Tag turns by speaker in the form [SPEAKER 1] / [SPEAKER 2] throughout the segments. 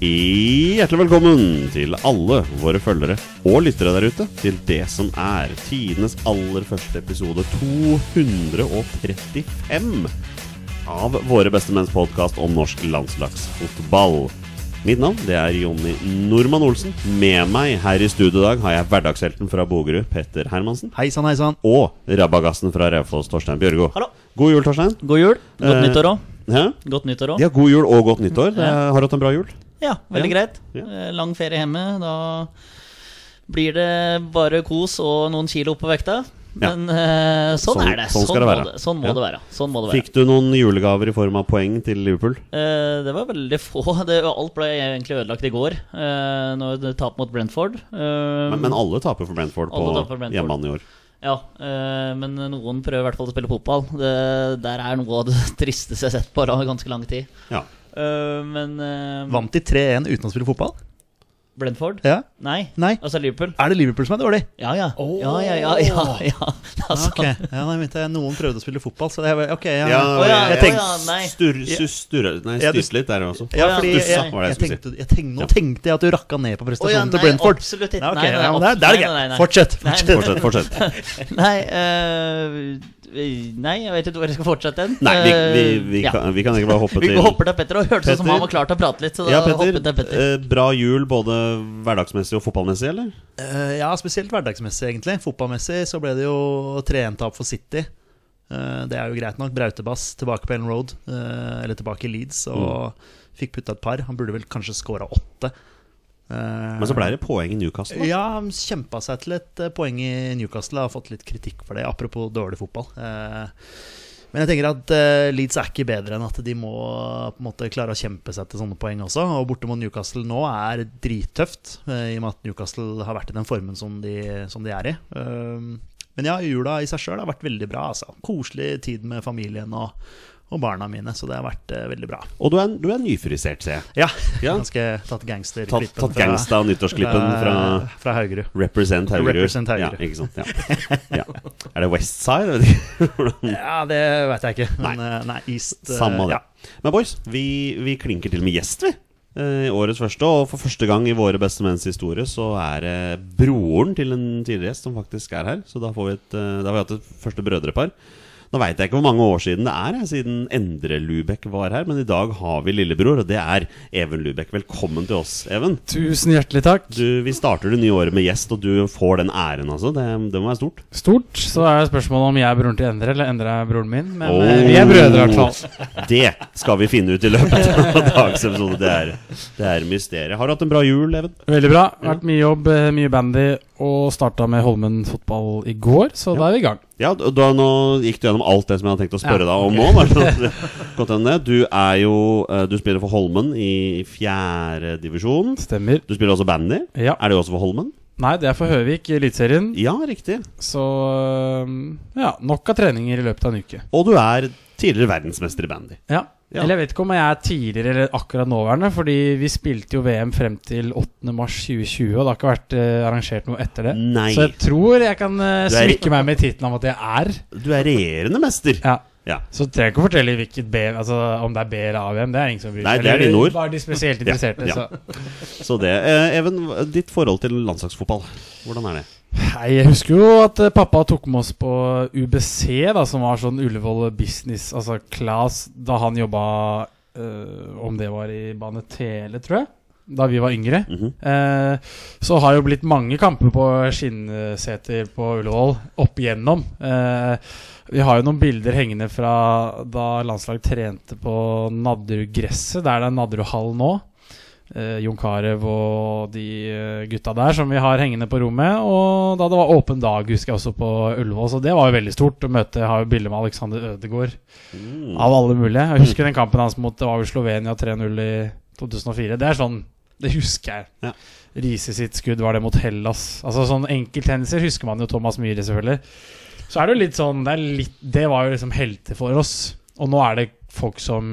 [SPEAKER 1] Hjertelig velkommen til alle våre følgere og lyttere der ute til det som er tidenes aller første episode 235 av Våre beste menns podkast om norsk landslagsfotball. Mitt navn det er Jonny Normann Olsen. Med meg her i studio i dag har jeg hverdagshelten fra Bogerud, Petter Hermansen.
[SPEAKER 2] Hei sann, hei sann.
[SPEAKER 1] Og rabagassen fra Raufoss, Torstein Bjørgo.
[SPEAKER 3] Hallo.
[SPEAKER 1] God jul, Torstein.
[SPEAKER 3] God jul. Godt
[SPEAKER 1] Eh,
[SPEAKER 3] nyttår òg.
[SPEAKER 1] Hæ?
[SPEAKER 3] Godt nyttår òg.
[SPEAKER 1] Ja, god jul og godt nyttår. Det er, har du hatt en bra jul?
[SPEAKER 3] Ja, veldig
[SPEAKER 1] Ja.
[SPEAKER 3] greit.
[SPEAKER 1] Ja.
[SPEAKER 3] Eh, Lang ferie hjemme. Da blir det bare kos og noen kilo på vekta.
[SPEAKER 1] Ja.
[SPEAKER 3] Men eh, sånn,
[SPEAKER 1] Sånn-
[SPEAKER 3] er det.
[SPEAKER 1] sånn skal det
[SPEAKER 3] må
[SPEAKER 1] være.
[SPEAKER 3] sånn må
[SPEAKER 1] Ja.
[SPEAKER 3] det være. Sånn må det være.
[SPEAKER 1] Fikk du noen julegaver i form av poeng til Liverpool?
[SPEAKER 3] Eh, det var veldig få. Det, alt ble egentlig ødelagt i går, eh, når det tap mot Brentford. Eh,
[SPEAKER 1] Men, men alle taper for Brentford på
[SPEAKER 3] Alle taper for Brentford.
[SPEAKER 1] hjemmebane i år.
[SPEAKER 3] Ja, eh, men noen prøver i hvert fall å spille fotball. Det der er noe av det tristeste jeg har sett på da, ganske lang tid.
[SPEAKER 1] Ja.
[SPEAKER 3] Eh, men eh,
[SPEAKER 2] Vant de 3-1 uten å spille fotball?
[SPEAKER 3] Brentford?
[SPEAKER 2] Ja.
[SPEAKER 3] Nei.
[SPEAKER 2] Nei.
[SPEAKER 3] Altså Liverpool?
[SPEAKER 2] Er det Liverpool som er dårlig?
[SPEAKER 3] Ja, ja. Ja, ja, ja, ja, ja. Altså.
[SPEAKER 2] Ok, ja, nei, vent, Noen prøvde å spille fotball, så det er Ok, ja.
[SPEAKER 1] Ja,
[SPEAKER 3] Å ja,
[SPEAKER 1] jeg
[SPEAKER 3] å
[SPEAKER 1] tenkte
[SPEAKER 3] ja, nei.
[SPEAKER 1] sturre sturre, Nei,
[SPEAKER 2] Ja, du-
[SPEAKER 1] styrte litt der også.
[SPEAKER 2] Ja, fordi jeg,
[SPEAKER 1] Stussa,
[SPEAKER 2] jeg,
[SPEAKER 1] var det jeg skulle
[SPEAKER 2] tenkte, jeg tenkte, nå tenkte jeg at du rakka ned på
[SPEAKER 3] Å ja,
[SPEAKER 2] prestasjonen
[SPEAKER 3] nei,
[SPEAKER 2] til Brentford.
[SPEAKER 3] absolutt ikke.
[SPEAKER 2] Nei, ok,
[SPEAKER 3] Nei, nei,
[SPEAKER 2] ja, men det er- det er
[SPEAKER 3] absolutt.
[SPEAKER 2] greit.
[SPEAKER 3] Nei, nei, nei.
[SPEAKER 2] Fortsett.
[SPEAKER 3] Nei.
[SPEAKER 2] fortsett.
[SPEAKER 1] Fortsett, fortsett.
[SPEAKER 3] Nei, eh, nei, jeg vet ikke hvor jeg skal fortsette den.
[SPEAKER 1] Nei, vi, vi, vi,
[SPEAKER 3] Ja.
[SPEAKER 1] kan, vi kan egentlig bare hoppe
[SPEAKER 3] Vi
[SPEAKER 1] til
[SPEAKER 3] hopper til Petter, og hørtes ut som
[SPEAKER 1] Petter.
[SPEAKER 3] han var klar til å prate litt. Så da
[SPEAKER 1] Ja,
[SPEAKER 3] hoppet
[SPEAKER 1] Petter.
[SPEAKER 3] jeg Petter.
[SPEAKER 1] eh, Bra jul både hverdagsmessig og fotballmessig, eller?
[SPEAKER 2] Eh, ja, spesielt hverdagsmessig, egentlig. Fotballmessig så ble det jo 3-1-tap for City. Eh, det er jo greit nok. Brautebass tilbake på Ellen Road, eh, eller tilbake i Leeds,
[SPEAKER 1] Mm.
[SPEAKER 2] og fikk putta et par. Han burde vel kanskje skåra åtte. Eh,
[SPEAKER 1] Men så ble det poeng i Newcastle. da.
[SPEAKER 2] Ja, han kjempa seg til et eh, poeng i Newcastle. Har fått litt kritikk for det, apropos dårlig fotball. Eh, Men jeg tenker at eh, Leeds er ikke bedre enn at de må eh, på en måte klare å kjempe seg til sånne poeng også. Og borte mot Newcastle nå er drittøft, eh, i og med at Newcastle har vært i den formen som de, som de er i. Eh, Men ja, jula i seg sjøl har vært veldig bra. Altså. Koselig tid med familien og, og barna mine, så det har vært eh, veldig bra.
[SPEAKER 1] Og du er, du er nyfrisert, ser jeg.
[SPEAKER 2] Ja,
[SPEAKER 1] Ja.
[SPEAKER 2] ganske tatt gangster
[SPEAKER 1] Tatt, tatt gangsta nyttårsklippen fra
[SPEAKER 2] Eh, fra Haugerud.
[SPEAKER 1] Represent Haugerud.
[SPEAKER 2] Represent
[SPEAKER 1] Ja,
[SPEAKER 2] Haugerud.
[SPEAKER 1] ikke sant. Ja. Ja. Er det Westside? Jeg vet ikke hvordan-
[SPEAKER 2] Ja, det veit jeg ikke. Men nei, nei East eh,
[SPEAKER 1] Samme det.
[SPEAKER 2] ja.
[SPEAKER 1] Men boys, vi, vi klinker til med gjest, vi. Eh, I årets første, og for første gang i våre beste menns historie, så er det broren til en tidligere gjest som faktisk er her. Så da, får vi et, eh, da har vi hatt et første brødrepar. Nå veit jeg ikke hvor mange år siden det er, jeg, siden Endre Lubekk var her. Men i dag har vi lillebror, og det er Even Lubekk. Velkommen til oss, Even.
[SPEAKER 4] Tusen hjertelig takk.
[SPEAKER 1] Du, vi starter det nye året med gjest, og du får den æren, altså. Det, det må være stort.
[SPEAKER 4] Stort. Så er spørsmålet om jeg er broren til Endre, eller Endre er broren min. Men
[SPEAKER 1] Oh.
[SPEAKER 4] eh, vi er brødre, i hvert fall.
[SPEAKER 1] Det skal vi finne ut i løpet av dagens episode. Det er, det er mysteriet. Har du hatt en bra jul, Even?
[SPEAKER 4] Veldig bra. Vært mye jobb, eh, mye bandy, og starta med Holmen fotball i går, så da er vi i gang.
[SPEAKER 1] Ja, d- da nå gikk du gjennom alt det som jeg hadde tenkt å spørre
[SPEAKER 4] Ja,
[SPEAKER 1] deg om nå. bare sånn at- godt enn det. Du er jo eh, Du spiller for Holmen i fjerde divisjon.
[SPEAKER 4] Stemmer.
[SPEAKER 1] Du spiller også bandy.
[SPEAKER 4] Ja.
[SPEAKER 1] Er det også for Holmen?
[SPEAKER 4] Nei, det er for Høvik i Eliteserien,
[SPEAKER 1] Ja, riktig.
[SPEAKER 4] så eh, ja, nok av treninger i løpet av en uke.
[SPEAKER 1] Og du er tidligere verdensmester i bandy.
[SPEAKER 4] Ja.
[SPEAKER 1] Ja.
[SPEAKER 4] Eller jeg vet ikke om jeg er tidligere eller akkurat nåværende, fordi vi spilte jo VM frem til 8. mars 2020, og det har ikke vært eh, arrangert noe etter det.
[SPEAKER 1] Nei.
[SPEAKER 4] Så jeg tror jeg kan eh,
[SPEAKER 1] Du er-
[SPEAKER 4] smykke meg med tittelen av at jeg er.
[SPEAKER 1] Du er regjerende mester.
[SPEAKER 4] Ja.
[SPEAKER 1] Ja.
[SPEAKER 4] Så trenger jeg ikke å fortelle hvilket B, altså, om det er B eller A-VM. Det er ingen som bryr
[SPEAKER 1] Nei, det er
[SPEAKER 4] Eller
[SPEAKER 1] dine ord.
[SPEAKER 4] Bare de spesielt
[SPEAKER 1] Ja,
[SPEAKER 4] interesserte.
[SPEAKER 1] ja.
[SPEAKER 4] Så.
[SPEAKER 1] Så det. Eh, Even, ditt forhold til landslagsfotball, hvordan er det?
[SPEAKER 4] Nei, jeg husker jo at eh, pappa tok med oss på UBC, da, som var sånn Ullevål business, altså class, da han jobba eh, Om det var i Bane Tele, tror jeg. Da vi var yngre.
[SPEAKER 1] Mhm.
[SPEAKER 4] Eh, så har jo blitt mange kamper på skinnseter på Ullevål opp igjennom. Eh, vi har jo noen bilder hengende fra da landslaget trente på Nadderud-gresset, der det er Nadderudhallen nå. eh, Jon Carew og de eh, gutta der som vi har hengende på rommet. Og da det var åpen dag, husker jeg også på Ullevål, så det var jo veldig stort å møte har jo bilde med Alexander Ødegaard. Av alle mulige. Jeg husker den kampen hans mot det var jo Slovenia 3-0 i 2004. Det er sånn Det husker jeg.
[SPEAKER 1] Ja.
[SPEAKER 4] Riise sitt skudd var det mot Hellas. Altså sånn Enkelthendelser husker man jo Thomas Myhre, selvfølgelig. Så er det jo litt sånn Det, er litt, det var jo liksom helter for oss. Og nå er det folk som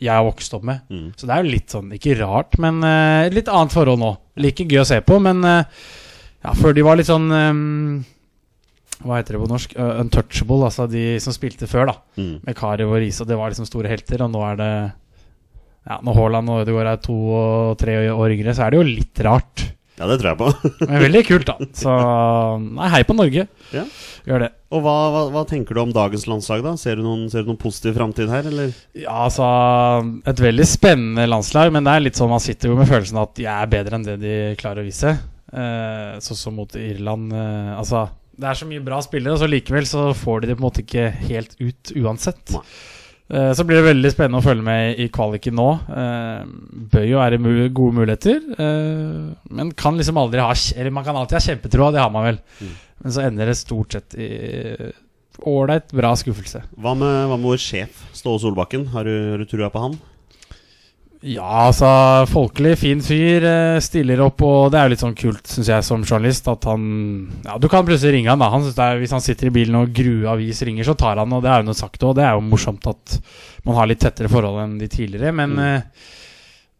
[SPEAKER 4] jeg har vokst opp med.
[SPEAKER 1] Mm.
[SPEAKER 4] Så det er jo litt sånn, ikke rart, men eh, litt annet forhold nå. Like gøy å se på, men eh, ja, før de var litt sånn eh, Hva heter det på norsk? Eh, untouchable, altså de som spilte før, da.
[SPEAKER 1] Mm.
[SPEAKER 4] Med Carew og Riise, og det var liksom store helter, og nå er det ja, Når Haaland og Ødegaard er to og tre år yngre, så er det jo litt rart.
[SPEAKER 1] Ja, det tror jeg på.
[SPEAKER 4] Men veldig kult, da. Så nei, hei på Norge.
[SPEAKER 1] Ja.
[SPEAKER 4] Gjør det.
[SPEAKER 1] Og hva, hva, hva tenker du om dagens landslag, da? Ser du noen, ser du noen positiv framtid her, eller?
[SPEAKER 4] Ja, altså Et veldig spennende landslag, men det er litt sånn man sitter jo med følelsen at de er bedre enn det de klarer å vise. Eh, sånn som mot Irland. Eh, altså Det er så mye bra spillere, og så likevel så får de det på en måte ikke helt ut uansett.
[SPEAKER 1] Nei.
[SPEAKER 4] Eh, så blir det veldig spennende å følge med i kvaliken nå. Eh, bør jo være mu gode muligheter, eh, men kan liksom aldri ha kj- Eller man kan alltid ha kjempetroa, det har man vel.
[SPEAKER 1] Mm.
[SPEAKER 4] Men så ender det stort sett i eh, ålreit, bra skuffelse.
[SPEAKER 1] Hva med, hva med vår sjef, Ståle Solbakken? Har du, har du trua på han?
[SPEAKER 4] Ja, altså Folkelig, fin fyr. eh, Stiller opp, og det er jo litt sånn kult, syns jeg, som journalist, at han Ja, du kan plutselig ringe han, da. Han synes det er, hvis han sitter i bilen og Grue avis ringer, så tar han, og det er jo noe sagt òg. Det er jo morsomt at man har litt tettere forhold enn de tidligere. Men
[SPEAKER 1] Mm.
[SPEAKER 4] eh,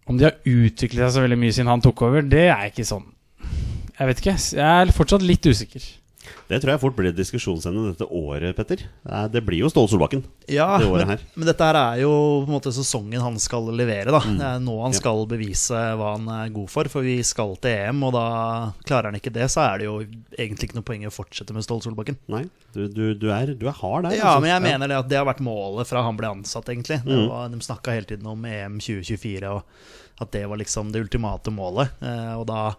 [SPEAKER 4] om de har utviklet seg så veldig mye siden han tok over, det er ikke sånn Jeg vet ikke. s- Jeg er fortsatt litt usikker.
[SPEAKER 1] Det tror jeg fort blir et diskusjonsemne dette året, Petter. Eh, Det blir jo Ståle Solbakken.
[SPEAKER 2] Ja,
[SPEAKER 1] det året
[SPEAKER 2] men,
[SPEAKER 1] her.
[SPEAKER 2] men dette her er jo på en måte sesongen han skal levere. Da. Det er nå han
[SPEAKER 1] Mm. Ja.
[SPEAKER 2] skal bevise hva han er god for, for vi skal til EM. Og da klarer han ikke det, så er det jo egentlig ikke noe poeng i å fortsette med Ståle Solbakken.
[SPEAKER 1] Nei, du, du, du, er, du er hard der.
[SPEAKER 2] Ja,
[SPEAKER 1] altså.
[SPEAKER 2] men jeg mener det at det har vært målet fra han ble ansatt, egentlig. Det
[SPEAKER 1] Mm.
[SPEAKER 2] var, de snakka hele tiden om EM 2024, og at det var liksom det ultimate målet. Eh, og da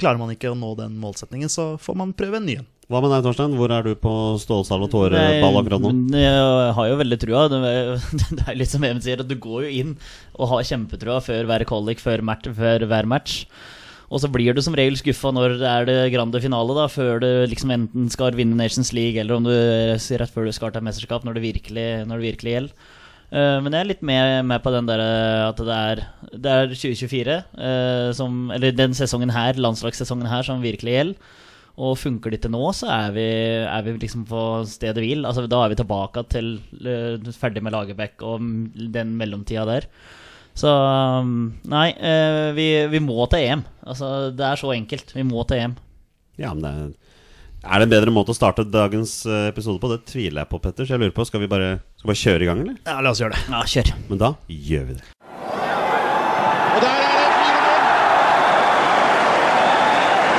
[SPEAKER 2] klarer man ikke å nå den målsetningen, så får man prøve en ny en.
[SPEAKER 1] Hva med deg, Torstein? Hvor er du på Ståle Salvatore-ball akkurat nå?
[SPEAKER 3] Nei, Jeg har jo veldig trua. Det er- det er litt som Even sier, at du går jo inn og har kjempetrua før hver kvalik, før, mat- før hver match. Og så blir du som regel skuffa når det er det grande finale, da, før du liksom enten skal vinne Nations League, eller om du rett før du skal ta mesterskap, når det virkelig, når det virkelig gjelder. Eh, men jeg er litt med, med på den der eh, at det er, det er 2024, eh, som, eller den sesongen her, landslagssesongen her, som virkelig gjelder. Og funker det til nå, så er vi, er vi liksom på stedet hvil. Altså, da er vi tilbake til eh, ferdig med Lagerbäck og m- den mellomtida der. Så um, Nei, eh, vi, vi må til EM. Altså, det er så enkelt. Vi må til EM.
[SPEAKER 1] Ja, men det er, er det en bedre måte å starte dagens eh, episode på? Det tviler jeg på, Petter. Så jeg lurer på, skal vi bare, skal vi bare kjøre i gang, eller?
[SPEAKER 2] Ja, la oss gjøre det.
[SPEAKER 3] Ja, kjør.
[SPEAKER 1] Men da gjør vi det.
[SPEAKER 5] Og der er det fire mål! Og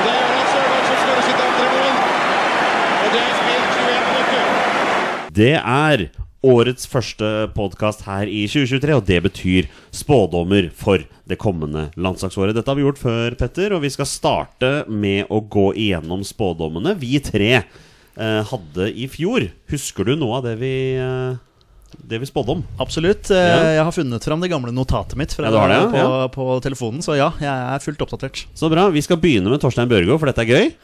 [SPEAKER 5] det er Jarand Sørdal som skårer sitt andre mål. Og det er spilt 21 minutter.
[SPEAKER 1] Det er årets første podkast her i 2023, og det betyr spådommer for det kommende landslagsåret. Dette har vi gjort før, Petter, og vi skal starte med å gå igjennom spådommene vi tre eh, hadde i fjor. Husker du noe av det vi, eh, det vi spådde om?
[SPEAKER 2] Absolutt. Eh, Jeg har funnet fram det gamle notatet mitt fra
[SPEAKER 1] Ja, du har det,
[SPEAKER 2] på,
[SPEAKER 1] ja.
[SPEAKER 2] på telefonen, så ja, jeg er fullt oppdatert.
[SPEAKER 1] Så bra. Vi skal begynne med Torstein Børgo, for dette er gøy.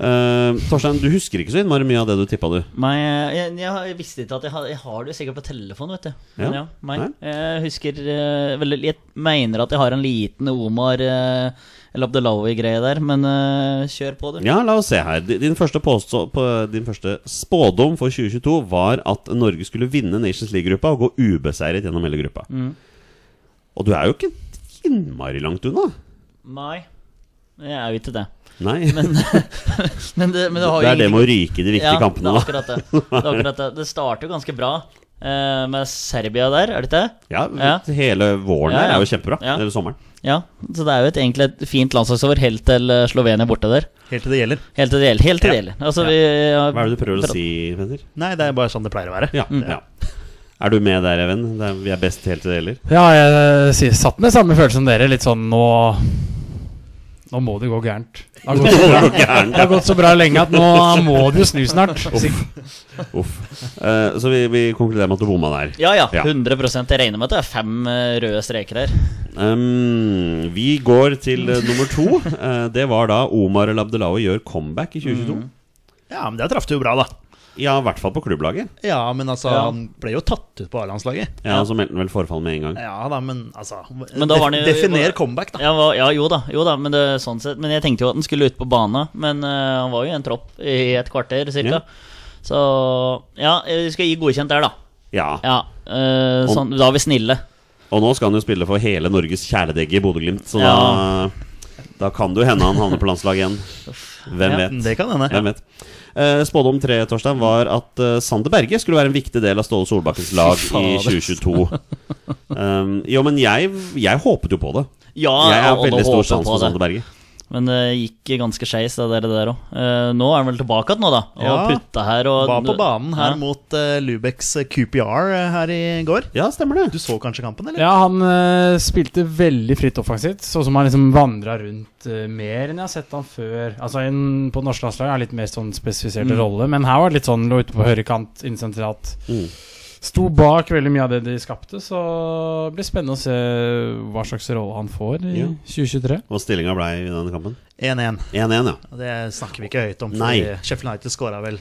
[SPEAKER 1] Eh, Torstein, du husker ikke så innmari mye av det du tippa, du.
[SPEAKER 3] Nei, eh, jeg, jeg, jeg visste ikke at jeg har, jeg har det jo sikkert på telefonen, vet du. Men
[SPEAKER 1] Ja.
[SPEAKER 3] ja, nei. Jeg husker eh, vel, Jeg mener at jeg har en liten Omar eh, eller Abdelawi-greie der, men eh, kjør på, du.
[SPEAKER 1] Ja, la oss se her. Di- Din første, påstå, på, din første spådom for 2022 var at Norge skulle vinne Nations League-gruppa og gå ubeseiret gjennom hele gruppa.
[SPEAKER 3] Mm.
[SPEAKER 1] Og du er jo ikke innmari langt unna.
[SPEAKER 3] Nei, jeg er jo ikke det.
[SPEAKER 1] Nei.
[SPEAKER 3] Men det, men det har
[SPEAKER 1] det
[SPEAKER 3] jo
[SPEAKER 1] er det
[SPEAKER 3] ingenting-
[SPEAKER 1] med å ryke i de viktige kampene,
[SPEAKER 3] det
[SPEAKER 1] da.
[SPEAKER 3] er akkurat det. Det, er akkurat det. det starter jo ganske bra eh, med Serbia der, er det ikke det?
[SPEAKER 1] Ja,
[SPEAKER 3] Ja.
[SPEAKER 1] Hele våren
[SPEAKER 3] Ja,
[SPEAKER 1] her
[SPEAKER 3] ja.
[SPEAKER 1] er jo kjempebra.
[SPEAKER 3] Ja.
[SPEAKER 1] Eller sommeren.
[SPEAKER 3] Ja, så det er jo et, egentlig et fint landslagsår helt til eh, Slovenia borte der.
[SPEAKER 2] Helt til det gjelder.
[SPEAKER 3] Helt til det gjelder. Helt til det
[SPEAKER 1] Ja.
[SPEAKER 3] gjelder. Altså, vi, ja,
[SPEAKER 1] Hva er det du prøver å si, Petter?
[SPEAKER 2] Nei, det er bare sånn det pleier å være.
[SPEAKER 1] Ja.
[SPEAKER 3] Mm.
[SPEAKER 1] ja. Er du med der, Even? Det er- Vi er best helt til det gjelder.
[SPEAKER 4] Ja, jeg sier, satt med samme følelse som dere. Litt sånn nå Nå må det gå gærent. Det har gått så bra, det har gått så bra lenge at nå må det jo snu snart. Sik-
[SPEAKER 1] Uff. Eh, så vi, vi konkluderer med at du bomma der.
[SPEAKER 3] ja, ja,
[SPEAKER 1] Ja.
[SPEAKER 3] 100 Jeg regner med at det er fem eh, røde streker her.
[SPEAKER 1] Um, vi går til eh, nummer to. Eh, det var da Omar El Abdelawi gjør comeback
[SPEAKER 3] Mm.
[SPEAKER 1] i 2022.
[SPEAKER 2] Ja, men der traff du jo bra, da.
[SPEAKER 1] Ja, i hvert fall på klubblaget.
[SPEAKER 2] Ja, men altså,
[SPEAKER 3] Ja.
[SPEAKER 2] han ble jo tatt ut på A-landslaget.
[SPEAKER 1] Ja, Så meldte han vel forfall med en gang.
[SPEAKER 2] Ja da, men altså
[SPEAKER 3] Men da var han jo-
[SPEAKER 2] Definer comeback, da.
[SPEAKER 3] Ja, hva- ja jo da, jo da men, det, sånn sett, men jeg tenkte jo at han skulle ut på bana. Men eh, han var jo i en tropp i et kvarter
[SPEAKER 1] Ja.
[SPEAKER 3] cirka. Så ja, eh, vi skal gi godkjent der, da.
[SPEAKER 1] Ja,
[SPEAKER 3] Ja, eh, sånn, Da er vi snille.
[SPEAKER 1] Og nå skal han jo spille for hele Norges kjæledegge i Bodø-Glimt, så da, da kan det jo hende han havner på landslaget igjen. Hvem
[SPEAKER 3] Ja,
[SPEAKER 1] vet?
[SPEAKER 2] Det kan hende.
[SPEAKER 1] Hvem vet? Eh, spådom tre Torstein, var at eh, Sander Berge skulle være en viktig del av Ståle Solbakkens lag i 2022. Um, jo, men jeg, jeg håpet jo på det.
[SPEAKER 3] Ja,
[SPEAKER 1] Jeg har
[SPEAKER 3] og nå
[SPEAKER 1] veldig stor
[SPEAKER 3] håper jeg
[SPEAKER 1] sans
[SPEAKER 3] på
[SPEAKER 1] for
[SPEAKER 3] det.
[SPEAKER 1] Sander Berge.
[SPEAKER 3] Men det gikk ganske skeis, det der, det der òg. nå er han vel tilbake igjen, nå, da. Og
[SPEAKER 2] Ja.
[SPEAKER 3] putta her og
[SPEAKER 2] Var på banen her
[SPEAKER 3] Ja.
[SPEAKER 2] mot eh, Lubecks eh, QPR her i går.
[SPEAKER 1] Ja, stemmer
[SPEAKER 2] Du
[SPEAKER 1] det.
[SPEAKER 2] så kanskje kampen, eller?
[SPEAKER 4] Ja, han eh, spilte veldig fritt offensivt, sånn som han liksom vandra rundt eh, mer enn jeg har sett han før. Altså en, På norsk landslag er litt mer sånn spesifiserte rolle, men her var det litt sånn lå ute på høyrekant, innsentralt.
[SPEAKER 1] Mm.
[SPEAKER 4] Sto bak veldig mye av det de skapte, så det blir spennende å se hva slags rolle han får i
[SPEAKER 1] Ja.
[SPEAKER 4] 2023.
[SPEAKER 1] Og stillinga blei i denne kampen?
[SPEAKER 2] 1-1.
[SPEAKER 1] 1-1, ja.
[SPEAKER 2] Og Det snakker vi ikke høyt om,
[SPEAKER 1] Nei.
[SPEAKER 2] fordi Sheffield United skåra vel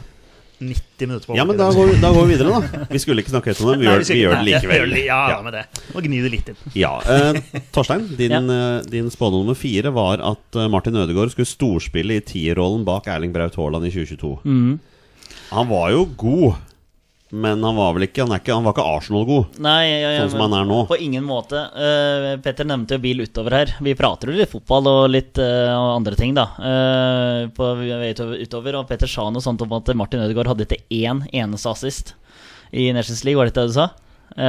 [SPEAKER 2] 90 minutter på
[SPEAKER 1] Ja, men da
[SPEAKER 2] overtid.
[SPEAKER 1] går, vi- da går vi videre, da. Vi skulle ikke snakke høyt om det, men vi
[SPEAKER 2] Nei,
[SPEAKER 1] gjør,
[SPEAKER 2] skal
[SPEAKER 1] vi
[SPEAKER 2] ikke-
[SPEAKER 1] gjør det
[SPEAKER 2] Nei, jeg gjør
[SPEAKER 1] likevel.
[SPEAKER 2] det- Ja, ja, med det. Må gni det litt inn.
[SPEAKER 1] Ja, eh, Torstein, din,
[SPEAKER 3] Ja.
[SPEAKER 1] eh, din spådom nummer fire var at eh, Martin Ødegaard skulle storspille i tierrollen bak Erling Braut Haaland i 2022.
[SPEAKER 3] Mhm.
[SPEAKER 1] Han var jo god, men han var vel ikke Han, er ikke, han var ikke Arsenal-god,
[SPEAKER 3] Nei, ja, ja,
[SPEAKER 1] sånn som han er nå.
[SPEAKER 3] På ingen måte. Eh, Petter nevnte jo bil utover her. Vi prater jo litt fotball og litt eh, og andre ting, da. eh, på vei utover- utover, og Petter sa noe sånt om at Martin Ødegaard hadde ikke én eneste assist i Nations League, var det ikke det du sa?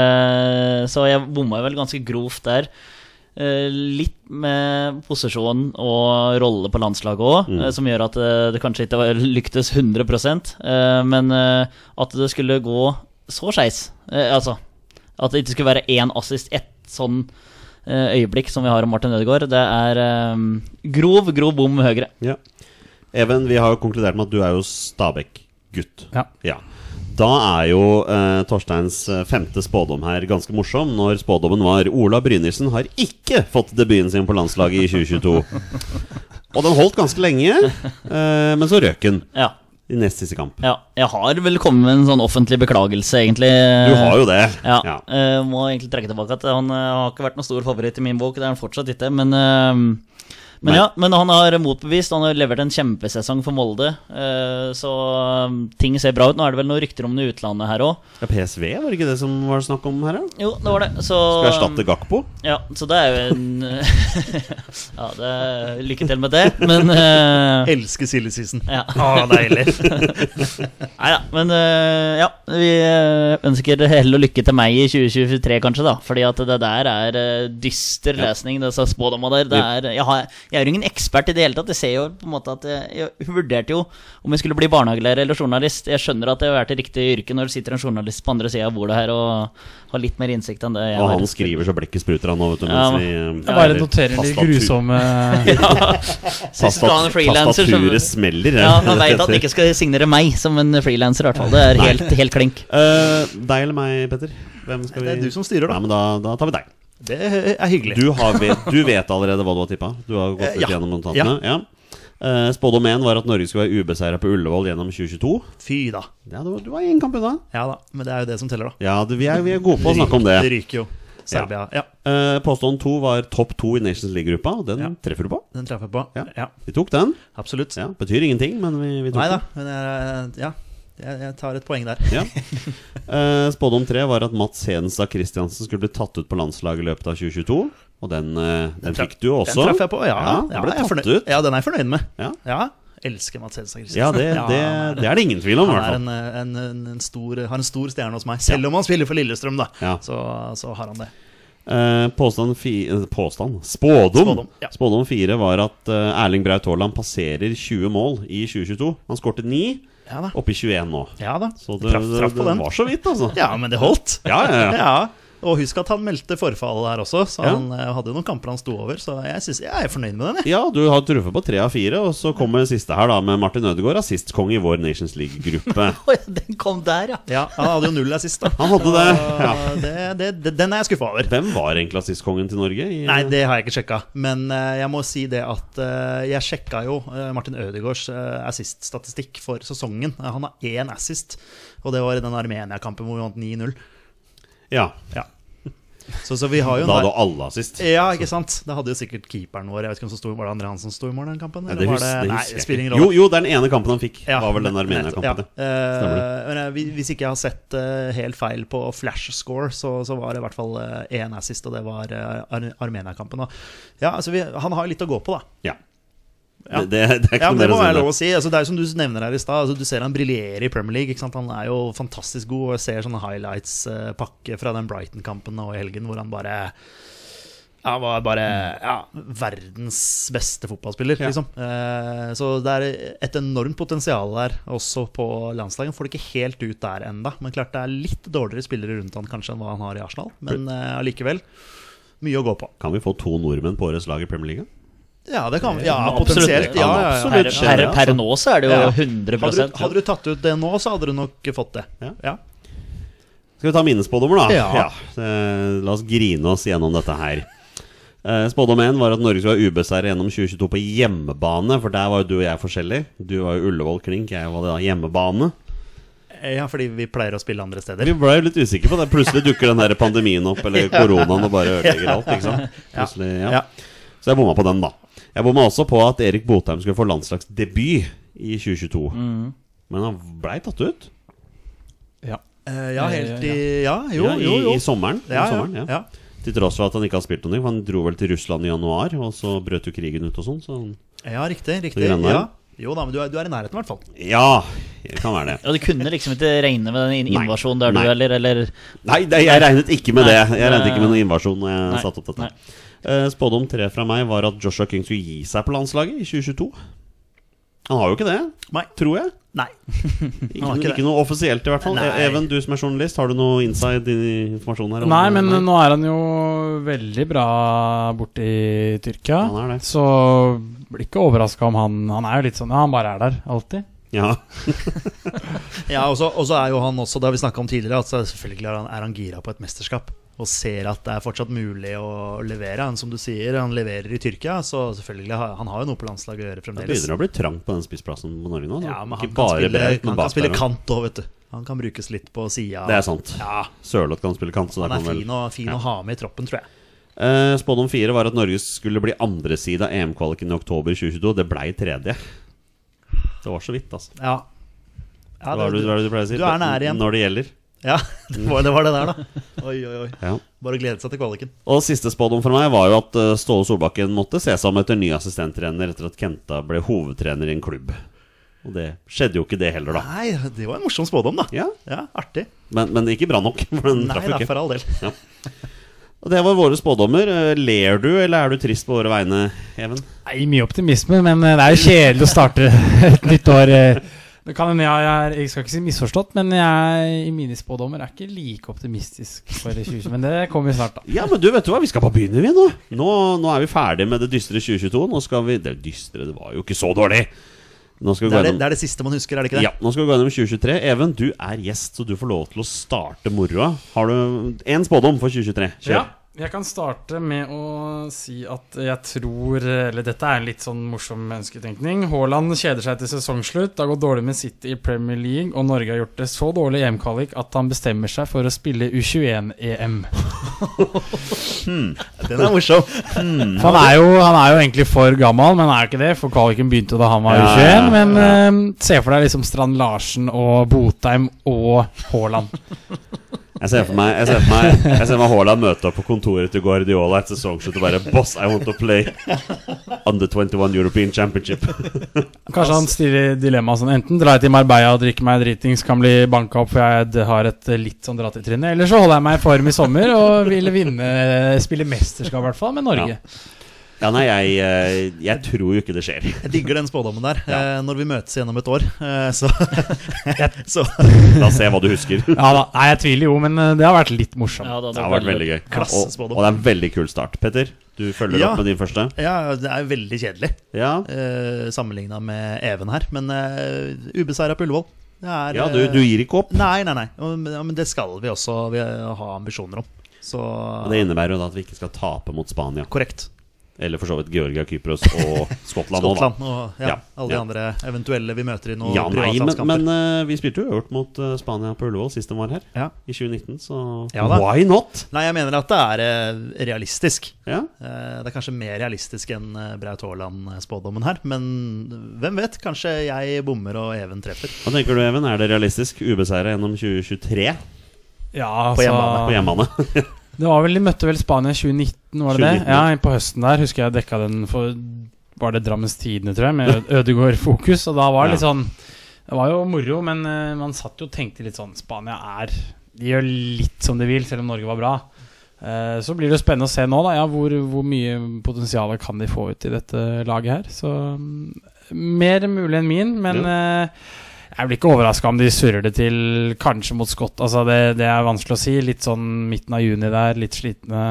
[SPEAKER 3] Eh, så jeg bomma vel ganske grovt der. Eh, litt med posisjon og rolle på landslaget òg,
[SPEAKER 1] Mm.
[SPEAKER 3] som gjør at eh, det kanskje ikke var- lyktes 100 eh, Men eh, at det skulle gå så skeis, eh, altså at det ikke skulle være én assist, ett sånn eh, øyeblikk som vi har om Martin Ødegaard, det er eh, grov, grov bom høyre.
[SPEAKER 1] Ja. Even, vi har jo konkludert med at du er jo Stabæk-gutt.
[SPEAKER 4] Ja.
[SPEAKER 1] Da er jo eh, Torsteins eh, femte spådom her ganske morsom, når spådommen var Ola Brynildsen har ikke fått debuten sin på landslaget i 2022. Og den holdt ganske lenge, eh, men så røk den
[SPEAKER 3] Ja.
[SPEAKER 1] i nest siste kamp.
[SPEAKER 3] ja. Jeg har vel kommet med en sånn offentlig beklagelse, egentlig.
[SPEAKER 1] Du har jo det.
[SPEAKER 3] Eh, Ja.
[SPEAKER 1] Ja.
[SPEAKER 3] eh, må egentlig trekke tilbake at han eh, har ikke vært noen stor favoritt i min bok. Det er han fortsatt ikke, men eh, men
[SPEAKER 1] Nei.
[SPEAKER 3] ja, men han har motbevist. Han har levert en kjempesesong for Molde. eh, Så eh, ting ser bra ut. Nå er det vel noen rykter om det i utlandet her òg.
[SPEAKER 1] Ja, PSV, var det ikke det som var snakk om her? Da?
[SPEAKER 3] Jo, det var det. Så
[SPEAKER 1] Skal erstatte Gakpo?
[SPEAKER 3] Ja, så det er jo en Ja, det, lykke til med det, men eh,
[SPEAKER 2] Elsker silly season.
[SPEAKER 3] ja.
[SPEAKER 2] Å, deilig.
[SPEAKER 3] Nei da, men eh, ja. Vi eh, ønsker hell og lykke til meg i 2023, kanskje, da. Fordi at det der er eh, dyster
[SPEAKER 1] Ja.
[SPEAKER 3] lesning, disse spådomma der. Det er, jeg, har, jeg er jo ingen ekspert i det hele tatt. Jeg ser jo på en måte at jeg, jeg vurderte jo om jeg skulle bli barnehagelærer eller journalist. Jeg skjønner at det er til riktig yrke når det sitter en journalist på andre sida av bordet her og har litt mer innsikt enn det jeg
[SPEAKER 1] Og
[SPEAKER 3] har.
[SPEAKER 1] han skriver så blekket spruter, han nå, vet du.
[SPEAKER 3] Ja,
[SPEAKER 1] Mens
[SPEAKER 3] men-
[SPEAKER 1] vi eh,
[SPEAKER 4] Jeg bare noterer de grusomme
[SPEAKER 3] Sist skal han være freelancer, så-
[SPEAKER 1] Tastaturet smeller. eh.
[SPEAKER 3] Ja, han veit at han ikke skal signere meg som en frilanser, i hvert fall. Det er helt, helt klink.
[SPEAKER 1] Eh, Deg eller meg, Petter? Hvem skal vi
[SPEAKER 2] Det er du som styrer, da.
[SPEAKER 1] Nei, men da, da tar vi deg.
[SPEAKER 2] Det er hyggelig.
[SPEAKER 1] Du, har vet, du vet allerede hva du har tippa? Du har gått
[SPEAKER 2] Eh,
[SPEAKER 1] ut
[SPEAKER 2] ja.
[SPEAKER 1] gjennom notatene? Ja. Eh, spådom én var at Norge skulle være ubeseira på Ullevål gjennom 2022.
[SPEAKER 2] Fy da.
[SPEAKER 1] Ja, du, du var én kamp unna.
[SPEAKER 2] Ja da, men det er jo det som teller, da.
[SPEAKER 1] Ja, du, vi, er, vi er gode på å snakke om det.
[SPEAKER 2] Det ryker jo. Serbia. Ja,
[SPEAKER 1] Eh, påstand to var topp to i Nations League-gruppa, og den
[SPEAKER 2] Ja.
[SPEAKER 1] treffer du på.
[SPEAKER 2] den treffer jeg på.
[SPEAKER 1] Ja.
[SPEAKER 2] Ja,
[SPEAKER 1] Vi tok den.
[SPEAKER 2] absolutt.
[SPEAKER 1] Ja, Betyr ingenting, men vi, vi tok
[SPEAKER 2] Nei da,
[SPEAKER 1] den.
[SPEAKER 2] men jeg, ja, jeg, jeg tar et poeng der.
[SPEAKER 1] Ja. Eh, spådom tre var at Mats Hedenstad Christiansen skulle bli tatt ut på landslaget i løpet av 2022. Og den, eh, den
[SPEAKER 2] traff-
[SPEAKER 1] fikk du jo også.
[SPEAKER 2] Den traff jeg på, ja.
[SPEAKER 1] Ja, den
[SPEAKER 2] ja,
[SPEAKER 1] ble
[SPEAKER 2] jeg er
[SPEAKER 1] tatt
[SPEAKER 2] fornøyd-
[SPEAKER 1] ut.
[SPEAKER 2] ja den er jeg fornøyd med.
[SPEAKER 1] Ja.
[SPEAKER 2] Ja, Elsker Mads Hedstad Christensen.
[SPEAKER 1] Ja, det, det, det er det ingen tvil om, i
[SPEAKER 2] Han
[SPEAKER 1] hvert
[SPEAKER 2] er
[SPEAKER 1] fall.
[SPEAKER 2] en, en, en, en stor, har en stor stjerne hos meg. Selv om han spiller for Lillestrøm, da,
[SPEAKER 1] Ja.
[SPEAKER 2] så, så har han det.
[SPEAKER 1] Eh, påstand fi, eh, Påstand? Spådom!
[SPEAKER 2] Spådom, ja.
[SPEAKER 1] Spådom fire var at eh, Erling Braut Haaland passerer 20 mål i 2022. Han skårte 9,
[SPEAKER 2] Ja da.
[SPEAKER 1] oppe i 21 nå.
[SPEAKER 2] Ja da.
[SPEAKER 1] Så det,
[SPEAKER 2] traff, traff på
[SPEAKER 1] det,
[SPEAKER 2] den.
[SPEAKER 1] det var så vidt, altså.
[SPEAKER 2] Ja, men det holdt.
[SPEAKER 1] Ja, ja, ja.
[SPEAKER 2] Ja, Og husk at han meldte forfall der også, så
[SPEAKER 1] Ja.
[SPEAKER 2] han eh, hadde noen kamper han sto over. Så jeg, synes, jeg er fornøyd med den, jeg.
[SPEAKER 1] Ja, du har truffet på tre av fire, og så
[SPEAKER 2] Mm.
[SPEAKER 1] kommer den siste her da med Martin Ødegaard, assistkonge i vår Nations League-gruppe.
[SPEAKER 3] Oi, den kom der, ja.
[SPEAKER 2] Ja, han hadde jo null assist, da.
[SPEAKER 1] Han hadde det. Ja.
[SPEAKER 2] Og Det, det, det, den er jeg skuffa over.
[SPEAKER 1] Hvem var egentlig assistkongen til Norge? I,
[SPEAKER 2] Nei, det har jeg ikke sjekka. Men eh, jeg må si det at eh, jeg sjekka jo eh, Martin Ødegaards eh, assist-statistikk for sesongen. Eh, han har én assist, og det var i den Armenia-kampen hvor vi vant 9-0.
[SPEAKER 1] Ja,
[SPEAKER 2] Så, så vi har jo
[SPEAKER 1] da
[SPEAKER 2] en
[SPEAKER 1] hadde alle assist.
[SPEAKER 2] Ja, ikke sant? Det hadde jo sikkert keeperen vår. Jeg vet ikke om som sto, Var det Andre Hansen som sto i mål den kampen?
[SPEAKER 1] Nei,
[SPEAKER 2] eller
[SPEAKER 1] det,
[SPEAKER 2] var
[SPEAKER 1] hus, det
[SPEAKER 2] Nei,
[SPEAKER 1] husker
[SPEAKER 2] det
[SPEAKER 1] jeg
[SPEAKER 2] spiller ingen
[SPEAKER 1] ikke.
[SPEAKER 2] rolle.
[SPEAKER 1] Jo, jo, det er den ene kampen han fikk.
[SPEAKER 2] Ja,
[SPEAKER 1] var vel den
[SPEAKER 2] ja.
[SPEAKER 1] Armenia-kampen.
[SPEAKER 2] Eh,
[SPEAKER 1] Stemmer
[SPEAKER 2] men jeg- hvis ikke jeg har sett eh, helt feil på flash score, så, så var det i hvert fall én assist, og det var eh, Ar Armenia-kampen. Og, ja, altså vi, han har jo litt å gå på, da.
[SPEAKER 1] Ja.
[SPEAKER 2] Ja.
[SPEAKER 1] Det, det, det er ikke
[SPEAKER 2] Ja, men
[SPEAKER 1] noe
[SPEAKER 2] Det
[SPEAKER 1] mer
[SPEAKER 2] må
[SPEAKER 1] å si om det.
[SPEAKER 2] være lov å si. Altså, det er jo som du nevner her i stad. Altså, du ser han briljerer i Premier League. Ikke sant? Han er jo fantastisk god. Og jeg ser sånne highlights-pakke fra den Brighton-kampen nå i helgen hvor han bare ja, Han var bare ja, verdens beste fotballspiller,
[SPEAKER 1] Ja.
[SPEAKER 2] liksom. Eh, så det er et enormt potensial der, også på landslaget. Får det ikke helt ut der enda Men klart det er litt dårligere spillere rundt han kanskje enn hva han har i Arsenal. Men eh, allikevel mye å gå på.
[SPEAKER 1] Kan vi få to nordmenn på årets lag i Premier League?
[SPEAKER 2] Ja, det kan Ja,
[SPEAKER 3] Absolutt.
[SPEAKER 2] potensielt. Eh, Ja, ja, ja.
[SPEAKER 1] Absolutt.
[SPEAKER 3] Per,
[SPEAKER 1] skjer
[SPEAKER 3] per,
[SPEAKER 1] det,
[SPEAKER 3] per nå så er det jo
[SPEAKER 2] Ja.
[SPEAKER 3] 100
[SPEAKER 2] Hadde du, hadde
[SPEAKER 3] ja.
[SPEAKER 2] du tatt ut det nå, så hadde du nok fått det.
[SPEAKER 1] Ja.
[SPEAKER 2] Ja.
[SPEAKER 1] Skal vi ta mine spådommer, da?
[SPEAKER 2] Ja.
[SPEAKER 1] Eh, La oss grine oss gjennom dette her. Eh, Spådom én var at Norge skulle være ubeseiret gjennom 2022 på hjemmebane. For der var jo du og jeg forskjellig. Du var jo Ullevål Klink, jeg var da hjemmebane.
[SPEAKER 2] ja, fordi vi pleier å spille andre steder.
[SPEAKER 1] Vi ble jo litt usikre på det. Plutselig dukker den der pandemien opp, eller koronaen, og bare ødelegger alt. ikke sant? Plutselig, ja.
[SPEAKER 2] Ja.
[SPEAKER 1] Så jeg bomma på den, da. Jeg bomma også på at Erik Botheim skulle få landslagsdebut i 2022. Men han blei tatt ut.
[SPEAKER 4] Ja.
[SPEAKER 2] Eh, ja, helt i Ja, jo,
[SPEAKER 1] Ja, i,
[SPEAKER 2] jo. jo.
[SPEAKER 1] I sommeren. i
[SPEAKER 2] Ja, ja,
[SPEAKER 1] sommeren ja.
[SPEAKER 2] ja.
[SPEAKER 1] Til tross for at han ikke har spilt noe, for han dro vel til Russland i januar, og så brøt jo krigen ut og sånn, så han
[SPEAKER 2] ja, riktig. riktig
[SPEAKER 1] greiene der.
[SPEAKER 2] ja. Jo da, men du er, du er i nærheten, i hvert fall.
[SPEAKER 1] Ja, det kan være det.
[SPEAKER 3] Og du kunne liksom ikke regne med den in-
[SPEAKER 1] Nei.
[SPEAKER 3] invasjonen der, du,
[SPEAKER 1] Nei.
[SPEAKER 3] eller, eller
[SPEAKER 1] Nei, det, jeg regnet ikke med
[SPEAKER 3] Nei,
[SPEAKER 1] det. Jeg regnet
[SPEAKER 3] det-
[SPEAKER 1] ikke med noen invasjon når jeg
[SPEAKER 3] Nei,
[SPEAKER 1] satte opp dette.
[SPEAKER 3] nei.
[SPEAKER 1] Eh, Spådom tre fra meg var at Joshua King skulle gi seg på landslaget i 2022. Han har jo ikke det,
[SPEAKER 2] Nei.
[SPEAKER 1] tror jeg.
[SPEAKER 2] Nei.
[SPEAKER 1] Ikke,
[SPEAKER 2] har ikke
[SPEAKER 1] ikke,
[SPEAKER 2] det.
[SPEAKER 1] noe offisielt, i hvert fall.
[SPEAKER 2] Nei.
[SPEAKER 1] Even, du som er journalist, har du noe inside informasjon her? om-
[SPEAKER 4] Nei, men nå er han jo veldig bra borte i Tyrkia.
[SPEAKER 1] Han er det.
[SPEAKER 4] Så blir ikke overraska om han Han er jo litt sånn Ja, han bare er der, alltid.
[SPEAKER 1] Ja.
[SPEAKER 2] Ja, og så og så er jo han også, det har vi snakka om tidligere, at selvfølgelig er han, er han gira på et mesterskap. Og ser at det er fortsatt mulig å levere. Han, som du sier, han leverer i Tyrkia, så selvfølgelig har han har jo noe på landslaget å gjøre
[SPEAKER 1] Det
[SPEAKER 2] fremdeles.
[SPEAKER 1] begynner å bli trangt på den spissplassen på Norge nå. da.
[SPEAKER 2] Ja, men
[SPEAKER 1] ikke
[SPEAKER 2] han kan
[SPEAKER 1] bare
[SPEAKER 2] spille,
[SPEAKER 1] Braut, men
[SPEAKER 2] han kan spille
[SPEAKER 1] Basberg.
[SPEAKER 2] kant òg, vet du. Han kan brukes litt på sida.
[SPEAKER 1] Det er sant.
[SPEAKER 2] Ja,
[SPEAKER 1] Sørloth kan spille kant, så
[SPEAKER 2] han
[SPEAKER 1] der
[SPEAKER 2] er
[SPEAKER 1] kan vel
[SPEAKER 2] fin, å, fin å ha med i troppen, tror jeg.
[SPEAKER 1] Eh, Spådom fire var at Norge skulle bli andre side av EM-kvaliken i oktober 2022. Det blei tredje. Det var så vidt, altså.
[SPEAKER 2] Ja. ja
[SPEAKER 1] Hva er det, hva er det du pleier å si?
[SPEAKER 2] du er nær igjen.
[SPEAKER 1] Når det gjelder.
[SPEAKER 2] Ja, det var, det var det der, da. Oi, oi, oi.
[SPEAKER 1] Ja.
[SPEAKER 2] Bare å glede seg til kvaliken.
[SPEAKER 1] Og siste spådom for meg var jo at eh, Ståle Solbakken måtte se seg om etter ny assistenttrener etter at Kenta ble hovedtrener i en klubb. Og det skjedde jo ikke, det heller, da.
[SPEAKER 2] Nei, det var en morsom spådom, da.
[SPEAKER 1] Ja,
[SPEAKER 2] Ja, artig.
[SPEAKER 1] Men, men det gikk ikke bra nok. For den
[SPEAKER 2] Nei
[SPEAKER 1] traff jo
[SPEAKER 2] da,
[SPEAKER 1] ikke.
[SPEAKER 2] for all del.
[SPEAKER 1] Og det var våre spådommer. Eh, Ler du, eller er du trist på våre vegne, Even?
[SPEAKER 4] Nei, mye optimisme, men eh, det er jo kjedelig å starte et nytt år. eh. Det kan hende jeg, er- jeg skal ikke si misforstått, men jeg i mine spådommer er ikke like optimistisk for 2020. Men det kommer snart, da.
[SPEAKER 1] Ja, men du vet du hva, vi skal bare begynne vi nå Nå, nå er vi ferdige med det dystre 2022 Nå skal vi, det dystre, det var jo ikke så dårlig Nå skal vi
[SPEAKER 2] Det
[SPEAKER 1] gå
[SPEAKER 2] er det,
[SPEAKER 1] gjennom
[SPEAKER 2] det er det siste man husker, er det ikke det?
[SPEAKER 1] ja, nå skal vi gå gjennom 2023 Even, du er gjest, så du får lov til å starte moroa Har du en spådom for 2023? Kjør
[SPEAKER 4] Ja, jeg kan starte med å si at jeg tror Eller dette er en litt sånn morsom mennesketenkning. Haaland kjeder seg til sesongslutt. Det har gått dårlig med City i Premier League, og Norge har gjort det så dårlig i EM-kvalik at han bestemmer seg for å spille U21-EM.
[SPEAKER 2] Den er morsom.
[SPEAKER 1] Hmm.
[SPEAKER 4] For han er, jo, han er jo egentlig for gammel, men er jo ikke det. For kvaliken begynte jo da han var
[SPEAKER 1] Ja,
[SPEAKER 4] 21.
[SPEAKER 1] ja, ja.
[SPEAKER 4] Men eh, se for deg liksom Strand Larsen og Botheim og Haaland.
[SPEAKER 1] Jeg ser for meg, jeg ser for meg, jeg ser for meg Haaland møte opp på kontoret til Guardiola Et sesongslutt og bare Boss, I want to play Under 21 European Championship
[SPEAKER 4] Kanskje han stiller dilemma sånn enten drar jeg til Marbella og drikker meg dritings, kan bli banka opp for jeg d- har et eh, litt sånn dratt i trynet, eh, eller så holder jeg meg i form i sommer og vil vinne, spille mesterskap i hvert fall med Norge.
[SPEAKER 1] Ja, nei, jeg, eh, jeg tror jo ikke det skjer.
[SPEAKER 2] Jeg digger den spådommen der.
[SPEAKER 1] Ja.
[SPEAKER 2] Eh, Når vi møtes igjen om et år, eh, så, så
[SPEAKER 1] La oss se hva du husker. Det
[SPEAKER 4] Ja da, Nei, jeg tviler jo, men eh, det har vært litt morsomt.
[SPEAKER 3] Ja, det
[SPEAKER 2] Altså,
[SPEAKER 1] har vært veldig gøy. Og,
[SPEAKER 2] Klassespådom.
[SPEAKER 1] og det er en veldig kul start. Petter, du følger
[SPEAKER 2] Ja.
[SPEAKER 1] opp med din første.
[SPEAKER 2] Ja, det er veldig kjedelig
[SPEAKER 1] Ja,
[SPEAKER 2] eh, sammenligna med Even her, men uh, ubeseira på Ullevål. Det er,
[SPEAKER 1] ja du,
[SPEAKER 2] eh,
[SPEAKER 1] du gir ikke opp.
[SPEAKER 2] Nei, nei, nei. Og- men- Ja, men det skal vi også vi ha ambisjoner om. Så
[SPEAKER 1] Og det innebærer jo da at vi ikke skal tape mot Spania.
[SPEAKER 2] korrekt.
[SPEAKER 1] Eller for så vidt Georgia, Kypros og Skottland òg, da.
[SPEAKER 2] Skottland og ja,
[SPEAKER 1] Ja,
[SPEAKER 2] alle de
[SPEAKER 1] ja.
[SPEAKER 2] andre eventuelle vi møter i noen
[SPEAKER 1] Ja, nei, men,
[SPEAKER 2] privatlandskamper.
[SPEAKER 1] men eh, vi spilte jo øvert mot eh, Spania på Ullevål sist de var her,
[SPEAKER 2] Ja.
[SPEAKER 1] i 2019, så
[SPEAKER 2] Ja da.
[SPEAKER 1] why not?
[SPEAKER 2] Nei, jeg mener at det er eh, realistisk.
[SPEAKER 1] Ja.
[SPEAKER 2] Eh, Det er kanskje mer realistisk enn eh, Braut Haaland-spådommen her, men hvem vet? Kanskje jeg bommer og Even treffer.
[SPEAKER 1] Hva tenker du, Even? Er det realistisk? Ubeseira gjennom 2023
[SPEAKER 4] Ja,
[SPEAKER 2] På
[SPEAKER 4] altså,
[SPEAKER 1] på hjemmebane?
[SPEAKER 4] Det var vel De møtte vel Spania i 2019, var det
[SPEAKER 1] 2019,
[SPEAKER 4] det? Ja, på høsten der husker jeg dekka den for Var det Drammens Tidende, tror jeg, med Ødegård-fokus. Og da var det litt sånn Det var jo moro, men eh, man satt jo og tenkte litt sånn Spania er De gjør litt som de vil, selv om Norge var bra. Eh, Så blir det jo spennende å se nå, da. Ja, hvor, hvor mye potensial kan de få ut i dette laget her? Så mm, mer mulig enn min, men eh, jeg blir ikke overraska om de surrer det til kanskje mot Skott. Altså det, det er vanskelig å si. Litt sånn midten av juni der, litt slitne.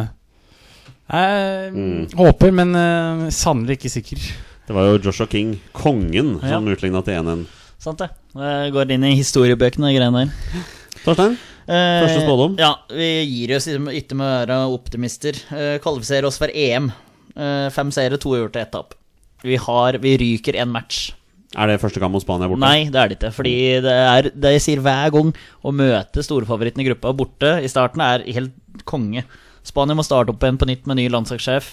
[SPEAKER 4] Jeg
[SPEAKER 1] Mm.
[SPEAKER 4] håper, men uh, sannelig ikke sikker.
[SPEAKER 1] Det var jo Joshua King, kongen, som utligna til 1-1.
[SPEAKER 3] Sant det. Eh, Går inn i historiebøkene, de greiene der.
[SPEAKER 1] Torstein?
[SPEAKER 3] Eh,
[SPEAKER 1] Første spådom?
[SPEAKER 3] Ja, vi gir oss liksom ikke med å være optimister. Eh, Kvalifiserer oss for EM. Eh, Fem seire, to uavgjort og ett tap. Vi, har- vi ryker en match.
[SPEAKER 1] Er det første kamp mot Spania borte?
[SPEAKER 3] Nei, det er det ikke. Fordi det er det jeg sier hver gang, å møte storfavoritten i gruppa borte i starten er helt konge. Spania må starte opp igjen på nytt med ny landslagssjef.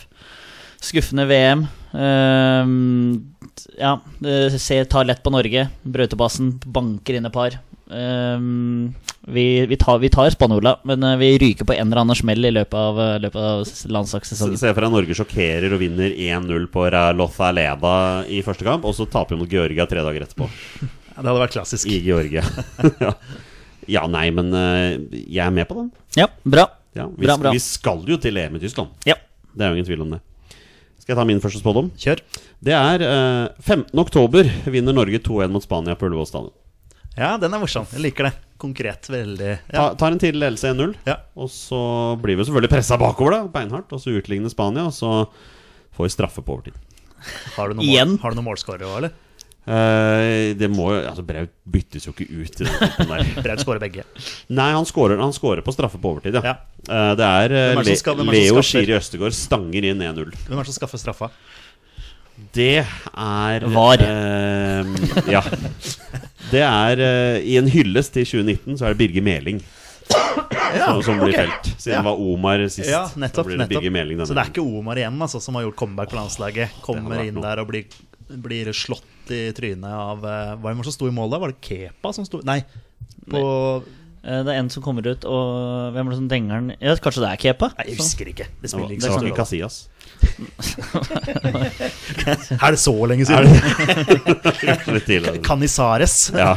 [SPEAKER 3] Skuffende VM. Ehm, ja, det ser, tar lett på Norge. Brøytebassen banker inn et par. Ehm, vi, vi tar, vi tar Spanola, men eh, vi ryker på en eller annen smell i løpet av, eh, løpet av s-
[SPEAKER 1] Se
[SPEAKER 3] landslagssesongen.
[SPEAKER 1] se for deg Norge sjokkerer og vinner 1-0 på Ralotha Leda i første kamp, og så taper vi mot Georgia tre dager etterpå.
[SPEAKER 2] Det hadde vært klassisk.
[SPEAKER 1] I Georgia. ja. ja, nei, men eh, jeg er med på den.
[SPEAKER 3] Ja, bra.
[SPEAKER 1] Ja, vi,
[SPEAKER 3] Bra, bra.
[SPEAKER 1] vi skal jo til EM i Tyskland.
[SPEAKER 3] Ja.
[SPEAKER 1] Det er jo ingen tvil om det. Skal jeg ta min første spådom?
[SPEAKER 2] Kjør.
[SPEAKER 1] Det er eh, 15. oktober vinner Norge 2-1 mot Spania på Ullevål stadion.
[SPEAKER 2] Ja, den er morsom. Jeg liker det. Konkret. Veldig ja.
[SPEAKER 1] Ta, tar en tidlig ledelse 1-0,
[SPEAKER 2] Ja.
[SPEAKER 1] og så blir vi selvfølgelig pressa bakover, da, beinhardt. Og så utligner Spania, og så får vi straffe på overtid.
[SPEAKER 2] Har du noen,
[SPEAKER 3] Igjen?
[SPEAKER 2] mål- har du noen målskårere òg, eller?
[SPEAKER 1] Eh, det må jo Altså, Braut byttes jo ikke ut i den kampen der.
[SPEAKER 2] Braut skårer begge.
[SPEAKER 1] Nei, han scorer, han scorer på straffe på overtid, ja.
[SPEAKER 2] Ja.
[SPEAKER 1] Eh, det er, eh,
[SPEAKER 2] Hvem er det som skal- hvem er
[SPEAKER 1] Le
[SPEAKER 2] det som
[SPEAKER 1] Leo
[SPEAKER 2] skaffer?
[SPEAKER 1] Skiri Østegård stanger inn 1-0.
[SPEAKER 2] Hvem er det som skaffer straffa?
[SPEAKER 1] Det er
[SPEAKER 3] Var.
[SPEAKER 1] eh, ja. Det er eh, I en hyllest til 2019 så er det Birger Meling som, som blir felt. Siden
[SPEAKER 2] Ja.
[SPEAKER 1] det var Omar sist.
[SPEAKER 2] Ja,
[SPEAKER 1] da
[SPEAKER 2] nettopp.
[SPEAKER 1] blir det
[SPEAKER 2] nettopp.
[SPEAKER 1] Birger Meling denne
[SPEAKER 2] Så det er ikke Omar igjen altså, som har gjort comeback på landslaget. Kommer
[SPEAKER 1] vært
[SPEAKER 2] inn
[SPEAKER 1] noe.
[SPEAKER 2] der og blir, blir slått i trynet av eh, Hva var det som sto i mål da? Var det Kepa som sto Nei. På,
[SPEAKER 3] Eh, Det er en som kommer ut, og hvem er det som denger den? Ja, kanskje det er Kepa?
[SPEAKER 2] nei, jeg husker ikke. Det
[SPEAKER 1] gangen.
[SPEAKER 2] spiller
[SPEAKER 1] Det
[SPEAKER 2] ikke så
[SPEAKER 1] var
[SPEAKER 2] stor
[SPEAKER 1] ikke Casillas.
[SPEAKER 2] rolle. Er det så lenge siden?
[SPEAKER 1] Litt tidligere.
[SPEAKER 2] Canizares.
[SPEAKER 1] Ja.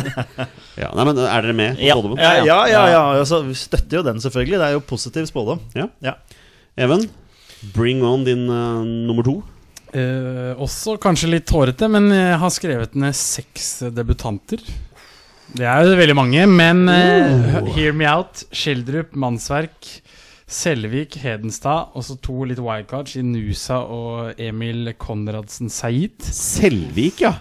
[SPEAKER 1] ja. Nei, men er dere med på
[SPEAKER 3] Ja.
[SPEAKER 1] spådommen?
[SPEAKER 2] Ja, ja, ja. ja. Altså, vi støtter jo den, selvfølgelig. Det er jo positiv spådom.
[SPEAKER 1] Ja.
[SPEAKER 2] Ja.
[SPEAKER 1] Even, bring on din eh, nummer to.
[SPEAKER 4] Eh, også kanskje litt hårete, men jeg har skrevet ned seks eh, debutanter. Det er jo veldig mange, men eh,
[SPEAKER 1] Oh.
[SPEAKER 4] Hear Me Out, Skjeldrup, Mannsverk, Selvik, Hedenstad, og så to litt wildcards i Nusa og Emil Konradsen Said.
[SPEAKER 1] Selvik, ja.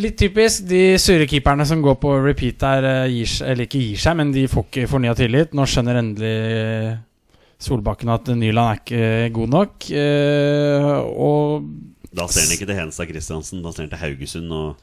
[SPEAKER 4] Litt typisk. De sure keeperne som går på repeat der, eh, gir seg, eller ikke gir seg, men de får ikke fornya tillit. Nå skjønner endelig eh, Solbakken at Nyland er ikke god nok. Eh, og
[SPEAKER 1] Da ser han ikke til Henstad Christiansen, da ser han til Haugesund og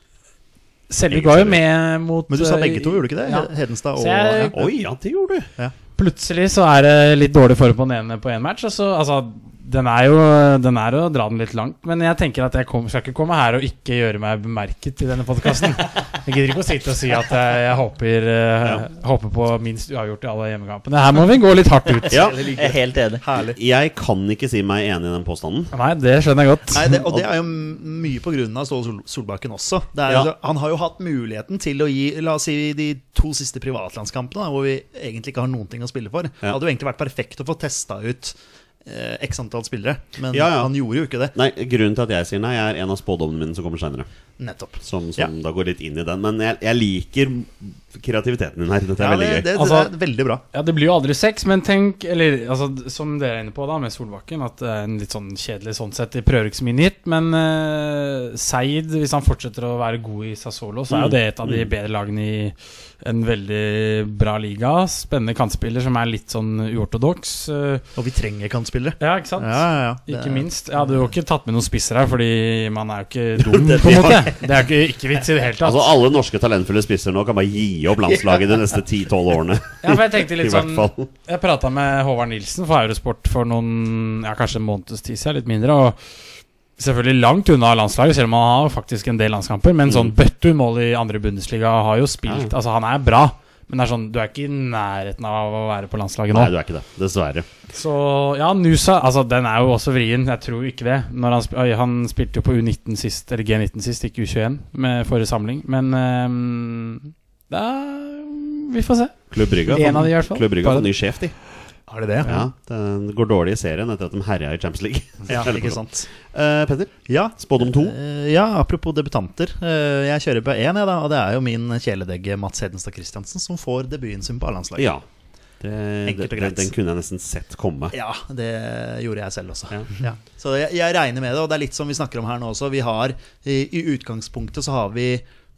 [SPEAKER 4] Selvik var jo med mot
[SPEAKER 2] Men du sa
[SPEAKER 4] eh,
[SPEAKER 2] begge to, gjorde du ikke det?
[SPEAKER 4] Ja.
[SPEAKER 2] Hedenstad og
[SPEAKER 4] Så jeg-
[SPEAKER 2] ja.
[SPEAKER 1] Oi, ja, det gjorde du!
[SPEAKER 4] Plutselig så er det litt dårlig form på den ene på én en match. og så- altså, den er jo Den er å dra den litt langt, men jeg tenker at jeg kom, skal ikke komme her og ikke gjøre meg bemerket i denne podkasten. Jeg gidder ikke å sitte og si at jeg, jeg håper, eh, håper på minst uavgjort i alle hjemmekampene. Her må vi gå litt hardt ut.
[SPEAKER 1] Ja,
[SPEAKER 3] Jeg er helt enig.
[SPEAKER 2] Herlig.
[SPEAKER 1] jeg kan ikke si meg enig i den påstanden.
[SPEAKER 4] Nei, det skjønner jeg godt.
[SPEAKER 2] Nei, det, og det er jo m- mye på grunn av Ståle Sol Solbakken også. Det er, jo-
[SPEAKER 1] Ja.
[SPEAKER 2] Han har jo hatt muligheten til å gi La oss si de to siste privatlandskampene, da, hvor vi egentlig ikke har noen ting å spille for.
[SPEAKER 1] Ja.
[SPEAKER 2] Hadde jo egentlig vært perfekt å få testa ut eh, x antall spillere. Men
[SPEAKER 1] Ja, ja.
[SPEAKER 2] han gjorde jo ikke det.
[SPEAKER 1] Nei, Grunnen til at jeg sier nei, er en av spådommene mine som kommer seinere.
[SPEAKER 2] Nettopp.
[SPEAKER 1] Som, som
[SPEAKER 2] Ja.
[SPEAKER 1] da går litt inn i den. Men jeg, jeg liker kreativiteten din her. Dette er
[SPEAKER 2] Ja,
[SPEAKER 1] veldig
[SPEAKER 2] det,
[SPEAKER 1] gøy.
[SPEAKER 2] det, det
[SPEAKER 4] Altså-
[SPEAKER 2] er veldig bra.
[SPEAKER 4] Ja, Det blir jo aldri sex, men tenk Eller altså, d- som dere er inne på, da med Solbakken, at det er en litt sånn kjedelig sånn sett. De prøver ikke så mye nytt. Men eh, Seid, hvis han fortsetter å være god i Sassolo, så er jo det et av de bedre lagene i en veldig bra liga. Spennende kantspiller som er litt sånn uortodoks. eh,
[SPEAKER 2] Og vi trenger kantspillere.
[SPEAKER 4] ja, ikke sant?
[SPEAKER 2] Ja, ja, ja. Det
[SPEAKER 4] Ikke
[SPEAKER 2] er-
[SPEAKER 4] minst. Jeg hadde jo ikke tatt med noen spisser her, fordi man er jo ikke dum, på en måte. Det er jo ikke, ikke vits i det hele tatt.
[SPEAKER 1] Altså Alle norske talentfulle spisser nå kan bare gi opp landslaget de neste 10-12 årene.
[SPEAKER 4] Ja, for jeg tenkte
[SPEAKER 1] I
[SPEAKER 4] litt
[SPEAKER 1] hvert
[SPEAKER 4] sånn
[SPEAKER 1] fall.
[SPEAKER 4] Jeg prata med Håvard Nilsen for Eurosport for noen Ja, kanskje en måneds tid siden, litt mindre. Og selvfølgelig langt unna landslaget, selv om han har faktisk en del landskamper. Men sånn
[SPEAKER 1] Mm.
[SPEAKER 4] Bøttu mål i andre Bundesliga har jo spilt Altså, han er bra. Men det er sånn, du er ikke i nærheten av å være på landslaget nå.
[SPEAKER 1] Nei, du er ikke det. Dessverre.
[SPEAKER 4] Så ja, Nusa altså, den er jo også vrien. Jeg tror ikke det. Når han, sp oi, han spilte jo på U19 sist, eller G19 sist, ikke U21, med forrige samling. Men ehm, da, vi får se.
[SPEAKER 1] Klubb Brygge
[SPEAKER 4] En av de i hvert fall.
[SPEAKER 1] Klubb Brygge har
[SPEAKER 4] Bare-
[SPEAKER 1] fått ny sjef, de.
[SPEAKER 2] Er det det?
[SPEAKER 1] Ja, den går dårlig i serien etter at de herja i Champions League.
[SPEAKER 2] Ja, ikke sant.
[SPEAKER 1] Eh, Petter,
[SPEAKER 2] Ja,
[SPEAKER 1] spådom to.
[SPEAKER 2] Eh, Ja, apropos debutanter. Eh, Jeg kjører på én, jeg, da. Og det er jo min kjæledegge Mats Hedenstad Christiansen som får debuten sin på A-landslaget.
[SPEAKER 1] Ja. Det, det,
[SPEAKER 2] Enkelt og
[SPEAKER 1] den,
[SPEAKER 2] greit.
[SPEAKER 1] den kunne jeg nesten sett komme.
[SPEAKER 2] Ja, det gjorde jeg selv også.
[SPEAKER 1] Ja.
[SPEAKER 2] Ja. Så jeg, jeg regner med det, og det er litt som vi snakker om her nå også. Vi har, I i utgangspunktet så har vi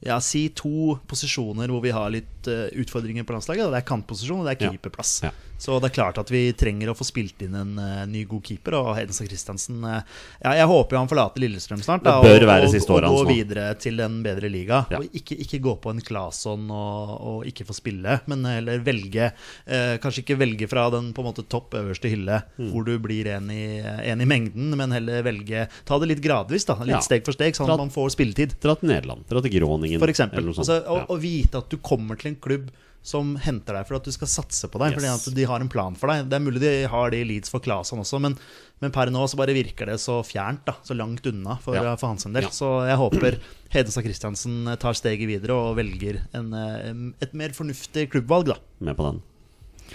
[SPEAKER 2] ja, si to posisjoner hvor vi har litt eh, utfordringer på landslaget. og Det er kantposisjon og det er
[SPEAKER 1] Ja.
[SPEAKER 2] keeperplass.
[SPEAKER 1] Ja.
[SPEAKER 2] Så det er klart at vi trenger å få spilt inn en eh, ny god keeper. Og Hedenstad Christiansen eh, ja, Jeg håper jo han forlater Lillestrøm snart. da,
[SPEAKER 1] Det bør
[SPEAKER 2] og,
[SPEAKER 1] være
[SPEAKER 2] og,
[SPEAKER 1] siste
[SPEAKER 2] og
[SPEAKER 1] året hans
[SPEAKER 2] gå
[SPEAKER 1] nå.
[SPEAKER 2] videre til en bedre liga.
[SPEAKER 1] Ja.
[SPEAKER 2] Og ikke, ikke gå på en Claesson og, og ikke få spille, men heller velge eh, Kanskje ikke velge fra den på en måte topp øverste hylle,
[SPEAKER 1] Mm.
[SPEAKER 2] hvor du blir en i, en i mengden, men heller velge Ta det litt gradvis, da. Litt
[SPEAKER 1] Ja.
[SPEAKER 2] steg for steg, sånn
[SPEAKER 1] Dra-
[SPEAKER 2] at man får spilletid.
[SPEAKER 1] Dra til Nederland. Dra til Groningen.
[SPEAKER 2] For eksempel.
[SPEAKER 1] eller noe sånt.
[SPEAKER 2] Altså, å,
[SPEAKER 1] Ja.
[SPEAKER 2] å vite at du kommer til en klubb som henter deg for at du skal satse på deg. Fordi
[SPEAKER 1] Yes.
[SPEAKER 2] at de har en plan for deg. Det er mulig de har det i Leeds for Claesson også, men, men per nå så bare virker det så fjernt, da, så langt unna for,
[SPEAKER 1] Ja.
[SPEAKER 2] for hans en del.
[SPEAKER 1] Ja.
[SPEAKER 2] Så jeg håper Hedenstad Christiansen eh, tar steget videre og velger en, eh, et mer fornuftig klubbvalg, da.
[SPEAKER 1] Med på den.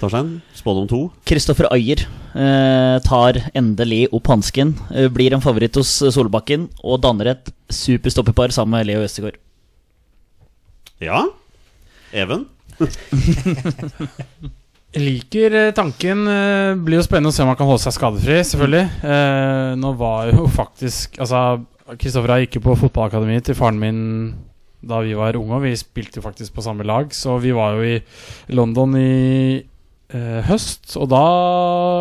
[SPEAKER 1] Torstein, spådom to.
[SPEAKER 3] Kristoffer Ayer eh, tar endelig opp hansken, eh, blir en favoritt hos Solbakken og danner et superstopperpar sammen med Leo Østegård.
[SPEAKER 1] Ja. Even?
[SPEAKER 4] Jeg Liker eh, tanken. eh, Blir jo spennende å se om han kan holde seg skadefri, selvfølgelig. Eh, nå var jo faktisk Altså, Kristoffer og jeg gikk jo på fotballakademiet til faren min da vi var unge, og vi spilte jo faktisk på samme lag, så vi var jo i London i eh, høst, og da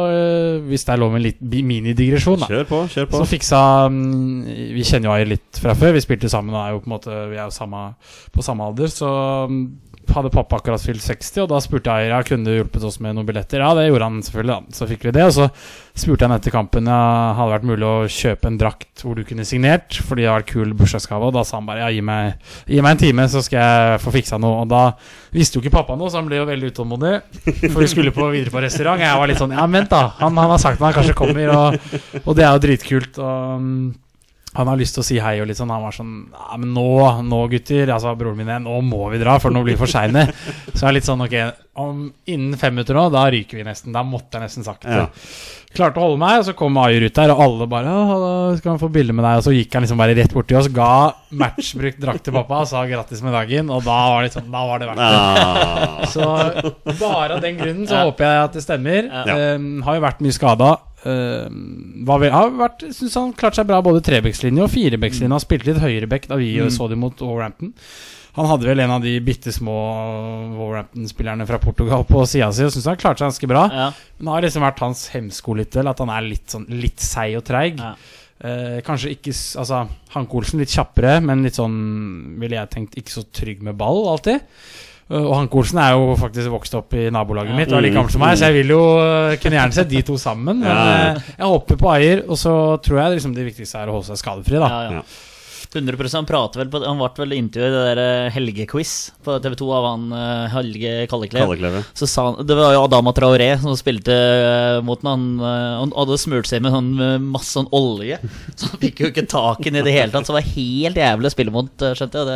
[SPEAKER 4] eh, Hvis det er lov med en liten minidigresjon, da.
[SPEAKER 1] Kjør på, kjør på.
[SPEAKER 4] Så fiksa mm, Vi kjenner jo Ayer litt fra før. Vi spilte sammen og er jo på en måte Vi er jo samme, på samme alder. Så mm, hadde pappa akkurat fylt 60, og da spurte Ayer ja, kunne du hjulpet oss med noen billetter. Ja, det gjorde han selvfølgelig. Da. Så fikk vi det. Og så spurte han etter kampen ja, hadde det vært mulig å kjøpe en drakt hvor du kunne signert, fordi det var kul bursdagsgave. Og da sa han bare ja, gi meg, gi meg en time, så skal jeg få fiksa noe. Og da visste jo ikke pappa noe, så han ble jo veldig utålmodig. For vi skulle på, videre på restaurant. Jeg var litt sånn ja, men vent da. Han, han har sagt at han kanskje kommer. og og det er jo dritkult. Og mm, han har lyst til å si hei og litt sånn. Han var sånn Ja, men nå, nå gutter. Altså, broren min er Nå må vi dra, for nå blir det for seine. Så jeg er litt sånn Ok, om, innen fem minutter nå, da ryker vi nesten. Da måtte jeg nesten sagt det.
[SPEAKER 1] Ja.
[SPEAKER 4] Klarte å holde meg, og så kom Ayer ut der, og alle bare «Ja, hallo, 'Skal han få bilde med deg?' Og så gikk han liksom bare rett borti oss, ga matchbrukt drakt til pappa og sa 'grattis med dagen', og da var det, sånn, da var det verdt det.
[SPEAKER 1] Ah.
[SPEAKER 4] Så bare av den grunnen så håper jeg at det stemmer.
[SPEAKER 3] Ja.
[SPEAKER 4] Ehm, har jo vært mye skada. Um, har vært, synes han klarte seg bra både trebekslinje og firebekslinje. Han spilte litt høyrebekk da vi så det mot Wolverhampton. Han hadde vel en av de bitte små Wolverhampton-spillerne fra Portugal på sida si, og syns han klarte seg ganske bra.
[SPEAKER 3] Ja.
[SPEAKER 4] Men det har liksom vært hans hemsko litt til, at han er litt, sånn, litt seig og treig.
[SPEAKER 3] Ja.
[SPEAKER 4] Eh, kanskje ikke s- Altså, Hanke Olsen litt kjappere, men litt sånn, ville jeg tenkt, ikke så trygg med ball alltid. Eh, Og Hanke Olsen er jo faktisk vokst opp i nabolaget
[SPEAKER 3] Ja.
[SPEAKER 4] mitt og er like gammel som meg, så jeg vil jo eh, kunne gjerne sett de to sammen. Men
[SPEAKER 1] Ja.
[SPEAKER 4] eh, jeg håper på Ayer, og så tror jeg liksom det viktigste er å holde seg skadefri, da.
[SPEAKER 3] Ja,
[SPEAKER 1] Ah, Ja.
[SPEAKER 3] ja. 100 Han prater vel på Han ble vel intervjuet i det der eh, helgequiz på TV 2 av han eh, Helge Kalleklev.
[SPEAKER 1] Kallekleve.
[SPEAKER 3] Så sa han, Det var jo Adama Traoré som spilte eh, mot meg. Han, eh, han hadde smurt seg med sånn, eh, masse sånn olje, så han fikk jo ikke tak i den i det hele tatt. Så det var helt jævlig å spille mot, eh, skjønte jeg.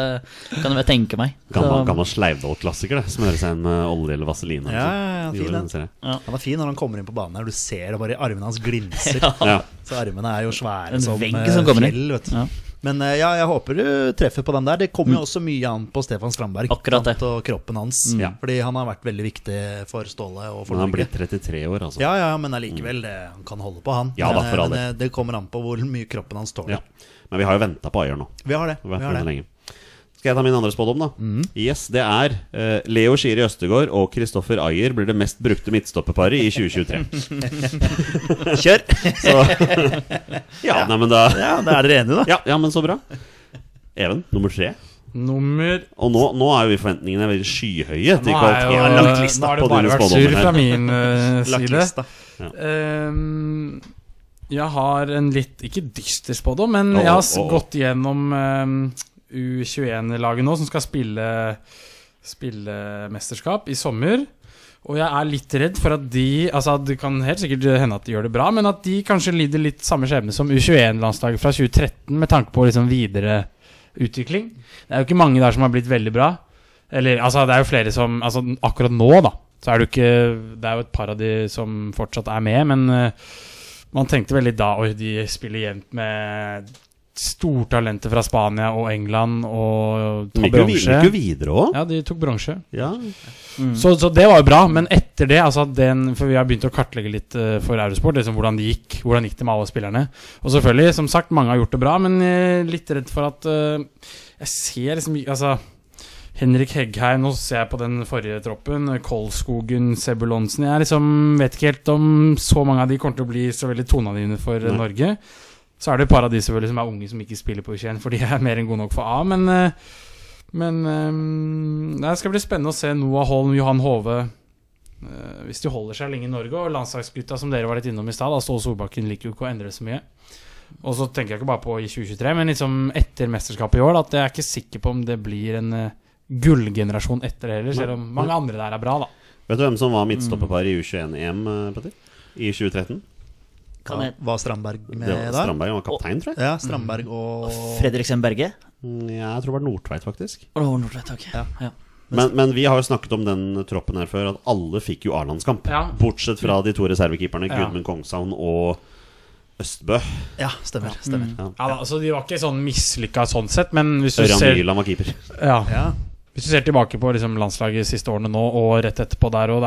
[SPEAKER 3] Det kan jeg vel tenke meg.
[SPEAKER 1] Gammel,
[SPEAKER 3] Så-
[SPEAKER 1] gammel Sleivdal-klassiker. det Smøre seg inn med eh, olje eller vaseline.
[SPEAKER 2] Ja, ja, ja, fin den.
[SPEAKER 1] den.
[SPEAKER 2] Han er fin når han kommer inn på banen her. Du ser det bare i armene hans glimser.
[SPEAKER 1] Ja.
[SPEAKER 2] Så armene er jo svære
[SPEAKER 3] En
[SPEAKER 2] som,
[SPEAKER 3] vegg
[SPEAKER 2] eh,
[SPEAKER 3] som kommer inn.
[SPEAKER 2] fjell, vet du.
[SPEAKER 3] Ja.
[SPEAKER 2] Men eh, ja, jeg håper du treffer på den der. Det kommer
[SPEAKER 1] Mm.
[SPEAKER 2] jo også mye an på Stefan Strandberg
[SPEAKER 3] Akkurat det.
[SPEAKER 2] sant, og kroppen hans.
[SPEAKER 1] Ja.
[SPEAKER 2] Fordi han har vært veldig viktig for Ståle og for
[SPEAKER 1] Men han
[SPEAKER 2] Norge.
[SPEAKER 1] blir 33 år, altså.
[SPEAKER 2] Ja, ja, men allikevel, det, han kan holde på, han.
[SPEAKER 1] Ja da,
[SPEAKER 2] Men, eh,
[SPEAKER 1] for all
[SPEAKER 2] men, eh, det kommer an på hvor mye kroppen hans
[SPEAKER 1] Ja.
[SPEAKER 2] tåler.
[SPEAKER 1] Men vi har jo venta på Ayer nå.
[SPEAKER 2] Vi har det.
[SPEAKER 1] Vi har vært
[SPEAKER 2] Vi har
[SPEAKER 1] med
[SPEAKER 2] det.
[SPEAKER 1] lenge. Skal jeg ta min andre spådom, da?
[SPEAKER 4] Mm.
[SPEAKER 1] Yes, Det er eh, Leo Skiri Østegård og Kristoffer Ayer blir det mest brukte midtstopperparet i 2023.
[SPEAKER 2] Kjør!
[SPEAKER 1] Så Ja, nei, men da
[SPEAKER 2] Ja, Da er dere enige, da.
[SPEAKER 1] ja, ja, men så bra. Even, nummer tre.
[SPEAKER 4] Nummer
[SPEAKER 1] Og nå, nå er jo forventningene veldig skyhøye til
[SPEAKER 4] Nå er jo- eh,
[SPEAKER 1] kvaliteten.
[SPEAKER 4] nå har det
[SPEAKER 1] på dine
[SPEAKER 4] bare vært
[SPEAKER 1] spådommer
[SPEAKER 4] surr
[SPEAKER 1] her.
[SPEAKER 4] fra min eh,
[SPEAKER 2] Lagt
[SPEAKER 4] side.
[SPEAKER 2] lista.
[SPEAKER 4] Ehm, jeg har en litt Ikke dyster spådom, men
[SPEAKER 1] Åh,
[SPEAKER 4] jeg har
[SPEAKER 1] åh, åh.
[SPEAKER 4] gått gjennom ehm, U21-laget nå, som skal spille, spille mesterskap i sommer. Og jeg er litt redd for at de Altså Det kan helt sikkert hende at de gjør det bra, men at de kanskje lider litt samme skjebne som U21-landslaget fra 2013, med tanke på liksom videre utvikling. Det er jo ikke mange der som har blitt veldig bra. Eller, altså, det er jo flere som altså, Akkurat nå, da, så er det jo ikke Det er jo et par av de som fortsatt er med, men eh, man tenkte veldig da Oi, de spiller jevnt med stortalenter fra Spania og England og
[SPEAKER 1] De Gikk
[SPEAKER 4] tar
[SPEAKER 1] jo, vi-
[SPEAKER 4] bronse.
[SPEAKER 1] gikk jo videre òg.
[SPEAKER 4] Ja, de tok bronse.
[SPEAKER 1] Ja.
[SPEAKER 4] Så, så det var jo bra, men etter det altså den, For vi har begynt å kartlegge litt eh, for Eurosport. Liksom hvordan det gikk Hvordan gikk det med alle spillerne. Og selvfølgelig, som sagt, mange har gjort det bra, men jeg er litt redd for at eh, Jeg ser liksom ikke- Altså Henrik Heggheim, nå ser jeg på den forrige troppen. Kolskogen, Sebulonsen Jeg er liksom, vet ikke helt om så mange av de kommer til å bli så veldig toneangivende for eh,
[SPEAKER 1] Nei.
[SPEAKER 4] Norge. Så er det et par av de selvfølgelig som er unge som ikke spiller på U21, for de er mer enn gode nok for A. Men eh, men ehm, det skal bli spennende å se Noah Holm, Johan Hove eh, Hvis de holder seg lenge i Norge, og landslagsgutta som dere var litt innom i stad, da, Ståle Solbakken liker jo ikke å endre så mye. Og så tenker jeg ikke bare på i 2023, men liksom etter mesterskapet i år, da, at jeg er ikke sikker på om det blir en eh, gullgenerasjon etter det heller, selv om
[SPEAKER 1] Nei.
[SPEAKER 4] mange andre der er bra, da.
[SPEAKER 1] Vet du hvem som var midtstopperpar
[SPEAKER 4] Mm.
[SPEAKER 1] i U21-EM, eh, Petter? I 2013?
[SPEAKER 3] Kan jeg
[SPEAKER 2] Var Strandberg med
[SPEAKER 1] Det var
[SPEAKER 2] der?
[SPEAKER 1] Strandberg han var kaptein, tror jeg.
[SPEAKER 2] Ja, Strandberg og
[SPEAKER 3] Fredriksen Berge?
[SPEAKER 1] Mm, Ja, jeg tror det var Nordtveit, faktisk.
[SPEAKER 3] Å, Nordrett, ok.
[SPEAKER 2] Ja.
[SPEAKER 3] Ja.
[SPEAKER 1] Men, men vi har jo snakket om den troppen her før, at alle fikk jo A-landskamp.
[SPEAKER 4] Ja.
[SPEAKER 1] Bortsett fra de to reservekeeperne,
[SPEAKER 4] Ja.
[SPEAKER 1] Gudmund Kongshavn og Østbø.
[SPEAKER 2] Ja, stemmer. stemmer.
[SPEAKER 1] Ja. Mm.
[SPEAKER 4] Ja, da altså, de var ikke sånn mislykka sånn sett, men hvis du
[SPEAKER 1] Ørjan
[SPEAKER 4] ser
[SPEAKER 1] Nyland var keeper.
[SPEAKER 4] ja.
[SPEAKER 2] Ja.
[SPEAKER 4] Hvis du ser tilbake på liksom, landslaget de siste årene nå, og rett etterpå der òg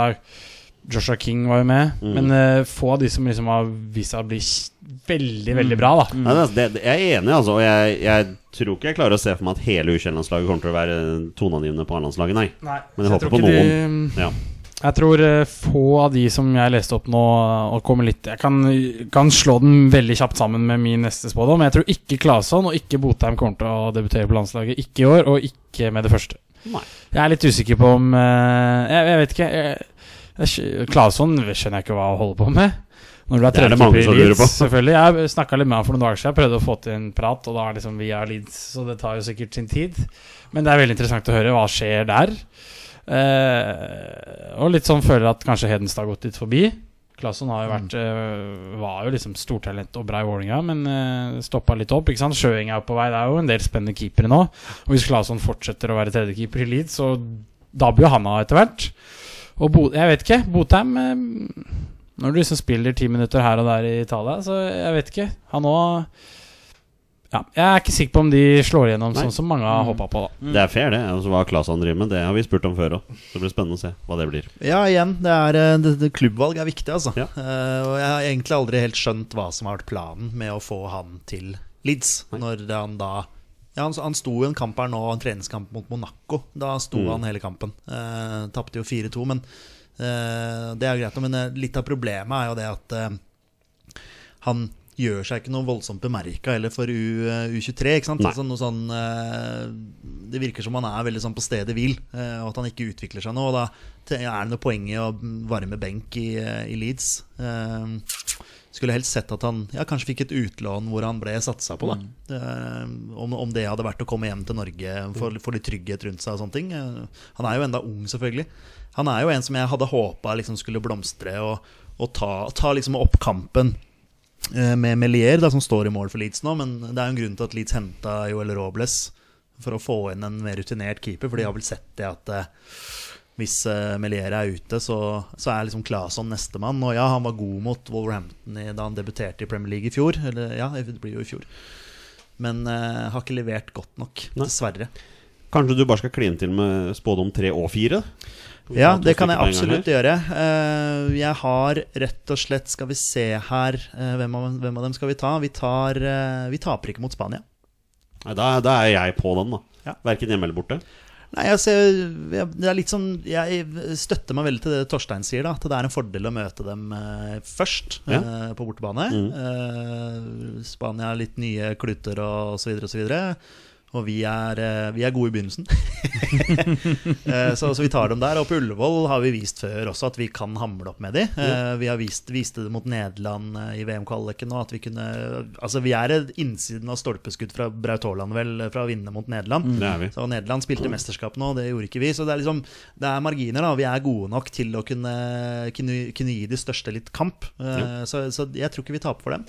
[SPEAKER 4] Joshua King var jo med.
[SPEAKER 1] Mm.
[SPEAKER 4] Men eh, få av de som liksom har vist seg å bli kj- veldig,
[SPEAKER 1] Mm.
[SPEAKER 4] veldig bra, da.
[SPEAKER 1] Nei, det, det, det- jeg er enig, altså. Og jeg, jeg tror ikke jeg klarer å se for meg at hele U21-landslaget kommer til å være toneangivende på A-landslaget, nei. Men jeg
[SPEAKER 4] Så
[SPEAKER 1] håper
[SPEAKER 4] tror
[SPEAKER 1] på
[SPEAKER 4] ikke
[SPEAKER 1] noen.
[SPEAKER 4] De,
[SPEAKER 1] Ja.
[SPEAKER 4] Jeg tror eh, få av de som jeg leste opp nå, og kommer litt Jeg kan, kan slå den veldig kjapt sammen med min neste spådom. Jeg tror ikke Claesson og ikke Botheim kommer til å debutere på landslaget. Ikke i år, og ikke med det første.
[SPEAKER 1] Nei.
[SPEAKER 4] Jeg er litt usikker på om eh, jeg, jeg vet ikke. jeg- jeg skj- Claesson skjønner jeg ikke hva han holder på med. Når du er
[SPEAKER 1] Det er det mange
[SPEAKER 4] tredjekeeper
[SPEAKER 1] som
[SPEAKER 4] i
[SPEAKER 1] lurer
[SPEAKER 4] Leeds,
[SPEAKER 1] på.
[SPEAKER 4] selvfølgelig. Jeg snakka litt med han for noen dager siden. Jeg prøvde å få til en prat, og da er liksom vi er Leeds, så det tar jo sikkert sin tid. Men det er veldig interessant å høre hva skjer der. Eh, og litt sånn føler at kanskje Hedenstad har gått litt forbi. Claesson har jo vært eh, var jo liksom stortalent og bra i Vålerenga, men uh, stoppa litt opp. ikke sant? Sjøeng er jo på vei, det er jo en del spennende keepere nå. Og hvis Claesson fortsetter å være tredjekeeper i Leeds, så da blir jo han av etter hvert. Og Bo, jeg vet ikke. Botheim eh, Når du liksom spiller ti minutter her og der i Italia, så jeg vet ikke. Han òg ja, Jeg er ikke sikker på om de slår igjennom
[SPEAKER 1] Nei.
[SPEAKER 4] sånn som mange har håpa på. da
[SPEAKER 1] Det er fair, det. Altså, hva Claesson driver med, det har vi spurt om før òg. Det blir spennende å se hva det blir.
[SPEAKER 2] Ja, igjen, det er, eh, det, det, klubbvalg er viktig, altså.
[SPEAKER 1] Ja.
[SPEAKER 2] Eh, og jeg har egentlig aldri helt skjønt hva som har vært planen med å få han til Leeds.
[SPEAKER 1] Nei.
[SPEAKER 2] Når det han da ja, han, han sto i en kamp her nå, en treningskamp mot Monaco. Da sto
[SPEAKER 1] Mm.
[SPEAKER 2] han hele kampen. Uh, Tapte jo 4-2, men eh, det er greit. nå, Men eh, litt av problemet er jo det at eh, han gjør seg ikke noe voldsomt bemerka heller for U, eh, U23. ikke sant?
[SPEAKER 1] Nei.
[SPEAKER 2] Altså noe sånn, eh, det virker som han er veldig sånn på stedet hvil, eh, og at han ikke utvikler seg noe. Og da te- er det noe poeng i å varme benk i, eh, i Leeds. Eh, Skulle helst sett at han ja, kanskje fikk et utlån hvor han ble satsa på. Da. Eh, om, om det hadde vært å komme hjem til Norge, få, få litt trygghet rundt seg og sånne ting. Eh, han er jo enda ung, selvfølgelig. Han er jo en som jeg hadde håpa liksom, skulle blomstre og, og ta, ta liksom opp kampen eh, med Melier, da, som står i mål for Leeds nå. Men det er jo en grunn til at Leeds henta Joel Robles for å få inn en mer rutinert keeper, for de har vel sett det at eh, hvis eh, Melier er ute, så, så er liksom Claesson nestemann. Og ja, han var god mot Wolverhampton i, da han debuterte i Premier League i fjor. Eller ja, det blir jo i fjor. Men eh, har ikke levert godt nok,
[SPEAKER 1] Nei.
[SPEAKER 2] dessverre.
[SPEAKER 1] Kanskje du bare skal kline til med spådom tre og fire? Ta
[SPEAKER 2] Ja,
[SPEAKER 1] to
[SPEAKER 2] det kan
[SPEAKER 1] stykker på en
[SPEAKER 2] jeg
[SPEAKER 1] gang
[SPEAKER 2] absolutt
[SPEAKER 1] her.
[SPEAKER 2] gjøre. Eh, jeg har rett og slett Skal vi se her eh, hvem, av, hvem av dem skal vi ta? Vi, tar, eh, vi taper ikke mot Spania.
[SPEAKER 1] Nei, da, da er jeg på den, da.
[SPEAKER 2] Ja.
[SPEAKER 1] Verken hjemme eller borte.
[SPEAKER 2] Nei, jeg, ser, jeg, det er litt sånn, jeg støtter meg veldig til det Torstein sier, da, at det er en fordel å møte dem eh, først
[SPEAKER 1] Ja.
[SPEAKER 2] eh, på bortebane. Eh, Spania har litt nye kluter og osv. Og, så videre. og vi er, eh, vi er gode i begynnelsen. Eh, så, så vi tar dem der. Og på Ullevål har vi vist før også at vi kan hamle opp med de. Eh, vi har vist, viste det mot Nederland eh, i VM-kvaliken nå. At vi kunne Altså, vi er eh, innsiden av stolpeskudd fra Braut Haaland, vel, eh, fra å vinne mot Nederland.
[SPEAKER 1] Det er vi.
[SPEAKER 2] Så Nederland spilte mesterskap nå, det gjorde ikke vi. Så det er liksom Det er marginer, da. Vi er gode nok til å kunne, kunne, kunne gi de største litt kamp. Eh, så, så jeg tror ikke vi taper for dem.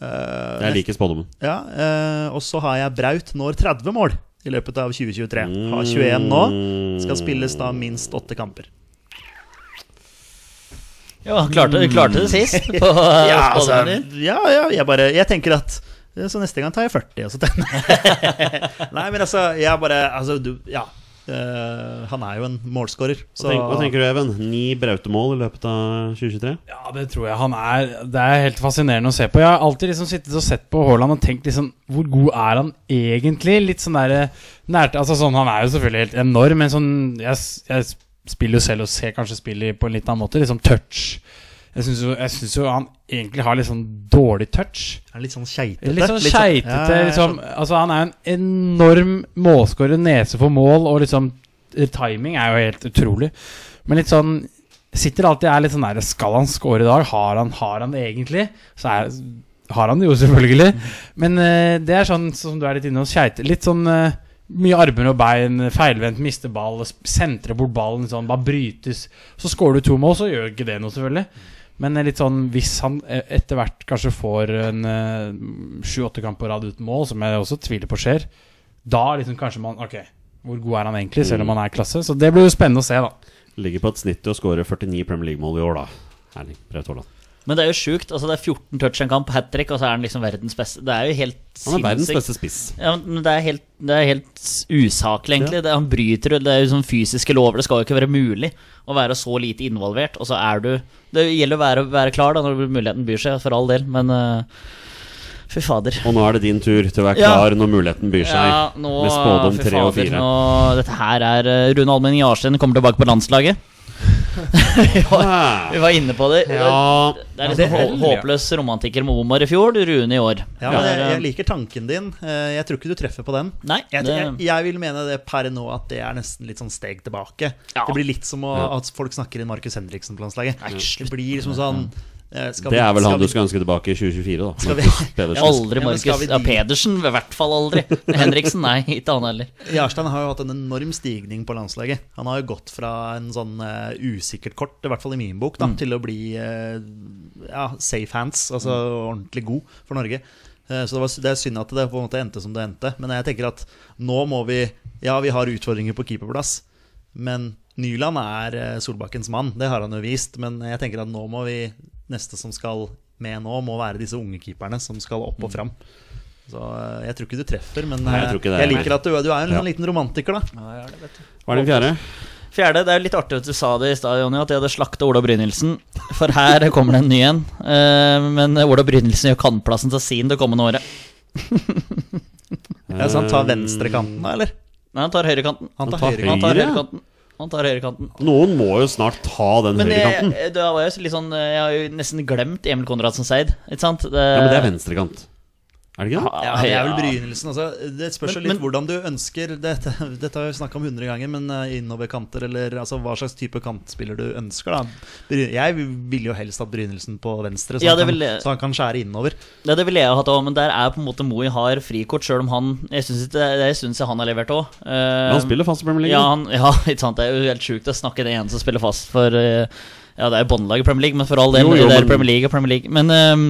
[SPEAKER 2] Eh,
[SPEAKER 1] Jeg liker spådommen.
[SPEAKER 2] ja, eh, og så har jeg Braut når 30 mål i løpet av 2023.
[SPEAKER 1] Mm.
[SPEAKER 2] Har 21 nå. Skal spilles da minst åtte kamper.
[SPEAKER 3] Ja, han klarte, klarte det sist på eh,
[SPEAKER 2] Mm. Ja, altså,
[SPEAKER 3] spådommen din.
[SPEAKER 2] ja, ja jeg bare Jeg tenker at eh, Så neste gang tar jeg 40, og så tenner jeg. Nei, men altså, jeg bare Altså, du Ja. Eh, han er jo en målskårer, så
[SPEAKER 1] Hva tenk- Hva tenker du, Even? Ni brautemål i løpet av 2023?
[SPEAKER 4] Ja, det tror jeg han er. Det er helt fascinerende å se på. Jeg har alltid liksom sittet og sett på Haaland og tenkt liksom Hvor god er han egentlig? Litt sånn derre nært Altså sånn, han er jo selvfølgelig helt enorm, men sånn Jeg, s- jeg s- spiller jo selv og ser kanskje spillet på en litt annen måte. Liksom touch. Jeg syns jo, jeg synes jo han egentlig har litt sånn dårlig touch.
[SPEAKER 2] Er han litt sånn skeitete?
[SPEAKER 4] Litt sånn
[SPEAKER 2] Ja,
[SPEAKER 4] skeitete.
[SPEAKER 2] jeg
[SPEAKER 4] Liksom,
[SPEAKER 2] skjønner.
[SPEAKER 4] altså, han er jo en enorm målskårer, nese for mål, og liksom eh, timing er jo helt utrolig. Men litt sånn Sitter alltid og er litt sånn der Skal han score i dag? Har han, har han det egentlig? Så er, har han det jo, selvfølgelig.
[SPEAKER 2] Mm.
[SPEAKER 4] Men eh, det er sånn som du er litt inne hos Skeite. Litt sånn eh, mye armer og bein, feilvendt, mister ball, sp- sentrer bort ballen, sånn, bare brytes. Så scorer du to mål, så gjør ikke det noe, selvfølgelig. Men litt sånn, hvis han eh, etter hvert kanskje får en eh, sju-åtte kamp på rad uten mål, som jeg også tviler på skjer, da liksom kanskje man Ok, hvor god er han egentlig, selv om han er klasse? Så det blir jo spennende å se, da.
[SPEAKER 1] Ligger på et snitt til å skåre 49 Premier League-mål i år, da. Erling Braut Haaland.
[SPEAKER 3] Men det er jo sjukt. Altså, det er 14 touch i en kamp, hat trick, og så er han liksom verdens beste. Det er jo helt
[SPEAKER 1] Han er verdens
[SPEAKER 3] sinnssykt.
[SPEAKER 1] beste spiss.
[SPEAKER 3] Ja, men det er helt, det er helt usaklig, egentlig. Det, han bryter jo- det er jo sånn fysiske lover. Det skal jo ikke være mulig å være så lite involvert. Og så er du Det gjelder å være, være klar da når muligheten byr seg, for all del, men eh, fy fader.
[SPEAKER 1] Og nå er det din tur til å være
[SPEAKER 3] Ja.
[SPEAKER 1] klar når muligheten byr seg.
[SPEAKER 3] Ja, nå,
[SPEAKER 1] med spådom
[SPEAKER 3] fy
[SPEAKER 1] tre og
[SPEAKER 3] fader,
[SPEAKER 1] fire.
[SPEAKER 3] nå- dette her er eh, Rune Almenning Jarstein kommer tilbake på landslaget.
[SPEAKER 1] Ah.
[SPEAKER 3] Vi var inne på det.
[SPEAKER 1] Ja.
[SPEAKER 3] Det er liksom hå- håpløs romantiker med Omar i fjor, Rune i år.
[SPEAKER 2] Ja, men
[SPEAKER 3] Det
[SPEAKER 2] jeg,
[SPEAKER 3] er, eh,
[SPEAKER 2] jeg liker tanken din. Eh, Jeg tror ikke du treffer på den.
[SPEAKER 3] Nei,
[SPEAKER 2] Jeg, jeg,
[SPEAKER 3] det-
[SPEAKER 2] jeg vil mene det per nå at det er nesten litt sånn steg tilbake.
[SPEAKER 3] Ja.
[SPEAKER 2] Det blir litt som å, at folk snakker inn Markus Henriksen på landslaget. Det blir liksom sånn eh, skal
[SPEAKER 1] Det
[SPEAKER 2] vi-
[SPEAKER 1] er vel
[SPEAKER 2] skal
[SPEAKER 1] han
[SPEAKER 2] vi-
[SPEAKER 1] du skal ønske tilbake i 2024, da.
[SPEAKER 2] Skal vi-
[SPEAKER 1] Markus Pedersen.
[SPEAKER 3] Aldri
[SPEAKER 2] Ja, men
[SPEAKER 3] Markus
[SPEAKER 2] skal vi
[SPEAKER 3] ja,
[SPEAKER 2] dit?
[SPEAKER 3] Pedersen, i hvert fall aldri. Henriksen, nei, ikke han heller.
[SPEAKER 2] Jarstein har jo hatt en enorm stigning på landslaget. Han har jo gått fra en sånn eh, usikkert kort, i hvert fall i min
[SPEAKER 1] Mm.
[SPEAKER 2] bok, da, til å bli eh, ja, safe hands, altså
[SPEAKER 1] Mm.
[SPEAKER 2] ordentlig god for Norge. Eh, så det, var, det er synd at det på en måte endte som det endte. Men jeg tenker at nå må vi Ja, vi har utfordringer på keeperplass, men Nyland er eh, Solbakkens mann. Det har han jo vist. Men jeg tenker at nå må vi Neste som skal med nå, må være disse unge keeperne som skal opp og fram. Så eh, jeg tror ikke du treffer, men
[SPEAKER 1] Mm. Nei, jeg
[SPEAKER 2] eh,
[SPEAKER 1] tror ikke det
[SPEAKER 2] jeg
[SPEAKER 1] er meg.
[SPEAKER 2] liker at du, du er en
[SPEAKER 1] Ja.
[SPEAKER 2] liten romantiker, da.
[SPEAKER 1] Hva er den fjerde?
[SPEAKER 3] Fjerde, det er jo litt artig at du sa det i stad, Jonny, at jeg hadde slakta Ola Brynildsen. For her kommer det en ny en. Eh, Men Ola Brynildsen gjør kantplassen til sin det kommende året.
[SPEAKER 1] Eh,
[SPEAKER 2] Ja, så han tar venstrekanten, da, eller?
[SPEAKER 3] Nei, han tar høyrekanten.
[SPEAKER 2] Han tar
[SPEAKER 1] tar
[SPEAKER 2] høyre.
[SPEAKER 1] høyre.
[SPEAKER 3] Han tar
[SPEAKER 1] Høyre?
[SPEAKER 3] høyrekanten. Han tar høyrekanten.
[SPEAKER 1] Noen må jo snart ta den
[SPEAKER 3] Men eh, jeg,
[SPEAKER 1] høyrekanten.
[SPEAKER 3] da var eh, jeg, så litt sånn, jeg har jo nesten glemt Emil Konradsen Seid. Ikke sant? Ah,
[SPEAKER 1] Ja, men det er venstrekant. Er Er det ikke det?
[SPEAKER 2] Ja, det er vel begynnelsen. Altså. Det spørs jo
[SPEAKER 3] Men-
[SPEAKER 2] litt
[SPEAKER 3] men-
[SPEAKER 2] hvordan du ønsker Dette, dette har vi snakka om hundre ganger, men eh, innoverkanter eller altså, hva slags type kantspiller du ønsker. Da. Bry- Jeg ville jo helst hatt Brynildsen på venstre, så,
[SPEAKER 3] Ja, det
[SPEAKER 2] han kan,
[SPEAKER 3] ville jeg.
[SPEAKER 2] så han kan skjære innover.
[SPEAKER 3] Ja, det ville jeg hatt òg, men der er på en måte Moi har frikort, sjøl om han Jeg syns han har levert òg.
[SPEAKER 1] Men han spiller fast i Premier League.
[SPEAKER 3] Ja,
[SPEAKER 1] da.
[SPEAKER 3] han, ja, ikke sant. Det er jo helt sjukt å snakke det ene som spiller fast for eh, Ja, det er jo båndlaget i Premier League, men for all del,
[SPEAKER 1] Jo, jo,
[SPEAKER 3] det er
[SPEAKER 1] men-
[SPEAKER 3] Premier League og Premier League. Men ehm,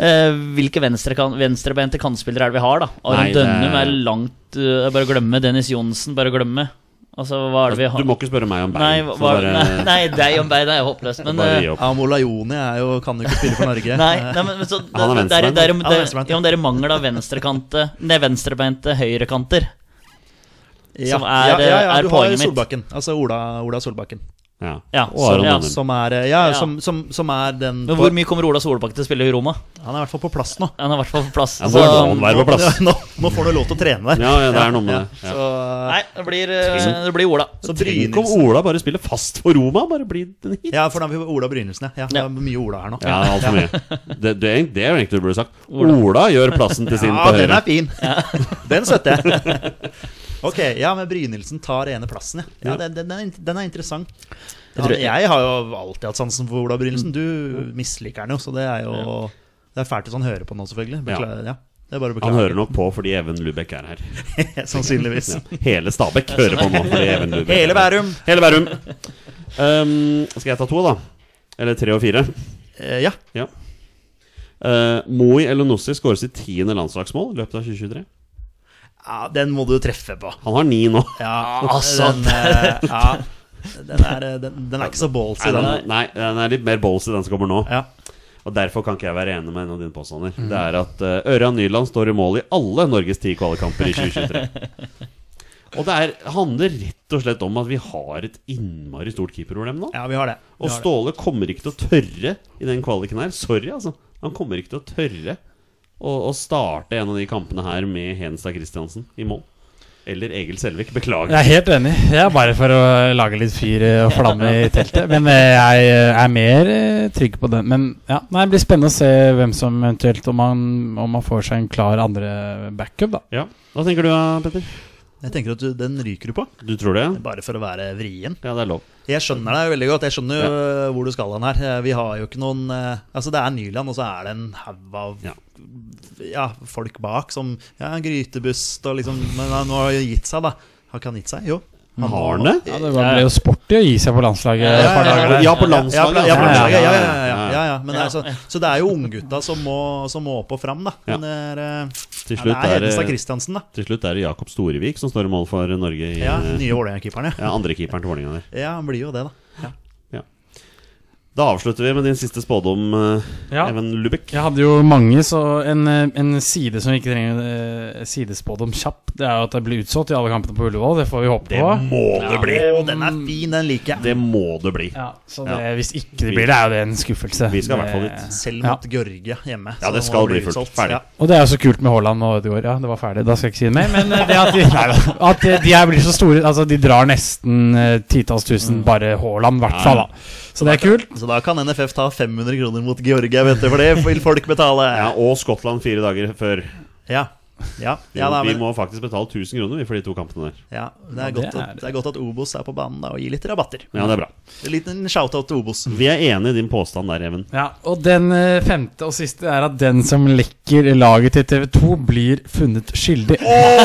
[SPEAKER 3] eh, hvilke venstre kan, venstrebente kantspillere er det vi har, da? Aron
[SPEAKER 1] Nei, det-
[SPEAKER 3] Dønnum er langt eh, Bare glemme. Dennis Johnsen, bare glemme. Altså, hva er det vi har
[SPEAKER 1] Du må ikke spørre meg om
[SPEAKER 3] Nei,
[SPEAKER 1] Bergen.
[SPEAKER 3] hva,
[SPEAKER 1] så
[SPEAKER 3] hva-
[SPEAKER 1] bare-
[SPEAKER 3] nei, nei deg om Berg, det er jo håpløst. Men
[SPEAKER 1] bare
[SPEAKER 3] eh,
[SPEAKER 1] gi opp.
[SPEAKER 2] Amola Joni er jo, kan jo ikke spille for Norge.
[SPEAKER 3] Nei, nei, men men så
[SPEAKER 1] Han er
[SPEAKER 3] det- det er- det er-
[SPEAKER 2] venstrebeint. Han er
[SPEAKER 3] det-
[SPEAKER 2] venstrebeint,
[SPEAKER 3] Ja, men dere mangler da venstrekante Nei, venstrebeinte høyrekanter.
[SPEAKER 2] Eh, ja,
[SPEAKER 3] som er, eh,
[SPEAKER 2] ja, ja, ja,
[SPEAKER 3] er
[SPEAKER 2] du har
[SPEAKER 3] poenget mitt.
[SPEAKER 2] Solbakken, altså Ola, Ola Solbakken.
[SPEAKER 1] Ja.
[SPEAKER 3] Ja,
[SPEAKER 1] Og Aron
[SPEAKER 3] så- ja,
[SPEAKER 1] Dønnum.
[SPEAKER 2] Som er, eh, ja,
[SPEAKER 3] Ja.
[SPEAKER 2] Som, som, som er den
[SPEAKER 3] Men
[SPEAKER 2] på,
[SPEAKER 3] hvor mye kommer Ola Solbakken til å spille i Roma?
[SPEAKER 2] Han er i hvert fall på plass nå.
[SPEAKER 3] Han er i hvert fall på plass.
[SPEAKER 1] Ja, hvor må han
[SPEAKER 3] Så,
[SPEAKER 1] være på plass?
[SPEAKER 2] Nå, nå får du lov til å trene der.
[SPEAKER 1] Ja, ja, det er noe med
[SPEAKER 2] Ja,
[SPEAKER 1] det. Ja.
[SPEAKER 2] Så,
[SPEAKER 3] nei, det blir, eh, det blir Ola.
[SPEAKER 2] så
[SPEAKER 1] Tenk om
[SPEAKER 2] Brynildsen
[SPEAKER 1] Ola bare spiller fast for Roma! Bare blir en hit.
[SPEAKER 2] Ja, for da har vi Ola Brynildsen, ja. ja. Det er
[SPEAKER 3] Ja.
[SPEAKER 2] mye Ola her nå.
[SPEAKER 1] Ja, altfor mye. Det, det, er- det er jo egentlig det du burde sagt. Ola gjør plassen til sin
[SPEAKER 2] Ja,
[SPEAKER 1] på
[SPEAKER 2] den
[SPEAKER 1] høyre.
[SPEAKER 2] er fin. Den støtter jeg. Ok, ja, men Brynildsen tar ene plassen, ja. ja
[SPEAKER 1] Ja.
[SPEAKER 2] den, den, er, int- den er interessant.
[SPEAKER 3] Jeg tror-
[SPEAKER 2] Han, jeg Mm. har jo alltid hatt sansen for Ola Brynildsen. Du misliker han jo, så det er jo Det er fælt hvis han hører på nå, selvfølgelig. Beklager, ja. Det er bare å beklage.
[SPEAKER 1] Han hører nok på fordi Even Lubek er her.
[SPEAKER 2] Sannsynligvis.
[SPEAKER 1] Ja. Hele Stabæk hører på nå fordi Even Lubek
[SPEAKER 2] Hele
[SPEAKER 1] er her.
[SPEAKER 2] Bærum.
[SPEAKER 1] Hele Bærum. Um, skal jeg ta to, da? Eller tre og fire?
[SPEAKER 2] Eh, Ja.
[SPEAKER 1] Ja. Uh, Moi Elonossi skårer sitt tiende landslagsmål i løpet av 2023.
[SPEAKER 2] ja. Den må du treffe på.
[SPEAKER 1] Han har ni nå.
[SPEAKER 2] Ja,
[SPEAKER 3] altså,
[SPEAKER 2] den, eh, ja. Den, er, eh, den, den er ikke så ballsy,
[SPEAKER 1] Nei,
[SPEAKER 2] den.
[SPEAKER 1] den, nei, den er litt mer balls i den som kommer nå.
[SPEAKER 2] Ja.
[SPEAKER 1] Og Derfor kan ikke jeg være enig med en av dine påstander. Det er at eh, Ørjan Nyland står i mål i alle Norges ti kvalikkamper i 2023. og det er, handler rett og slett om at vi har et innmari stort keeperproblem nå.
[SPEAKER 2] ja, vi har det. Vi
[SPEAKER 1] og
[SPEAKER 2] har det.
[SPEAKER 1] Ståle kommer ikke til å tørre i den kvaliken her. Sorry, altså. Han kommer ikke til å tørre å, å starte en av de kampene her med Henstad Christiansen i mål. Eller Egil Selvik.
[SPEAKER 4] Jeg
[SPEAKER 1] Beklager.
[SPEAKER 4] er helt enig. Jeg er bare for å lage litt fyr eh, og flamme i teltet. Men eh, jeg er mer eh, trygg på den. Men ja, nei, det blir spennende å se hvem som eventuelt Om man, om man får seg en klar andre backup, da.
[SPEAKER 1] Ja, Hva tenker du da, Petter?
[SPEAKER 2] Jeg tenker at du, den ryker du på,
[SPEAKER 1] Du tror det?
[SPEAKER 2] bare for å være vrien.
[SPEAKER 1] Ja, det er lov.
[SPEAKER 2] Jeg skjønner deg veldig godt. Jeg skjønner jo øh, hvor du skal hen her. Eh, Vi har jo ikke noen eh, Altså, det er Nyland, og så er det en haug av ja.
[SPEAKER 1] Ja.
[SPEAKER 2] folk bak som Ja, grytebust og liksom Men han har jo gitt seg, da. Har ikke han gitt seg? Jo.
[SPEAKER 1] Har han det?
[SPEAKER 4] Ja, det var- ble jo sporty å gi seg på landslaget
[SPEAKER 3] Ja,
[SPEAKER 4] et par
[SPEAKER 2] ja, ja.
[SPEAKER 4] dager der.
[SPEAKER 1] Ja, på
[SPEAKER 2] Ja,
[SPEAKER 1] landslaget.
[SPEAKER 2] ja, ja, ja, ja, ja,
[SPEAKER 1] ja, ja, ja.
[SPEAKER 2] ja, ja. Men det er så, så det er jo unggutta som, må- som må opp og fram, da. Men det er, eh,
[SPEAKER 1] Til
[SPEAKER 2] ja, det
[SPEAKER 1] slutt
[SPEAKER 2] er
[SPEAKER 1] er det-
[SPEAKER 2] Hedenstad Christiansen, da.
[SPEAKER 1] Til slutt er det Jakob Storevik som står i mål for Norge. I,
[SPEAKER 2] Ja,
[SPEAKER 1] ja,
[SPEAKER 2] Nye Vålerenga-keeperen, ja.
[SPEAKER 1] ja, Andrekeeperen til Vålerenga der.
[SPEAKER 2] Ja, han blir jo det, da.
[SPEAKER 1] Da avslutter vi med din siste spådom, eh,
[SPEAKER 4] Ja.
[SPEAKER 1] Even Lubek.
[SPEAKER 4] Jeg hadde jo mange, så en, eh, en side som vi ikke trenger eh, sidespådd om kjapp, det er jo at det blir utsolgt i alle kampene på Ullevål. Det får vi håpe
[SPEAKER 1] Det
[SPEAKER 4] på.
[SPEAKER 1] må det bli!
[SPEAKER 2] Å, den er fin, den liker jeg.
[SPEAKER 1] Det må det bli.
[SPEAKER 4] Ja, så det,
[SPEAKER 1] Ja.
[SPEAKER 4] Hvis ikke det blir det, er jo det en skuffelse.
[SPEAKER 1] Vi skal i hvert fall
[SPEAKER 4] Det-
[SPEAKER 1] dit.
[SPEAKER 2] Selv
[SPEAKER 4] Ja.
[SPEAKER 2] mot Georgia hjemme.
[SPEAKER 1] Ja,
[SPEAKER 2] så
[SPEAKER 1] det
[SPEAKER 2] må
[SPEAKER 1] skal bli
[SPEAKER 2] bli
[SPEAKER 1] fullt.
[SPEAKER 2] utsolgt.
[SPEAKER 1] Ferdig.
[SPEAKER 2] Ja.
[SPEAKER 4] Og det er jo så kult med Haaland og Ødegaard. Ja, det var ferdig. Da skal jeg ikke si det mer. Men eh, det at de, nei, da, at eh, de her blir så store Altså, de drar nesten eh, titalls
[SPEAKER 2] Mm.
[SPEAKER 4] tusen bare Haaland, i hvert fall. da. Så det er kult.
[SPEAKER 2] Så da kan NFF ta 500 kroner mot Georgia, vet du, for det vil folk betale.
[SPEAKER 1] Ja, og Skottland fire dager før.
[SPEAKER 2] Ja, ja,
[SPEAKER 1] Vi,
[SPEAKER 2] ja, da,
[SPEAKER 1] vi
[SPEAKER 2] men,
[SPEAKER 1] må faktisk betale 1000 kroner vi, for de to kampene der.
[SPEAKER 2] ja det,
[SPEAKER 4] Ja,
[SPEAKER 2] er
[SPEAKER 4] det
[SPEAKER 2] godt
[SPEAKER 4] er
[SPEAKER 2] at,
[SPEAKER 4] det.
[SPEAKER 2] det er godt at Obos er på banen da, og gir litt rabatter.
[SPEAKER 1] Ja, det er bra.
[SPEAKER 2] En liten shout-out til Obos.
[SPEAKER 4] Mm.
[SPEAKER 1] Vi er enig i din påstand der, Even.
[SPEAKER 4] Ja, Og den eh, femte og siste er at den som lekker laget til TV2, blir funnet skyldig.
[SPEAKER 2] Ja,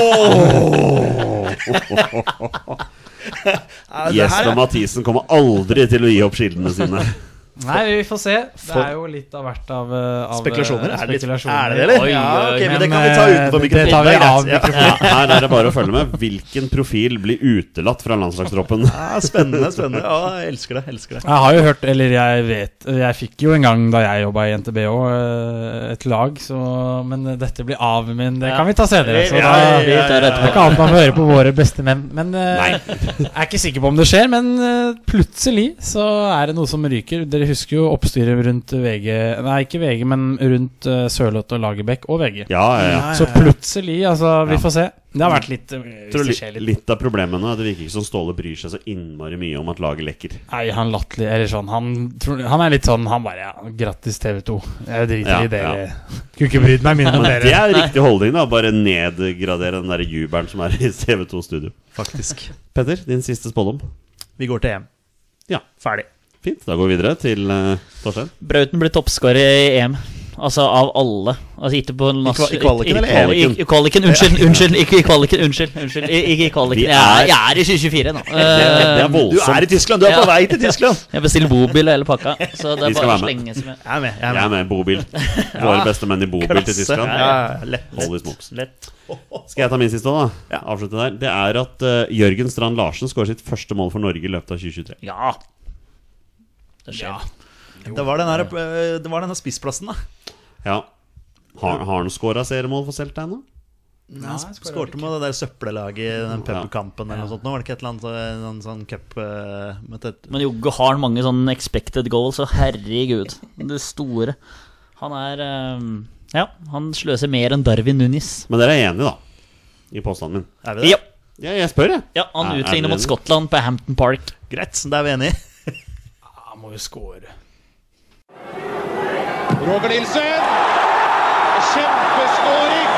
[SPEAKER 2] det her
[SPEAKER 1] Jesper
[SPEAKER 2] er-
[SPEAKER 1] Mathisen kommer aldri til å gi opp kildene sine.
[SPEAKER 4] Nei, vi får se. Det er jo litt av hvert av, eh, av eh,
[SPEAKER 2] Spekulasjoner? Er det, litt,
[SPEAKER 4] spekulasjoner.
[SPEAKER 2] er det det, eller?
[SPEAKER 3] Oi,
[SPEAKER 2] ja,
[SPEAKER 3] oi,
[SPEAKER 2] ok, men det kan
[SPEAKER 4] men,
[SPEAKER 2] vi ta utenfor
[SPEAKER 4] eh, det
[SPEAKER 2] mikrofonen.
[SPEAKER 4] tar vi
[SPEAKER 2] det er greit.
[SPEAKER 4] av
[SPEAKER 1] Ja,
[SPEAKER 2] Ja.
[SPEAKER 1] her er det bare å følge med. Hvilken profil blir utelatt fra landslagstroppen?
[SPEAKER 2] Ja, spennende, spennende. Ja, jeg elsker det. elsker det
[SPEAKER 4] Jeg har jo hørt, eller jeg vet Jeg fikk jo en gang da jeg jobba i NTB òg, eh, et lag, så Men dette blir av, men det kan vi ta senere. Så da
[SPEAKER 2] Ja,
[SPEAKER 3] Vi tar
[SPEAKER 4] det
[SPEAKER 3] etterpå.
[SPEAKER 4] er ikke annet man får høre på våre beste menn. Men eh,
[SPEAKER 1] Nei.
[SPEAKER 4] jeg er ikke sikker på om det skjer, men eh, plutselig så er det noe som ryker. Dere dere husker jo oppstyret rundt VG Nei, ikke VG, men rundt eh, Sørloth og Lagerbäck og
[SPEAKER 1] Ja,
[SPEAKER 4] VG.
[SPEAKER 1] ja, ja.
[SPEAKER 4] Så plutselig, altså, vi
[SPEAKER 1] Ja.
[SPEAKER 4] får se. Det har vært litt eh,
[SPEAKER 1] Jeg tror
[SPEAKER 4] Hvis det skjer
[SPEAKER 1] li-
[SPEAKER 4] litt
[SPEAKER 1] litt av problemet nå er at det virker ikke som Ståle bryr seg så innmari mye om at laget lekker.
[SPEAKER 4] Nei, han latterlig Eller sånn han, tror, han er litt sånn Han bare ja, 'Grattis, TV2'. Jeg driter
[SPEAKER 1] Ja,
[SPEAKER 4] i dere. Kunne ikke brydd meg mindre om
[SPEAKER 1] Det
[SPEAKER 4] dere.
[SPEAKER 1] er riktig holdning, da. Bare nedgradere den der jubelen som er i TV2 Studio.
[SPEAKER 2] faktisk.
[SPEAKER 1] Petter, din siste spådom.
[SPEAKER 2] Vi går til EM.
[SPEAKER 1] Ja.
[SPEAKER 2] Ferdig.
[SPEAKER 1] Fint. Da går vi videre til eh, Torstein.
[SPEAKER 3] Brauten blir toppskårer i EM. Altså av alle. Altså ikke på nas-
[SPEAKER 2] I kva- i kvaliken
[SPEAKER 3] i- i-
[SPEAKER 2] eller
[SPEAKER 3] i- i-
[SPEAKER 1] EM?
[SPEAKER 3] I kvaliken, unnskyld. Unnskyld, ikke i kvaliken. Unnskyld. unnskyld I- Ikke i kvaliken.
[SPEAKER 1] Vi
[SPEAKER 3] Jeg er,
[SPEAKER 1] er-
[SPEAKER 3] jeg er i 2024 nå.
[SPEAKER 1] Det, det er
[SPEAKER 3] Eh,
[SPEAKER 1] voldsomt.
[SPEAKER 2] i Tyskland! Du
[SPEAKER 3] er på
[SPEAKER 2] vei til Tyskland!
[SPEAKER 3] Jeg bestiller bobil og hele pakka, så det
[SPEAKER 1] Vi skal
[SPEAKER 3] er bare å
[SPEAKER 1] være med.
[SPEAKER 3] slenge seg med.
[SPEAKER 2] Jeg er med. Jeg er
[SPEAKER 1] Jeg
[SPEAKER 2] med.
[SPEAKER 1] er med. Bobil. Våre beste menn i bobil til Tyskland.
[SPEAKER 2] Ja, ja, ja, lett.
[SPEAKER 1] Holy smokes.
[SPEAKER 2] lett.
[SPEAKER 1] Skal jeg ta min siste òg, da? Avslutte der. Det er at eh, Jørgen Strand Larsen skårer sitt første mål for Norge i løpet av 2023.
[SPEAKER 3] Ja. Det skjer.
[SPEAKER 2] Det var den her, øh, det var denne spissplassen, da.
[SPEAKER 1] Ja. Har, har han skåra seriemål for Celta ennå?
[SPEAKER 2] Han sk- skårte med det der søppellaget i den pubkampen eller noe sånt. Nå var det ikke et eller annet øh, en sånn cup øh, med tett-
[SPEAKER 3] Men Jogge har mange sånne expected goals, og herregud, det store. Han er eh, Ja, han sløser mer enn Darwin Nunes.
[SPEAKER 1] Men dere er enige, da? I påstanden min.
[SPEAKER 2] Er vi det?
[SPEAKER 3] Ja,
[SPEAKER 1] Ja, jeg spør, jeg.
[SPEAKER 3] ja han
[SPEAKER 1] Er- er
[SPEAKER 3] utligner
[SPEAKER 1] dere
[SPEAKER 3] mot
[SPEAKER 1] enige?
[SPEAKER 3] Skottland på Hampton Park.
[SPEAKER 2] Greit, så da er vi enige.
[SPEAKER 4] Han må jo score.
[SPEAKER 5] Roger Nilsen. Kjempeskåring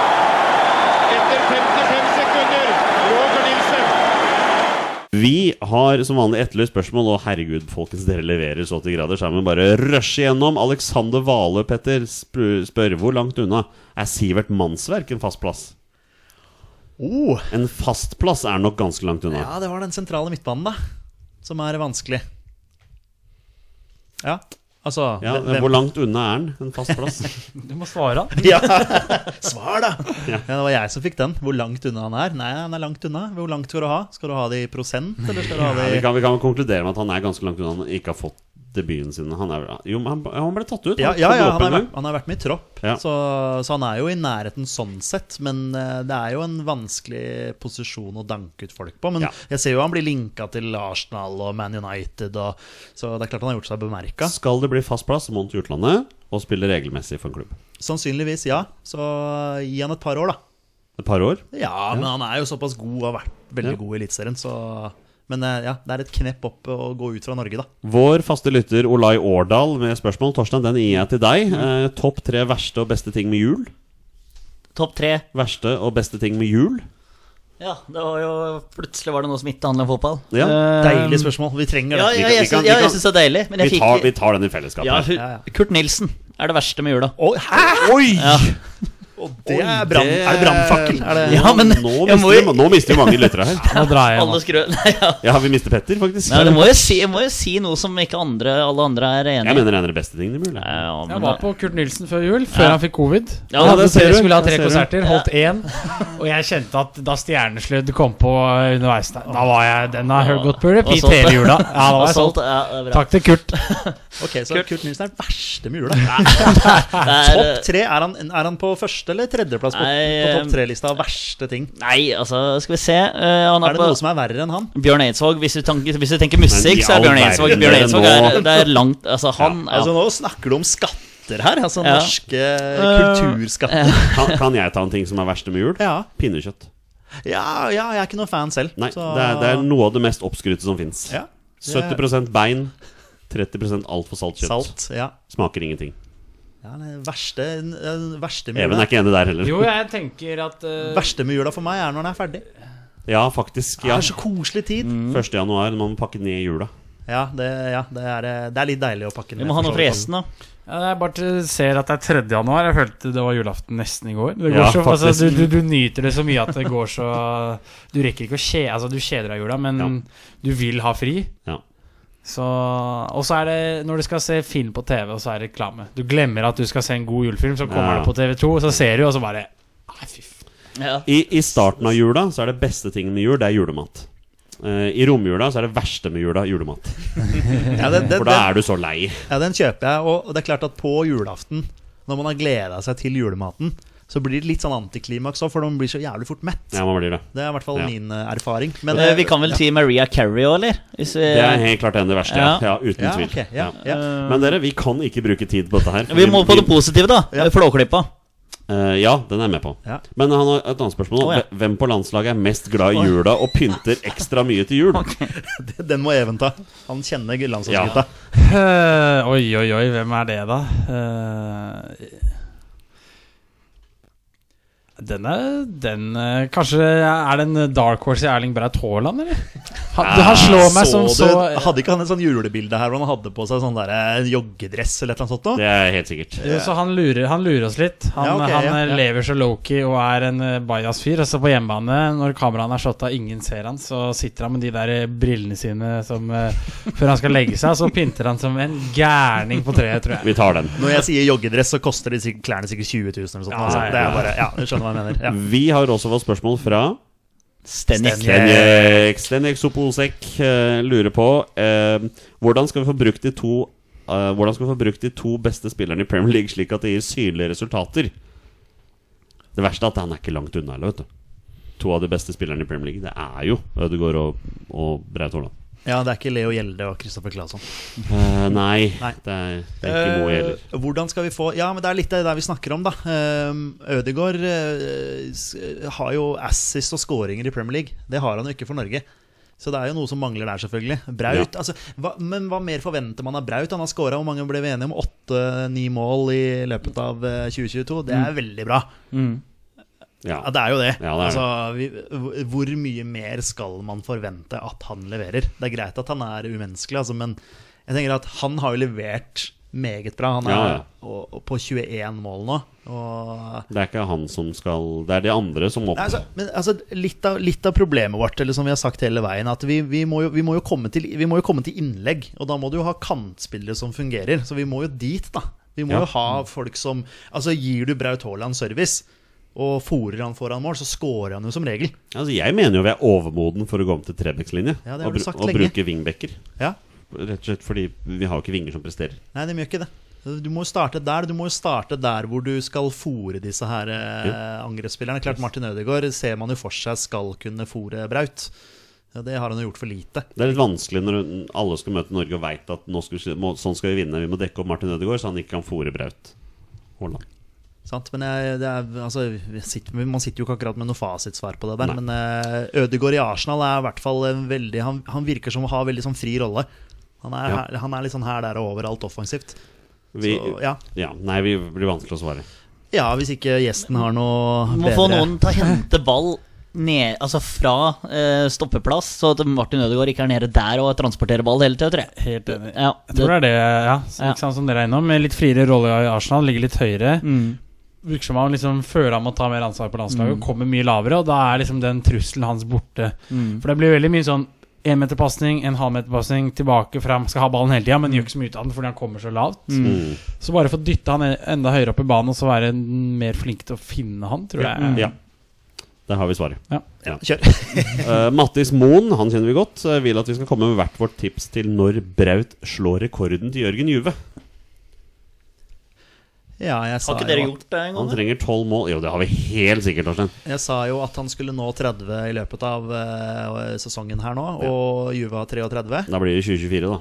[SPEAKER 5] etter 55 sekunder. Roger Nilsen.
[SPEAKER 1] Vi har som vanlig etterlyst spørsmål, og herregud, folkens, dere leverer så til grader. Så jeg må bare rushe gjennom. Alexander Vale, Petter, sp- spør hvor langt unna er Sivert Mannsverk en fast plass?
[SPEAKER 2] Oh,
[SPEAKER 1] En fast plass er nok ganske langt unna.
[SPEAKER 2] ja, det var den sentrale midtbanen, da. Som er vanskelig. Ja, altså
[SPEAKER 1] Ja,
[SPEAKER 2] hvem-
[SPEAKER 1] Hvor langt unna er han en fast plass?
[SPEAKER 4] Du må svare han.
[SPEAKER 2] Svar, da! Ja. Det var jeg som fikk den. Hvor langt unna han er? Nei, han er langt unna. Hvor langt skal du ha? Skal du ha det i prosent, eller skal du ha det
[SPEAKER 1] Vi
[SPEAKER 2] i
[SPEAKER 1] kan, vi kan konkludere med at han er ganske langt unna. Han ikke har fått debuten sin. Han, er, jo, men han, han ble tatt ut.
[SPEAKER 2] ja,
[SPEAKER 1] Han
[SPEAKER 2] ja,
[SPEAKER 1] skulle
[SPEAKER 2] ja,
[SPEAKER 1] gå opp
[SPEAKER 2] han, har
[SPEAKER 1] en
[SPEAKER 2] vært,
[SPEAKER 1] gang.
[SPEAKER 2] han har vært med i tropp,
[SPEAKER 1] Ja.
[SPEAKER 2] så, så han er jo i nærheten sånn sett. Men eh, det er jo en vanskelig posisjon å danke ut folk på. Men
[SPEAKER 1] Ja.
[SPEAKER 2] jeg ser jo han blir linka til Arsenal og Man United, og, så det er klart han har gjort seg bemerka.
[SPEAKER 1] Skal det bli fast plass, må han til utlandet og spille regelmessig for en klubb.
[SPEAKER 2] Sannsynligvis, ja. Så gi han et par år, da.
[SPEAKER 1] Et par år.
[SPEAKER 2] Ja, men han er jo såpass god og har vært veldig
[SPEAKER 1] Ja.
[SPEAKER 2] god i Eliteserien, så Men eh, ja, det er et knepp opp å gå ut fra Norge, da.
[SPEAKER 1] Vår faste lytter Olai Årdal med spørsmål. Torstein, den gir jeg til deg. Eh, topp tre verste og beste ting med jul?
[SPEAKER 3] Topp tre.
[SPEAKER 1] Verste og beste ting med jul?
[SPEAKER 3] Ja, det var jo Plutselig var det noe som ikke handla om fotball.
[SPEAKER 1] Ja.
[SPEAKER 2] Eh, Deilig spørsmål. Vi trenger
[SPEAKER 3] Ja,
[SPEAKER 2] det.
[SPEAKER 3] ja,
[SPEAKER 1] vi
[SPEAKER 3] jeg
[SPEAKER 1] kan-
[SPEAKER 3] syns
[SPEAKER 1] vi
[SPEAKER 3] ja, jeg
[SPEAKER 1] kan-
[SPEAKER 3] syns det er deilig. Men jeg
[SPEAKER 1] Vi
[SPEAKER 3] fikk
[SPEAKER 1] tar, vi tar den i fellesskap.
[SPEAKER 3] ja,
[SPEAKER 1] her.
[SPEAKER 3] hu-
[SPEAKER 2] Ja, ja.
[SPEAKER 3] Kurt Nilsen er det verste med jula.
[SPEAKER 2] Å, hæ?!
[SPEAKER 1] Oi!
[SPEAKER 3] Ja,
[SPEAKER 2] Det er, brann,
[SPEAKER 1] det-
[SPEAKER 2] er det brannfakkel? Er det
[SPEAKER 3] ja men
[SPEAKER 1] nå,
[SPEAKER 3] jeg må
[SPEAKER 1] mister vi,
[SPEAKER 3] jo
[SPEAKER 1] nå mister vi mange lyttere her.
[SPEAKER 4] Nå drar jeg
[SPEAKER 3] Alle
[SPEAKER 4] hjem.
[SPEAKER 3] skrø... Nei, ja.
[SPEAKER 1] Ja, vi mister Petter, faktisk.
[SPEAKER 3] Nei, det må jo si, jeg må jo si noe som ikke andre, alle andre er enig
[SPEAKER 1] Jeg
[SPEAKER 3] i.
[SPEAKER 1] mener det er en av de beste tingene mulig.
[SPEAKER 3] Ja,
[SPEAKER 4] Jeg
[SPEAKER 3] men
[SPEAKER 4] var
[SPEAKER 3] da-
[SPEAKER 4] på Kurt Nilsen før jul, før han fikk covid.
[SPEAKER 3] Ja,
[SPEAKER 4] han
[SPEAKER 1] det
[SPEAKER 4] hadde
[SPEAKER 1] ser
[SPEAKER 4] tre,
[SPEAKER 1] du.
[SPEAKER 4] skulle ha tre
[SPEAKER 1] Det ser du.
[SPEAKER 4] konserter, holdt én. Og jeg kjente at da Stjerneslødd kom på eh, underveis der, Da var jeg Den har jeg gått på repeat
[SPEAKER 3] Og solgt.
[SPEAKER 4] hele jula. Ja, da var jeg
[SPEAKER 3] Assault,
[SPEAKER 4] solgt.
[SPEAKER 3] ja, det er bra.
[SPEAKER 4] Takk til Kurt.
[SPEAKER 2] Ok, så Kurt, Nilsen er den verste med jula.
[SPEAKER 3] Det er,
[SPEAKER 2] Topp tre, er han, er han på første eller tredjeplass på,
[SPEAKER 3] Nei,
[SPEAKER 2] på
[SPEAKER 3] eh,
[SPEAKER 2] topp tre-lista av verste ting?
[SPEAKER 3] Nei, altså, skal vi se. eh, han er,
[SPEAKER 2] Er det
[SPEAKER 3] på
[SPEAKER 2] noe som er verre enn han?
[SPEAKER 3] Bjørn Eidsvåg. Hvis du, tenker, hvis du tenker
[SPEAKER 1] Men i
[SPEAKER 3] musikk, så
[SPEAKER 1] all
[SPEAKER 3] er Bjørn
[SPEAKER 1] verden,
[SPEAKER 3] Eidsvåg Bjørn
[SPEAKER 1] dere
[SPEAKER 3] Eidsvåg
[SPEAKER 1] nå-
[SPEAKER 3] er, det er langt Altså, han ja,
[SPEAKER 2] Altså Nå snakker du om skatter her, altså
[SPEAKER 3] Ja. Eh,
[SPEAKER 2] norske kulturskatter.
[SPEAKER 1] Kan, kan jeg ta en ting som er verste med jul?
[SPEAKER 2] Ja.
[SPEAKER 1] Pinnekjøtt.
[SPEAKER 2] ja, ja, jeg er ikke noen fan selv.
[SPEAKER 1] Nei,
[SPEAKER 2] så-
[SPEAKER 1] det er, det er noe av det mest oppskrytte som fins.
[SPEAKER 2] ja.
[SPEAKER 1] 70 bein, 30 altfor salt kjøtt.
[SPEAKER 2] Salt. Ja.
[SPEAKER 1] Smaker ingenting.
[SPEAKER 2] ja det verste, det verste, med
[SPEAKER 1] Even er
[SPEAKER 2] jula.
[SPEAKER 1] ikke enig der heller.
[SPEAKER 4] Jo, jeg tenker at eh,
[SPEAKER 2] verste med jula for meg er når den er ferdig.
[SPEAKER 1] Ja, faktisk.
[SPEAKER 2] Det
[SPEAKER 1] Ja.
[SPEAKER 2] er så koselig tid.
[SPEAKER 3] Mm.
[SPEAKER 1] 1. Mm. januar, når man pakker ned jula.
[SPEAKER 2] Ja, det, ja det, er, eh, det er litt deilig å pakke den
[SPEAKER 3] Vi må ha noe
[SPEAKER 2] for så
[SPEAKER 3] for
[SPEAKER 2] vidt.
[SPEAKER 3] gjesten, da.
[SPEAKER 4] ja, Jeg bare til- ser at det er 3. januar. Jeg følte det var julaften nesten i går. Det går
[SPEAKER 1] Ja,
[SPEAKER 4] så, altså,
[SPEAKER 1] faktisk.
[SPEAKER 4] du, du, du nyter det så mye at det går så Du rekker ikke å kjede Altså, du kjeder deg i jula, men
[SPEAKER 1] Ja.
[SPEAKER 4] du vil ha fri.
[SPEAKER 1] Ja.
[SPEAKER 4] Så, og så er det når du skal se film på TV, og så er det reklame. Du glemmer at du skal se en god julefilm, så kommer
[SPEAKER 1] Ja.
[SPEAKER 4] det på TV2, og så ser du, og så bare Nei, fy faen.
[SPEAKER 3] Ja.
[SPEAKER 1] I, I starten av jula så er det beste tingen med jul, det er julemat. Eh, I romjula så er det verste med jula julemat.
[SPEAKER 2] Ja, det, det,
[SPEAKER 1] For da
[SPEAKER 2] det,
[SPEAKER 1] er du så lei.
[SPEAKER 2] Ja, den kjøper jeg. Og det er klart at på julaften, når man har gleda seg til julematen, så blir det litt sånn antiklimaks òg, for de blir så jævlig fort mett.
[SPEAKER 1] Ja, man blir det.
[SPEAKER 2] Det er i hvert fall
[SPEAKER 1] Ja.
[SPEAKER 2] min eh, erfaring. Men,
[SPEAKER 3] Eh, Vi kan vel si Maria Carey òg, eller? Hvis vi,
[SPEAKER 1] Det er helt klart en av de verste, ja. ja uten
[SPEAKER 2] ja,
[SPEAKER 1] tvil.
[SPEAKER 2] ok, ja,
[SPEAKER 1] Ja.
[SPEAKER 2] ja.
[SPEAKER 3] Eh,
[SPEAKER 1] Men dere, vi kan ikke bruke tid på dette her.
[SPEAKER 3] vi må på det positive, da.
[SPEAKER 2] Ja.
[SPEAKER 3] Flåklypa.
[SPEAKER 1] Eh, ja, den er jeg med på.
[SPEAKER 2] Ja.
[SPEAKER 1] Men han har et annet spørsmål.
[SPEAKER 3] Å, ja.
[SPEAKER 1] Hvem på landslaget er mest glad i jula og pynter ekstra mye til jul?
[SPEAKER 2] Den må Even ta. Han kjenner landslagsgutta.
[SPEAKER 4] Eh, oi, oi, oi, hvem er det, da? Eh, den er den, eh, Kanskje er det en dark horse i Erling Braut Haaland, eller? Han,
[SPEAKER 1] Ah,
[SPEAKER 4] han slår meg
[SPEAKER 2] Så
[SPEAKER 4] som
[SPEAKER 2] du,
[SPEAKER 4] så
[SPEAKER 2] hadde ikke han et sånn julebilde her hvor han hadde på seg sånn der eh, joggedress eller et eller annet sånt? nå?
[SPEAKER 1] Det er helt sikkert.
[SPEAKER 4] Jo, så han lurer, han lurer oss litt. Han,
[SPEAKER 2] Ja, ok,
[SPEAKER 4] han
[SPEAKER 2] ja,
[SPEAKER 4] eh,
[SPEAKER 2] ja.
[SPEAKER 4] lever så lowkey og er en eh, bajas fyr. Og så på hjemmebane, når kameraene er slått av, ingen ser han, så sitter han med de der eh, brillene sine som, eh, før han skal legge seg. Så pynter han som en gærning på treet, tror jeg.
[SPEAKER 1] Vi tar den.
[SPEAKER 2] Når jeg sier joggedress, så koster de sikk- klærne sikkert 20 000 eller sånt.
[SPEAKER 4] Ja,
[SPEAKER 2] altså.
[SPEAKER 4] ja,
[SPEAKER 2] Det
[SPEAKER 4] ja.
[SPEAKER 2] er bare, ja, du skjønner hva jeg mener. Ja.
[SPEAKER 1] Vi har også fått spørsmål fra
[SPEAKER 3] Stenik.
[SPEAKER 2] Stenjek.
[SPEAKER 1] Stenjek Stenjek Soposek eh, lurer på eh, hvordan skal vi få brukt de to eh, Hvordan skal vi få brukt de to beste spillerne i Premier League slik at det gir synlige resultater? Det verste er at han er ikke langt unna. Eller, vet du. To av de beste spillerne i Premier League, det er jo Ødegaard og, og Braut Haaland.
[SPEAKER 2] ja, det er ikke Leo Gjelde og Kristoffer Claesson.
[SPEAKER 1] Eh, nei,
[SPEAKER 2] Nei.
[SPEAKER 1] det er, det er ikke Moe heller.
[SPEAKER 2] Eh, Hvordan skal vi få Ja, men det er litt det der vi snakker om, da. Um, Ødegaard eh, s- har jo assist og scoringer i Premier League. Det har han jo ikke for Norge. Så det er jo noe som mangler der, selvfølgelig. Braut, altså, hva, Men hva mer forventer man av Braut? Han har skåra, hvor mange ble vi enige om? Åtte-ni mål i løpet av eh, 2022. Det
[SPEAKER 1] Mm.
[SPEAKER 2] er veldig bra.
[SPEAKER 4] Mm.
[SPEAKER 1] Ja.
[SPEAKER 2] Ja, det er jo det.
[SPEAKER 1] Ja, det er
[SPEAKER 2] altså, vi, hvor mye mer skal man forvente at han leverer? Det er greit at han er umenneskelig, altså, men jeg tenker at han har jo levert meget bra. Han er
[SPEAKER 1] Ja, ja.
[SPEAKER 2] og- og på 21 mål nå. Og
[SPEAKER 1] Det er ikke han som skal Det er de andre som opp...
[SPEAKER 2] Nei, altså, men altså, litt, av, litt av problemet vårt, eller som vi har sagt hele veien, at vi, vi, må, jo, vi, må, jo komme til, vi må jo komme til innlegg. Og da må du jo ha kantspillere som fungerer. Så vi må jo dit, da. Vi må
[SPEAKER 1] Ja.
[SPEAKER 2] jo ha folk som Altså, gir du Braut Haaland service, og fòrer han foran mål, så scorer han jo som regel.
[SPEAKER 1] Altså, jeg mener jo vi er overmoden for å gå om til Trebecks-linje.
[SPEAKER 2] Ja, det har
[SPEAKER 1] og,
[SPEAKER 2] du sagt
[SPEAKER 1] og
[SPEAKER 2] lenge.
[SPEAKER 1] bruke vingbekker.
[SPEAKER 2] Ja.
[SPEAKER 1] Rett og slett fordi vi har jo ikke vinger som presterer.
[SPEAKER 2] Nei, de gjør ikke det. Du må jo starte der Du må jo starte der hvor du skal fòre disse her eh, angrepsspillerne. Klart Martin Ødegaard ser man jo for seg skal kunne fòre Braut. Ja, Det har han jo gjort for lite.
[SPEAKER 1] Det er litt vanskelig når alle skal møte Norge og veit at nå skal, vi- må, sånn skal vi vinne, vi må dekke opp Martin Ødegaard, så han ikke kan fòre Braut Haaland.
[SPEAKER 2] Sant? Men jeg, det er, altså, vi sitter, man sitter jo ikke akkurat med noe fasitsvar på det der.
[SPEAKER 1] Nei.
[SPEAKER 2] Men eh, Ødegaard i Arsenal er i hvert fall en veldig Han, han virker som å ha veldig sånn fri rolle. Han er,
[SPEAKER 1] Ja.
[SPEAKER 2] her, han er litt sånn her, der og overalt offensivt.
[SPEAKER 1] Vi,
[SPEAKER 2] Så,
[SPEAKER 1] ja.
[SPEAKER 2] ja.
[SPEAKER 1] Nei, vi blir vanskelig å svare.
[SPEAKER 2] ja, hvis ikke gjesten har noe
[SPEAKER 3] Må
[SPEAKER 2] bedre
[SPEAKER 3] få noen til å hente ball ned, altså fra eh, stoppeplass, så at Martin Ødegaard ikke er nede der og transporterer ball hele tida, tror jeg.
[SPEAKER 4] Helt enig.
[SPEAKER 3] Ja,
[SPEAKER 4] Jeg tror det er det, ja. Så,
[SPEAKER 3] Ja.
[SPEAKER 4] ikke sant, som dere er innom. med Litt friere rolle i Arsenal, ligger litt høyere.
[SPEAKER 3] mm.
[SPEAKER 4] Virker som han liksom føler han må ta mer ansvar på
[SPEAKER 3] Mm.
[SPEAKER 4] landslaget, og kommer mye lavere. Og da er liksom den trusselen hans borte.
[SPEAKER 3] Mm.
[SPEAKER 4] For det blir veldig mye sånn énmeterpasning, en halvmeterpasning, tilbake fram. Skal ha ballen hele tida, men gjør ikke så mye ut av den fordi han kommer så lavt.
[SPEAKER 1] Mm.
[SPEAKER 4] Så bare få dytta han e- enda høyere opp i banen, og så være mer flink til å finne han, tror jeg.
[SPEAKER 1] Ja. Der har vi svaret.
[SPEAKER 2] Kjør.
[SPEAKER 1] Eh, Mattis Moen, han kjenner vi godt, eh, vil at vi skal komme med hvert vårt tips til når Braut slår rekorden til Jørgen Juve.
[SPEAKER 2] Ja, jeg sa
[SPEAKER 3] Har
[SPEAKER 2] jo
[SPEAKER 3] ikke dere
[SPEAKER 2] at-
[SPEAKER 3] gjort det en
[SPEAKER 1] Han
[SPEAKER 3] gang? da?
[SPEAKER 1] trenger tolv mål. Jo, det har vi helt sikkert, Torstein.
[SPEAKER 2] Jeg sa jo at han skulle nå 30 i løpet av eh, sesongen her nå, og Juve har 33.
[SPEAKER 1] Da blir det 2024, da.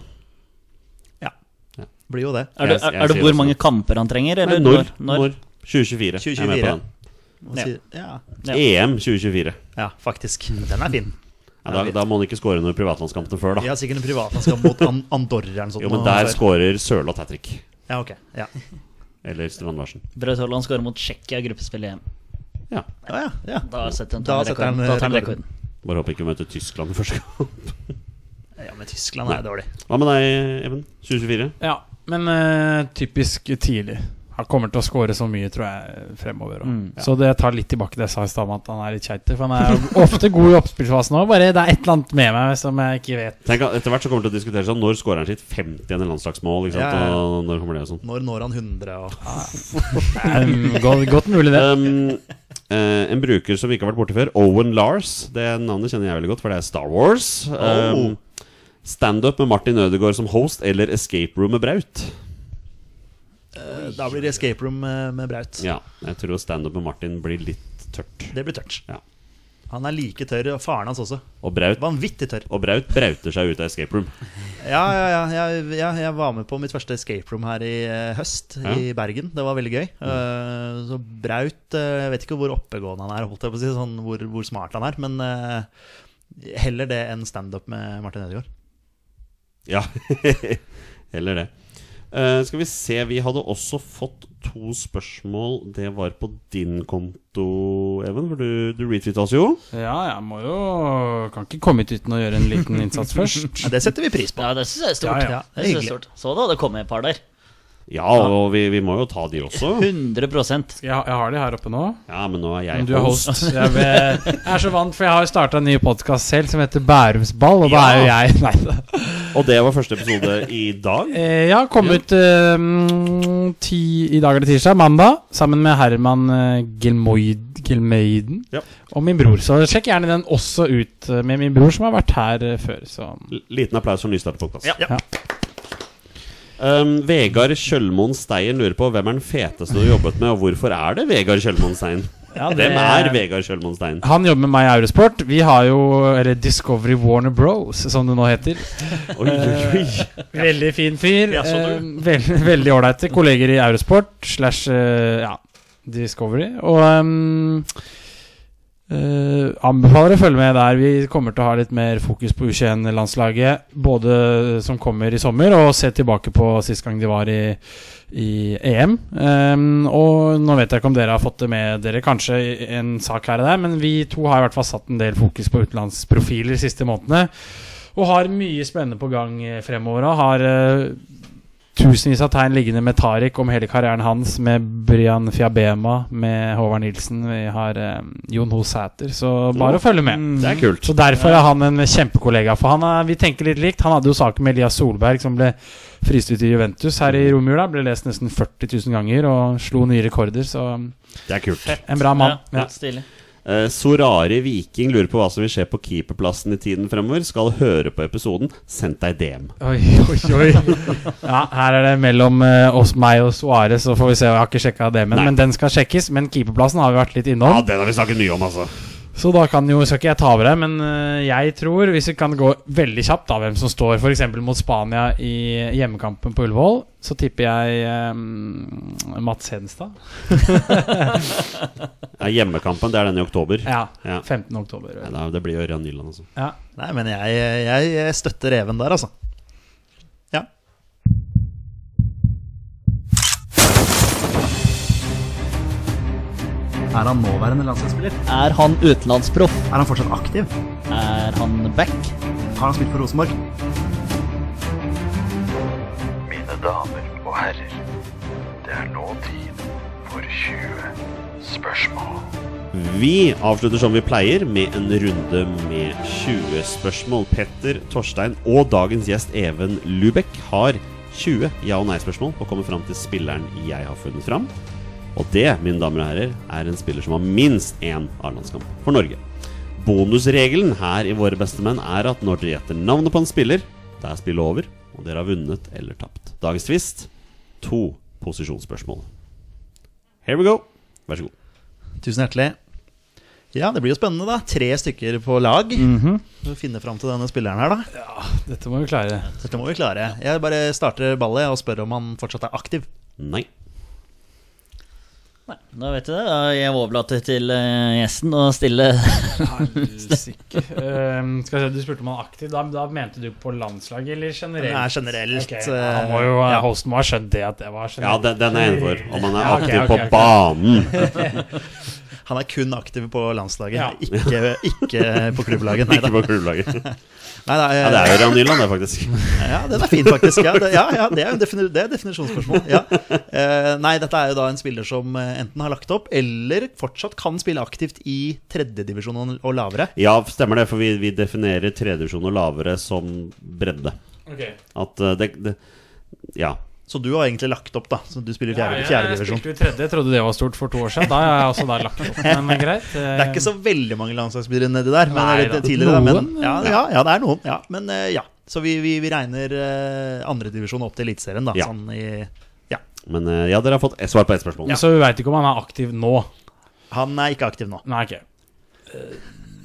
[SPEAKER 2] Blir jo det.
[SPEAKER 3] Er det,
[SPEAKER 1] Jeg-
[SPEAKER 3] er,
[SPEAKER 1] jeg
[SPEAKER 3] er det
[SPEAKER 1] sier
[SPEAKER 3] hvor
[SPEAKER 1] det
[SPEAKER 3] mange kamper han trenger?
[SPEAKER 1] Nei,
[SPEAKER 3] Eller
[SPEAKER 1] når? Når? 2024. Jeg er med på
[SPEAKER 2] 2024.
[SPEAKER 1] den. E
[SPEAKER 2] Hva sier- Ja.
[SPEAKER 3] Ja.
[SPEAKER 1] EM 2024.
[SPEAKER 2] ja, faktisk.
[SPEAKER 1] Mm,
[SPEAKER 2] Den er fin.
[SPEAKER 1] Ja, da, da må han ikke skåre under privatlandskampene før,
[SPEAKER 2] Vi
[SPEAKER 1] da.
[SPEAKER 2] har sikkert en privatlandskap mot an Andorra eller noe sånt.
[SPEAKER 1] Jo, men
[SPEAKER 2] nå
[SPEAKER 1] der
[SPEAKER 2] før.
[SPEAKER 1] skårer Sørloth hat trick.
[SPEAKER 2] Ja, ok. Ja.
[SPEAKER 1] Eller Strand Larsen.
[SPEAKER 3] Braut Haaland skårer mot Tsjekkia i gruppespillet igjen.
[SPEAKER 1] Ja.
[SPEAKER 2] Ja, ja, ja.
[SPEAKER 3] Da setter han
[SPEAKER 2] Da setter
[SPEAKER 3] rekorden.
[SPEAKER 2] han
[SPEAKER 3] Da tar han
[SPEAKER 2] rekorden.
[SPEAKER 3] rekorden.
[SPEAKER 1] Bare håper ikke vi møter Tyskland i første gang.
[SPEAKER 2] ja, men Tyskland er dårlig.
[SPEAKER 1] Hva med deg, Even? 2024?
[SPEAKER 4] Ja, men eh, typisk tidlig. Han kommer til å score så mye, tror jeg, fremover.
[SPEAKER 3] Mm.
[SPEAKER 4] også. Så det jeg tar litt tilbake det jeg sa i stad om at han er litt keitig. For han er jo ofte god i oppspillsfasen òg, bare det er et eller annet med meg som jeg ikke vet.
[SPEAKER 1] Tenk at Etter hvert så kommer det til å diskutere seg om når skårer han sitt 50. landslagsmål. Ikke sant?
[SPEAKER 2] Ja, ja, ja.
[SPEAKER 1] Og når kommer det og sånn.
[SPEAKER 2] Når når han 100 og
[SPEAKER 4] Um, godt, godt mulig, det.
[SPEAKER 1] Um, eh, en bruker som vi ikke har vært borte før, Owen Lars. Det navnet kjenner jeg veldig godt, for det er Star Wars.
[SPEAKER 2] Oh.
[SPEAKER 1] Um, Standup med Martin Ødegaard som host eller Escape Room med Braut.
[SPEAKER 2] Eh, Da blir det escape room med, med Braut.
[SPEAKER 1] Ja, jeg tror standup med Martin blir litt tørt.
[SPEAKER 2] Det blir tørt.
[SPEAKER 1] Ja.
[SPEAKER 2] Han er like tørr, og faren hans også.
[SPEAKER 1] Og Braut,
[SPEAKER 2] Vanvittig tørr.
[SPEAKER 1] og Braut brauter seg ut av escape room.
[SPEAKER 2] Ja, ja, ja, jeg, ja, jeg var med på mitt første escape room her i eh, høst, i Bergen. Det var veldig gøy. Eh, så Braut eh, Jeg vet ikke hvor oppegående han er, holdt jeg på å si, sånn hvor, hvor smart han er, men eh, heller det enn standup med Martin Ødegaard.
[SPEAKER 1] Ja, heller det. Eh, skal vi se, vi hadde også fått to spørsmål. Det var på din konto, Even, for du, du retweeta oss jo.
[SPEAKER 4] Ja, jeg må jo Kan ikke komme hit uten å gjøre en liten innsats først.
[SPEAKER 2] Ja, det setter vi pris på.
[SPEAKER 3] Ja, det syns jeg er stort.
[SPEAKER 4] Ja, ja.
[SPEAKER 3] Det synes jeg er
[SPEAKER 2] Hyggelig.
[SPEAKER 3] stort. Så da, det kom et par der.
[SPEAKER 1] Ja, og vi, vi må jo ta de også.
[SPEAKER 3] 100
[SPEAKER 4] Jeg, jeg har de her oppe nå.
[SPEAKER 1] Ja, men nå er
[SPEAKER 4] Men
[SPEAKER 1] jeg
[SPEAKER 4] du er host. Jeg, vet- jeg er så vant, for jeg har starta en ny podkast selv som heter Bærums ball, og da er jo jeg Nei da.
[SPEAKER 1] Og det var første episode i dag.
[SPEAKER 4] Eh, Ja, kom
[SPEAKER 1] Ja.
[SPEAKER 4] ut eh, mm, ti, i dag eller tirsdag, mandag, sammen med Herman eh, Gelmoid, Gelmeiden
[SPEAKER 1] Ja.
[SPEAKER 4] og min bror. Så sjekk gjerne den også ut eh, med min bror, som har vært her eh, før. Så.
[SPEAKER 1] L- Liten applaus for nystartet podkast.
[SPEAKER 3] Ja.
[SPEAKER 4] Ja.
[SPEAKER 1] Um, Vegard Kjølmoen Stein lurer på hvem er den feteste du har jobbet med, og hvorfor er det Vegard Kjølmoen Stein? Hvem er Vegard Kjølmoen Stein?
[SPEAKER 4] Han jobber med meg i Eurosport. Vi har jo Eller Discovery Warner Bros, som det nå heter.
[SPEAKER 1] Oi, oi, oi.
[SPEAKER 4] Veldig fin fyr.
[SPEAKER 3] Ja, så du.
[SPEAKER 4] eh, veld, veldig ålreite kolleger i Eurosport slash eh, ja, Discovery. Og ehm, eh, anbefaler å følge med der. Vi kommer til å ha litt mer fokus på U21-landslaget. Både som kommer i sommer, og se tilbake på sist gang de var i, i EM. Ehm, og nå vet jeg ikke om dere har fått det med dere, kanskje i en sak her og der, men vi to har i hvert fall satt en del fokus på utenlandsprofiler de siste månedene. Og har mye spennende på gang eh, fremover. Og har eh, tusenvis av tegn liggende med Tariq om hele karrieren hans, med Brian Fiabema, med Håvard Nilsen, vi har eh, Jon Ho Sæter. Så bare å følge med.
[SPEAKER 1] Mm. Det er kult.
[SPEAKER 4] Så derfor er han en kjempekollega. For han er, vi tenker litt likt. Han hadde jo saken med Elias Solberg, som ble fryst ut i Juventus her i romjula. Ble lest nesten 40 000 ganger og slo nye rekorder, så um, en
[SPEAKER 1] Det er kult.
[SPEAKER 4] bra mann.
[SPEAKER 3] Ja,
[SPEAKER 4] Ja.
[SPEAKER 3] helt stilig.
[SPEAKER 1] Eh, Sorari Viking lurer på hva som vil skje på keeperplassen i tiden fremover. Skal høre på episoden. Sendt deg DM.
[SPEAKER 4] Oi, oi, oi. Ja, her er det mellom eh, oss, meg og Suárez, så får vi se. Jeg har ikke sjekka det, men,
[SPEAKER 1] Nei.
[SPEAKER 4] men den skal sjekkes. Men keeperplassen har vi vært litt innom.
[SPEAKER 1] Ja, den har vi snakket mye om, altså.
[SPEAKER 4] Så da kan jo, skal ikke jeg ta over her, men eh, jeg tror, hvis vi kan gå veldig kjapt da, hvem som står f.eks. mot Spania i hjemmekampen på Ullevål, så tipper jeg eh, Mats Hedenstad.
[SPEAKER 1] Ja, hjemmekampen, det er den i oktober.
[SPEAKER 4] Ja,
[SPEAKER 1] Ja.
[SPEAKER 4] 15. oktober.
[SPEAKER 1] Nei, da- det blir Ørjan Nyland, altså.
[SPEAKER 4] Ja.
[SPEAKER 2] Nei, men jeg, jeg, jeg støtter Even der, altså. Ja. Er han nåværende landslagsspiller?
[SPEAKER 3] Er han utenlandsproff?
[SPEAKER 2] Er han fortsatt aktiv?
[SPEAKER 3] Er han back?
[SPEAKER 2] Har han spilt for Rosenborg?
[SPEAKER 6] Mine damer og herrer, det er nå tid for 20 spørsmål.
[SPEAKER 1] Vi avslutter som vi pleier, med en runde med 20 spørsmål. Petter, Torstein og dagens gjest Even Lubek har 20 ja- og nei-spørsmål og kommer fram til spilleren jeg har funnet fram. Og det, mine damer og herrer, er en spiller som har minst én A-landskamp for Norge. Bonusregelen her i Våre beste menn er at når dere gjetter navnet på en spiller, da er spillet over, og dere har vunnet eller tapt. Dagens tvist to posisjonsspørsmål. Here we go. Vær så god.
[SPEAKER 2] Tusen hjertelig. Ja, det blir jo spennende, da. Tre stykker på lag.
[SPEAKER 1] Mhm.
[SPEAKER 2] Så Finne fram til denne spilleren her, da.
[SPEAKER 4] Dette må vi klare.
[SPEAKER 2] Dette må vi klare. Jeg bare starter ballet og spør om han fortsatt er aktiv.
[SPEAKER 1] Nei.
[SPEAKER 3] Nei, da vet du det. Da Jeg overlater til eh, gjesten å stille
[SPEAKER 4] Helsike. Ehm, skal vi se, du spurte om han er aktiv. Da, da mente du på landslaget eller generelt?
[SPEAKER 2] Nei, generelt, eh,
[SPEAKER 4] Ok, ja, han må jo,
[SPEAKER 2] ja.
[SPEAKER 4] Hosten må ha skjønt det at det var
[SPEAKER 1] Ja,
[SPEAKER 4] generelt.
[SPEAKER 1] den, den er jeg enig for. Om han er
[SPEAKER 4] Ja, ok,
[SPEAKER 1] aktiv
[SPEAKER 4] ok, ok.
[SPEAKER 1] på banen.
[SPEAKER 2] Han er kun aktiv på landslaget,
[SPEAKER 4] Ja.
[SPEAKER 2] ikke, ikke på klubblaget. Nei da.
[SPEAKER 1] Ikke på klubblaget.
[SPEAKER 2] Nei, da,
[SPEAKER 1] Ja, det er jo Ørjan Nyland, det, faktisk.
[SPEAKER 2] Ja, den er fin, faktisk. Ja, det, ja, ja, det er jo en defini det er et definisjonsspørsmål. Ja. Eh, nei, dette er jo da en spiller som eh, enten har lagt opp, eller fortsatt kan spille aktivt i tredjedivisjon og og lavere.
[SPEAKER 1] Ja, stemmer det, for vi, vi definerer tredjevisjon og lavere som bredde.
[SPEAKER 4] Ok.
[SPEAKER 1] At eh, det, det Ja.
[SPEAKER 2] Så du har egentlig lagt opp, da. Så du spiller i
[SPEAKER 4] Ja,
[SPEAKER 2] fjerde,
[SPEAKER 4] jeg-
[SPEAKER 2] fjerde
[SPEAKER 4] jeg
[SPEAKER 2] divisjon.
[SPEAKER 4] spilte jo i tredje, jeg trodde det var stort for to år siden. Da har jeg også da lagt opp, men greit. eh,
[SPEAKER 2] Det er ikke så veldig mange landslagsspillere nedi der. Men,
[SPEAKER 4] Nei
[SPEAKER 2] eller
[SPEAKER 4] da.
[SPEAKER 2] tidligere, da,
[SPEAKER 4] Noen,
[SPEAKER 2] men, ja, ja, ja, det er noen. Ja. Men eh, ja. Så vi, vi, vi regner eh, andredivisjon opp til Eliteserien, da.
[SPEAKER 1] Ja.
[SPEAKER 2] Sånn i ja.
[SPEAKER 1] Men eh, ja, dere har fått svar på ett spørsmål.
[SPEAKER 4] Så vi veit ikke om han er aktiv nå.
[SPEAKER 2] Han er ikke aktiv nå.
[SPEAKER 4] Nei, ok.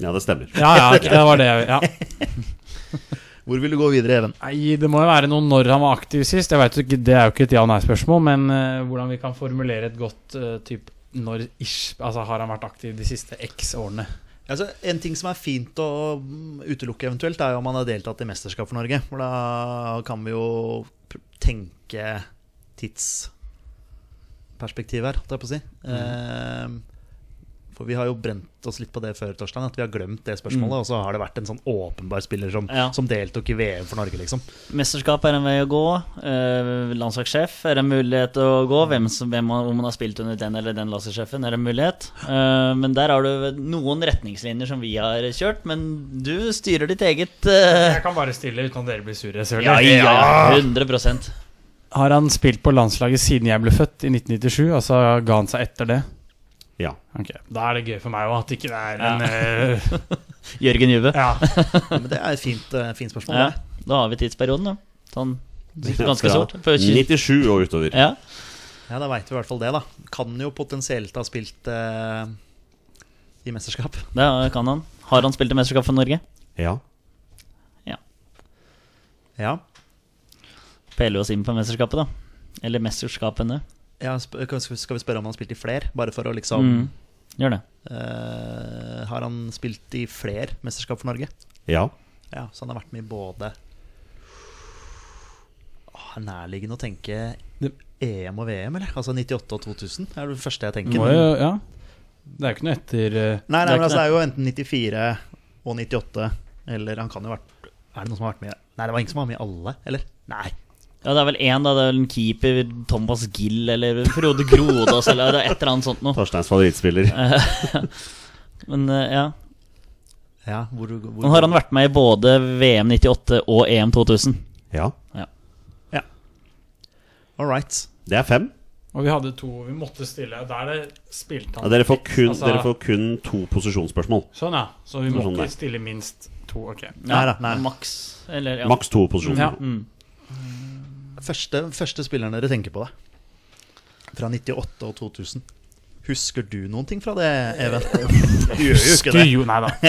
[SPEAKER 1] Ja, det stemmer.
[SPEAKER 4] Ja, ja, ok, det var det. jeg- Ja.
[SPEAKER 2] Hvor vil du gå videre, Even?
[SPEAKER 4] Nei, det må jo være noe når han var aktiv sist. Jeg vet jo ikke, Det er jo ikke et ja-nei-spørsmål, men eh, hvordan vi kan formulere et godt uh, typ når-ish Altså, har han vært aktiv de siste x årene?
[SPEAKER 2] Altså, en ting som er fint å mm, utelukke eventuelt, er jo om han har deltatt i mesterskap for Norge. For da kan vi jo pr- tenke tidsperspektiv her, holdt jeg på å si.
[SPEAKER 3] Mm.
[SPEAKER 2] Eh, for vi har jo brent oss litt på det før, Torstein, at vi har glemt det spørsmålet. Og så har det vært en sånn åpenbar spiller som,
[SPEAKER 3] Mm. Ja.
[SPEAKER 2] som deltok i VM for Norge, liksom.
[SPEAKER 3] Mesterskap er en vei å gå. Eh, landslagssjef er en mulighet å gå. Hvem som, hvem, man- om man har spilt under den eller den landslagssjefen, er en mulighet. Eh, men der har du noen retningslinjer som vi har kjørt, men du styrer ditt eget eh,
[SPEAKER 4] Jeg kan bare stille uten at dere blir sure.
[SPEAKER 3] Ja, ja, ja, 100
[SPEAKER 4] Har han spilt på landslaget siden jeg ble født, i 1997? Altså ga han seg etter det?
[SPEAKER 1] Ja.
[SPEAKER 4] Ok, Da er det gøy for meg òg, at ikke det er en eh,
[SPEAKER 3] Jørgen Juve.
[SPEAKER 4] Ja.
[SPEAKER 2] Ja, Men det er et fint, eh, fint spørsmål.
[SPEAKER 3] Ja,
[SPEAKER 2] det.
[SPEAKER 3] da har vi tidsperioden, da. Sånn ganske
[SPEAKER 1] Fra
[SPEAKER 3] stort. Før kyst-
[SPEAKER 1] 97 og utover.
[SPEAKER 3] Ja.
[SPEAKER 2] Ja, da veit vi i hvert fall det, da. Kan jo potensielt ha spilt eh, i mesterskap.
[SPEAKER 3] Det kan han. Har han spilt i mesterskap for Norge?
[SPEAKER 1] Ja.
[SPEAKER 2] Ja.
[SPEAKER 3] Peler vi oss inn på mesterskapet, da. Eller mesterskapene.
[SPEAKER 2] Ja, sp kan- skal skal vi spørre om han har spilt i fler? Bare for å liksom
[SPEAKER 3] Mm. Gjør det.
[SPEAKER 2] eh, Har han spilt i fler mesterskap for Norge?
[SPEAKER 1] Ja.
[SPEAKER 2] Ja, så han har vært med i både Åh, Nærliggende å tenke
[SPEAKER 4] Det-
[SPEAKER 2] EM og VM, eller? Altså 98 og 2000 er det første jeg tenker.
[SPEAKER 4] Må jo, ja. Det er jo ikke noe etter eh,
[SPEAKER 2] Nei, nei, men
[SPEAKER 3] Det er ikke
[SPEAKER 2] altså, det er jo enten 94 og 98, eller han kan jo ha vært Er det noen som har vært med i Nei, det var ingen som var med i alle, eller? Nei.
[SPEAKER 3] Ja, det er vel én, da. Det er vel en keeper, Thomas Gill eller Frode Grodås eller det er et eller annet sånt noe.
[SPEAKER 1] Torsteins favorittspiller.
[SPEAKER 4] Eh.
[SPEAKER 3] Men eh, ja.
[SPEAKER 2] Ja, hvor, hvor,
[SPEAKER 3] Nå har han vært med i både VM 98 og EM 2000.
[SPEAKER 1] Ja.
[SPEAKER 2] All right.
[SPEAKER 1] Det er fem.
[SPEAKER 4] Og vi hadde to vi måtte stille. Der det spilte
[SPEAKER 1] Ja,
[SPEAKER 4] han
[SPEAKER 1] dere, får kun,
[SPEAKER 4] Altså-
[SPEAKER 1] dere får kun to posisjonsspørsmål.
[SPEAKER 4] Sånn, ja. Så vi
[SPEAKER 1] Sånn
[SPEAKER 4] måtte
[SPEAKER 1] der.
[SPEAKER 4] stille minst to. Ok.
[SPEAKER 2] Nei da, nei da.
[SPEAKER 3] Maks. Eller ja.
[SPEAKER 1] Maks to posisjoner.
[SPEAKER 4] Ja.
[SPEAKER 3] Mm.
[SPEAKER 2] Første, første spilleren dere tenker på, da? Fra 98 og 2000. Husker du noen ting fra det, Even? Du gjør jo ikke det.
[SPEAKER 4] Jo, nei da.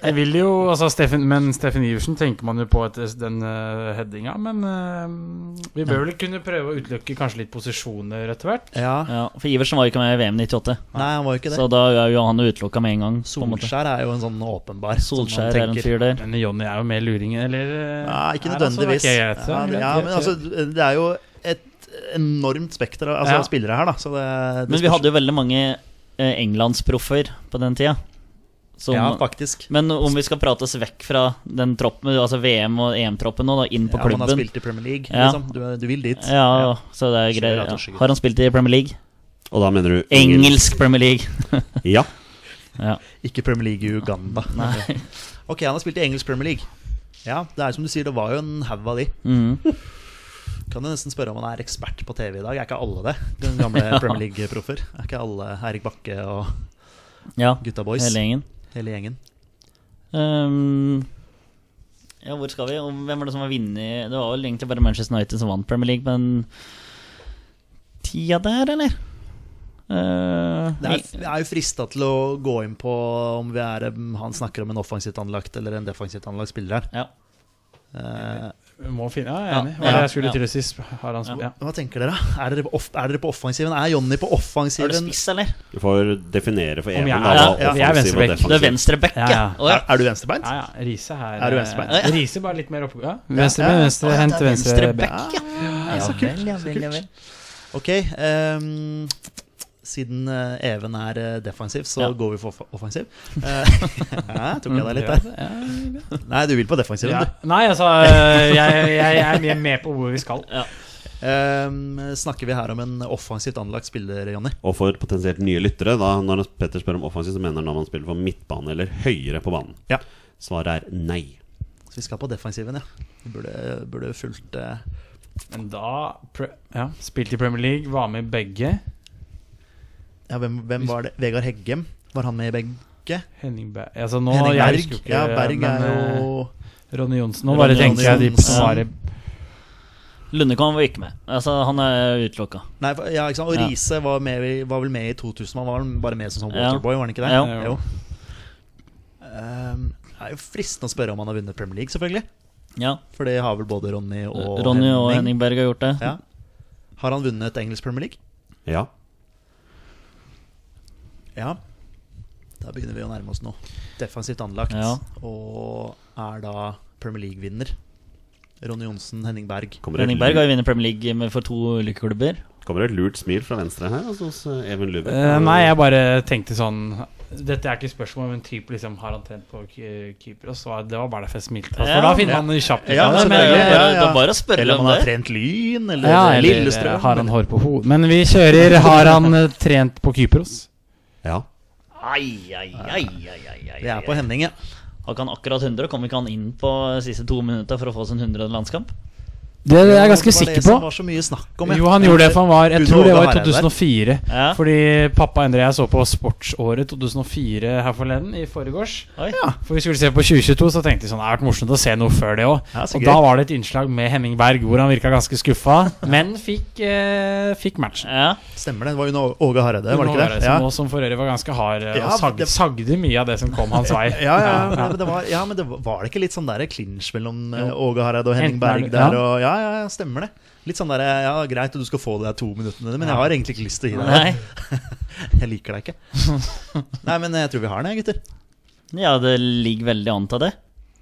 [SPEAKER 4] Jeg vil jo, altså Steffen, men Steffen Iversen tenker man jo på etter den eh, headinga. Men eh, vi bør vel kunne prøve å utelukke kanskje litt posisjoner etter hvert.
[SPEAKER 2] Ja,
[SPEAKER 3] Ja, for Iversen var jo ikke med i VM 98,
[SPEAKER 2] Nei, han var jo ikke det.
[SPEAKER 3] så da er jo han utelukka med en gang. På en måte.
[SPEAKER 2] Solskjær er jo en sånn åpenbar. som man
[SPEAKER 3] Solskjær er en
[SPEAKER 2] tenker-
[SPEAKER 3] fyr der.
[SPEAKER 4] Men Jonny er jo mer luring, eller? eh,
[SPEAKER 2] Nei, ikke
[SPEAKER 3] altså
[SPEAKER 4] er han sånn?
[SPEAKER 2] nødvendigvis.
[SPEAKER 4] Ok, greit, så
[SPEAKER 2] Ja,
[SPEAKER 4] greit,
[SPEAKER 2] ja,
[SPEAKER 4] greit,
[SPEAKER 2] men
[SPEAKER 4] greit.
[SPEAKER 2] altså, det er jo et enormt spekter av altså,
[SPEAKER 4] Ja.
[SPEAKER 2] av spillere her, da. Så det, det
[SPEAKER 3] Men vi
[SPEAKER 2] spørs-
[SPEAKER 3] hadde jo veldig mange eh, englandsproffer på den tida. Som,
[SPEAKER 2] Ja, faktisk.
[SPEAKER 3] men om vi skal prate oss vekk fra den troppen, altså VM- og EM-troppen nå, da, inn på
[SPEAKER 2] Ja, man har
[SPEAKER 3] klubben
[SPEAKER 2] spilt i Premier League,
[SPEAKER 3] Ja.
[SPEAKER 2] liksom. Du, er- du vil dit.
[SPEAKER 3] ja, så det er
[SPEAKER 2] Skjønner
[SPEAKER 3] greit.
[SPEAKER 2] at han
[SPEAKER 3] Ja.
[SPEAKER 2] skygger.
[SPEAKER 3] Har han spilt i Premier League?
[SPEAKER 1] Og da mener du
[SPEAKER 3] Engelsk Premier League!
[SPEAKER 1] Ja.
[SPEAKER 3] Ja.
[SPEAKER 2] Ikke Premier League i Uganda.
[SPEAKER 3] Nei.
[SPEAKER 2] Ok, han har spilt i engelsk Premier League. Ja, det er som du sier, det var jo en haug av de.
[SPEAKER 3] Mhm.
[SPEAKER 2] Kan du nesten spørre om han er ekspert på TV i dag? Er ikke alle det? Den gamle Premier League-proffer. Er ikke alle Erik Bakke og
[SPEAKER 3] Ja,
[SPEAKER 2] gutta boys?
[SPEAKER 3] hele gjengen.
[SPEAKER 2] Hele gjengen.
[SPEAKER 3] Ehm, ja, hvor skal vi? Og hvem var det som var vinner? Det var vel egentlig bare Manchester United som vant Premier League, men Tida der, eller? Eh,
[SPEAKER 2] Det er, jeg er jo frista til å gå inn på om vi er, eh, han snakker om en offensivt anlagt eller en defensivt anlagt spiller her.
[SPEAKER 3] ja.
[SPEAKER 2] Eh,
[SPEAKER 4] Vi må finne, ja, jeg er enig.
[SPEAKER 3] Ja,
[SPEAKER 4] Hva er det jeg
[SPEAKER 3] ja.
[SPEAKER 4] skulle til å si? Har han spilt? Ja.
[SPEAKER 2] hva tenker dere? Er dere, på off, er dere på offensiven? Er Jonny på
[SPEAKER 3] Er du
[SPEAKER 2] offensiven?
[SPEAKER 3] spiss, eller?
[SPEAKER 1] Du får definere for
[SPEAKER 4] Om
[SPEAKER 1] Even.
[SPEAKER 4] jeg-
[SPEAKER 1] da,
[SPEAKER 3] ja,
[SPEAKER 1] hva
[SPEAKER 4] ja, jeg
[SPEAKER 1] offensiv
[SPEAKER 4] er
[SPEAKER 1] og
[SPEAKER 4] venstreback.
[SPEAKER 1] defensiv.
[SPEAKER 3] Du er venstreback,
[SPEAKER 4] Ja,
[SPEAKER 3] ja.
[SPEAKER 4] ja.
[SPEAKER 3] Å, ja.
[SPEAKER 2] Er, er du venstrebeint?
[SPEAKER 4] Ja, ja. Riise her
[SPEAKER 2] Er du
[SPEAKER 4] eh,
[SPEAKER 2] venstrebeint?
[SPEAKER 4] Riise bare litt mer oppå ja.
[SPEAKER 2] Ja,
[SPEAKER 4] Venstre,
[SPEAKER 2] ja.
[SPEAKER 4] venstre,
[SPEAKER 3] Å, ja,
[SPEAKER 4] hent
[SPEAKER 3] det er
[SPEAKER 4] til venstre
[SPEAKER 3] venstreback,
[SPEAKER 4] back.
[SPEAKER 3] ja. Ja,
[SPEAKER 2] så kult,
[SPEAKER 3] vel, ja,
[SPEAKER 2] så
[SPEAKER 3] vel,
[SPEAKER 2] kult.
[SPEAKER 3] ja, vel.
[SPEAKER 2] Ok, ehm, siden eh, Even er eh, defensiv, så
[SPEAKER 3] Ja.
[SPEAKER 2] går vi for off- offensiv. Eh, ja, tok jeg deg litt der? Nei, du vil på defensiven,
[SPEAKER 4] Ja.
[SPEAKER 2] du.
[SPEAKER 4] Nei, altså eh, jeg, jeg, jeg er mer med på hvor vi skal.
[SPEAKER 2] Ehm, snakker vi her om en offensivt anlagt spiller, Jonny?
[SPEAKER 1] Og for potensielt nye lyttere, da, når Petter spør om offensiv, så mener han om han spiller for midtbane eller høyere på banen.
[SPEAKER 2] Ja.
[SPEAKER 1] Svaret er nei.
[SPEAKER 2] Så vi skal på defensiven, ja. Vi burde, burde fulgt eh,
[SPEAKER 4] Men da pre ja, Spilte i Premier League, var med i begge.
[SPEAKER 2] Ja, hvem, hvem var det? Vegard Heggem? Var han med i begge?
[SPEAKER 4] Henning Berg altså nå,
[SPEAKER 2] Henning
[SPEAKER 4] jeg
[SPEAKER 2] Berg?
[SPEAKER 4] husker jo ikke,
[SPEAKER 2] ja, Berg
[SPEAKER 4] men,
[SPEAKER 2] er jo
[SPEAKER 4] eh, Ronny Johnsen. Nå
[SPEAKER 3] Ronny
[SPEAKER 4] bare tenker jeg de på
[SPEAKER 3] Johnsen.
[SPEAKER 4] som var i
[SPEAKER 3] Lundekvam var ikke med. Altså, han er utelukka.
[SPEAKER 2] Nei, for- ja, ikke sant? Og
[SPEAKER 3] Ja.
[SPEAKER 2] Riise var, med i- var vel med i 2000. Han var vel bare med som sånn
[SPEAKER 3] Ja.
[SPEAKER 2] waterboy, var han ikke det?
[SPEAKER 3] Ja.
[SPEAKER 2] Jo. Ehm, det er jo fristende å spørre om han har vunnet Premier League, selvfølgelig.
[SPEAKER 3] Ja.
[SPEAKER 2] For det har vel både Ronny og
[SPEAKER 3] Ronny og Henning Berg har gjort det.
[SPEAKER 2] Ja. Har han vunnet engelsk Premier League?
[SPEAKER 1] Ja.
[SPEAKER 2] Ja. Da begynner vi å nærme oss noe. Defensivt anlagt
[SPEAKER 3] Ja.
[SPEAKER 2] og er da Premier League-vinner. Ronny Johnsen, Henning Berg.
[SPEAKER 1] Kommer det,
[SPEAKER 3] Henning
[SPEAKER 1] et
[SPEAKER 3] Berg har
[SPEAKER 1] lurt,
[SPEAKER 3] jo vunnet Premier League med- for to ulike klubber.
[SPEAKER 1] kommer det et lurt smil fra venstre her altså, hos eh, Even Lubbe?
[SPEAKER 4] Eh, nei, jeg bare tenkte sånn Dette er ikke spørsmål, men typ liksom har han trent på Ky- Kypros? Og Det var bare derfor jeg smilte. Altså,
[SPEAKER 3] Ja.
[SPEAKER 4] for da finner man kjapt ut
[SPEAKER 2] Ja,
[SPEAKER 4] av det.
[SPEAKER 3] Nei, men,
[SPEAKER 2] selvfølgelig.
[SPEAKER 3] det, er bare,
[SPEAKER 2] Ja, ja.
[SPEAKER 3] det er bare å spørre
[SPEAKER 2] Eller om
[SPEAKER 3] om
[SPEAKER 2] han har
[SPEAKER 3] det.
[SPEAKER 2] trent Lyn, eller
[SPEAKER 4] Ja, eller
[SPEAKER 2] Lillestrøm.
[SPEAKER 4] har han hår på hodet? Men vi kjører Har han eh, trent på Kypros?
[SPEAKER 1] Ja.
[SPEAKER 3] Ai, ai, ai, ai, ai, ai,
[SPEAKER 2] Vi er
[SPEAKER 3] ai.
[SPEAKER 2] på Henning, ja.
[SPEAKER 3] Har ikke han akkurat 100? Kom ikke han inn på de siste to minutter for å få sin 100. landskamp?
[SPEAKER 4] Det er jeg
[SPEAKER 2] Det
[SPEAKER 4] ganske
[SPEAKER 2] var
[SPEAKER 4] sikker
[SPEAKER 2] det
[SPEAKER 4] på.
[SPEAKER 2] som var så mye snakk om. ja.
[SPEAKER 4] Jo, han gjorde det, for han var Jeg
[SPEAKER 2] Gud,
[SPEAKER 4] tror det
[SPEAKER 2] Åge
[SPEAKER 4] var i
[SPEAKER 2] Hareide der.
[SPEAKER 4] 2004.
[SPEAKER 3] Ja.
[SPEAKER 4] Fordi pappa og Endre og jeg så på Sportsåret 2004 her forleden, i forgårs.
[SPEAKER 3] Oi.
[SPEAKER 4] Ja, for vi skulle se på 2022, så tenkte vi sånn Det har vært morsomt å se noe før det òg.
[SPEAKER 2] Ja, så
[SPEAKER 4] og
[SPEAKER 2] gøy.
[SPEAKER 4] da var det et innslag med Henning Berg hvor han virka ganske skuffa, men fikk, eh, fikk matchen.
[SPEAKER 3] Ja.
[SPEAKER 2] Stemmer det. Det var jo Nå- Åge Hareide, var det ikke det?
[SPEAKER 4] Som,
[SPEAKER 2] Ja.
[SPEAKER 4] og som for øvrig var ganske hard, eh,
[SPEAKER 2] Ja,
[SPEAKER 4] og sag,
[SPEAKER 2] det-
[SPEAKER 4] sagde mye av det som kom hans vei.
[SPEAKER 2] Ja, ja, ja, men det var, ja, men det var, var det ikke litt sånn der clinch mellom eh, Åge Hareide og Henning
[SPEAKER 4] Enten er
[SPEAKER 2] Berg
[SPEAKER 4] det-
[SPEAKER 2] der? Og, ja,
[SPEAKER 4] ja.
[SPEAKER 2] ja, ja, stemmer det. Litt sånn der Ja, greit, du skal få de der to minuttene dine, men jeg har egentlig ikke lyst til å gi deg
[SPEAKER 3] Nei.
[SPEAKER 2] det. Jeg liker deg ikke. Nei, men eh, jeg tror vi har den, jeg, gutter.
[SPEAKER 3] ja, det ligger veldig an til det.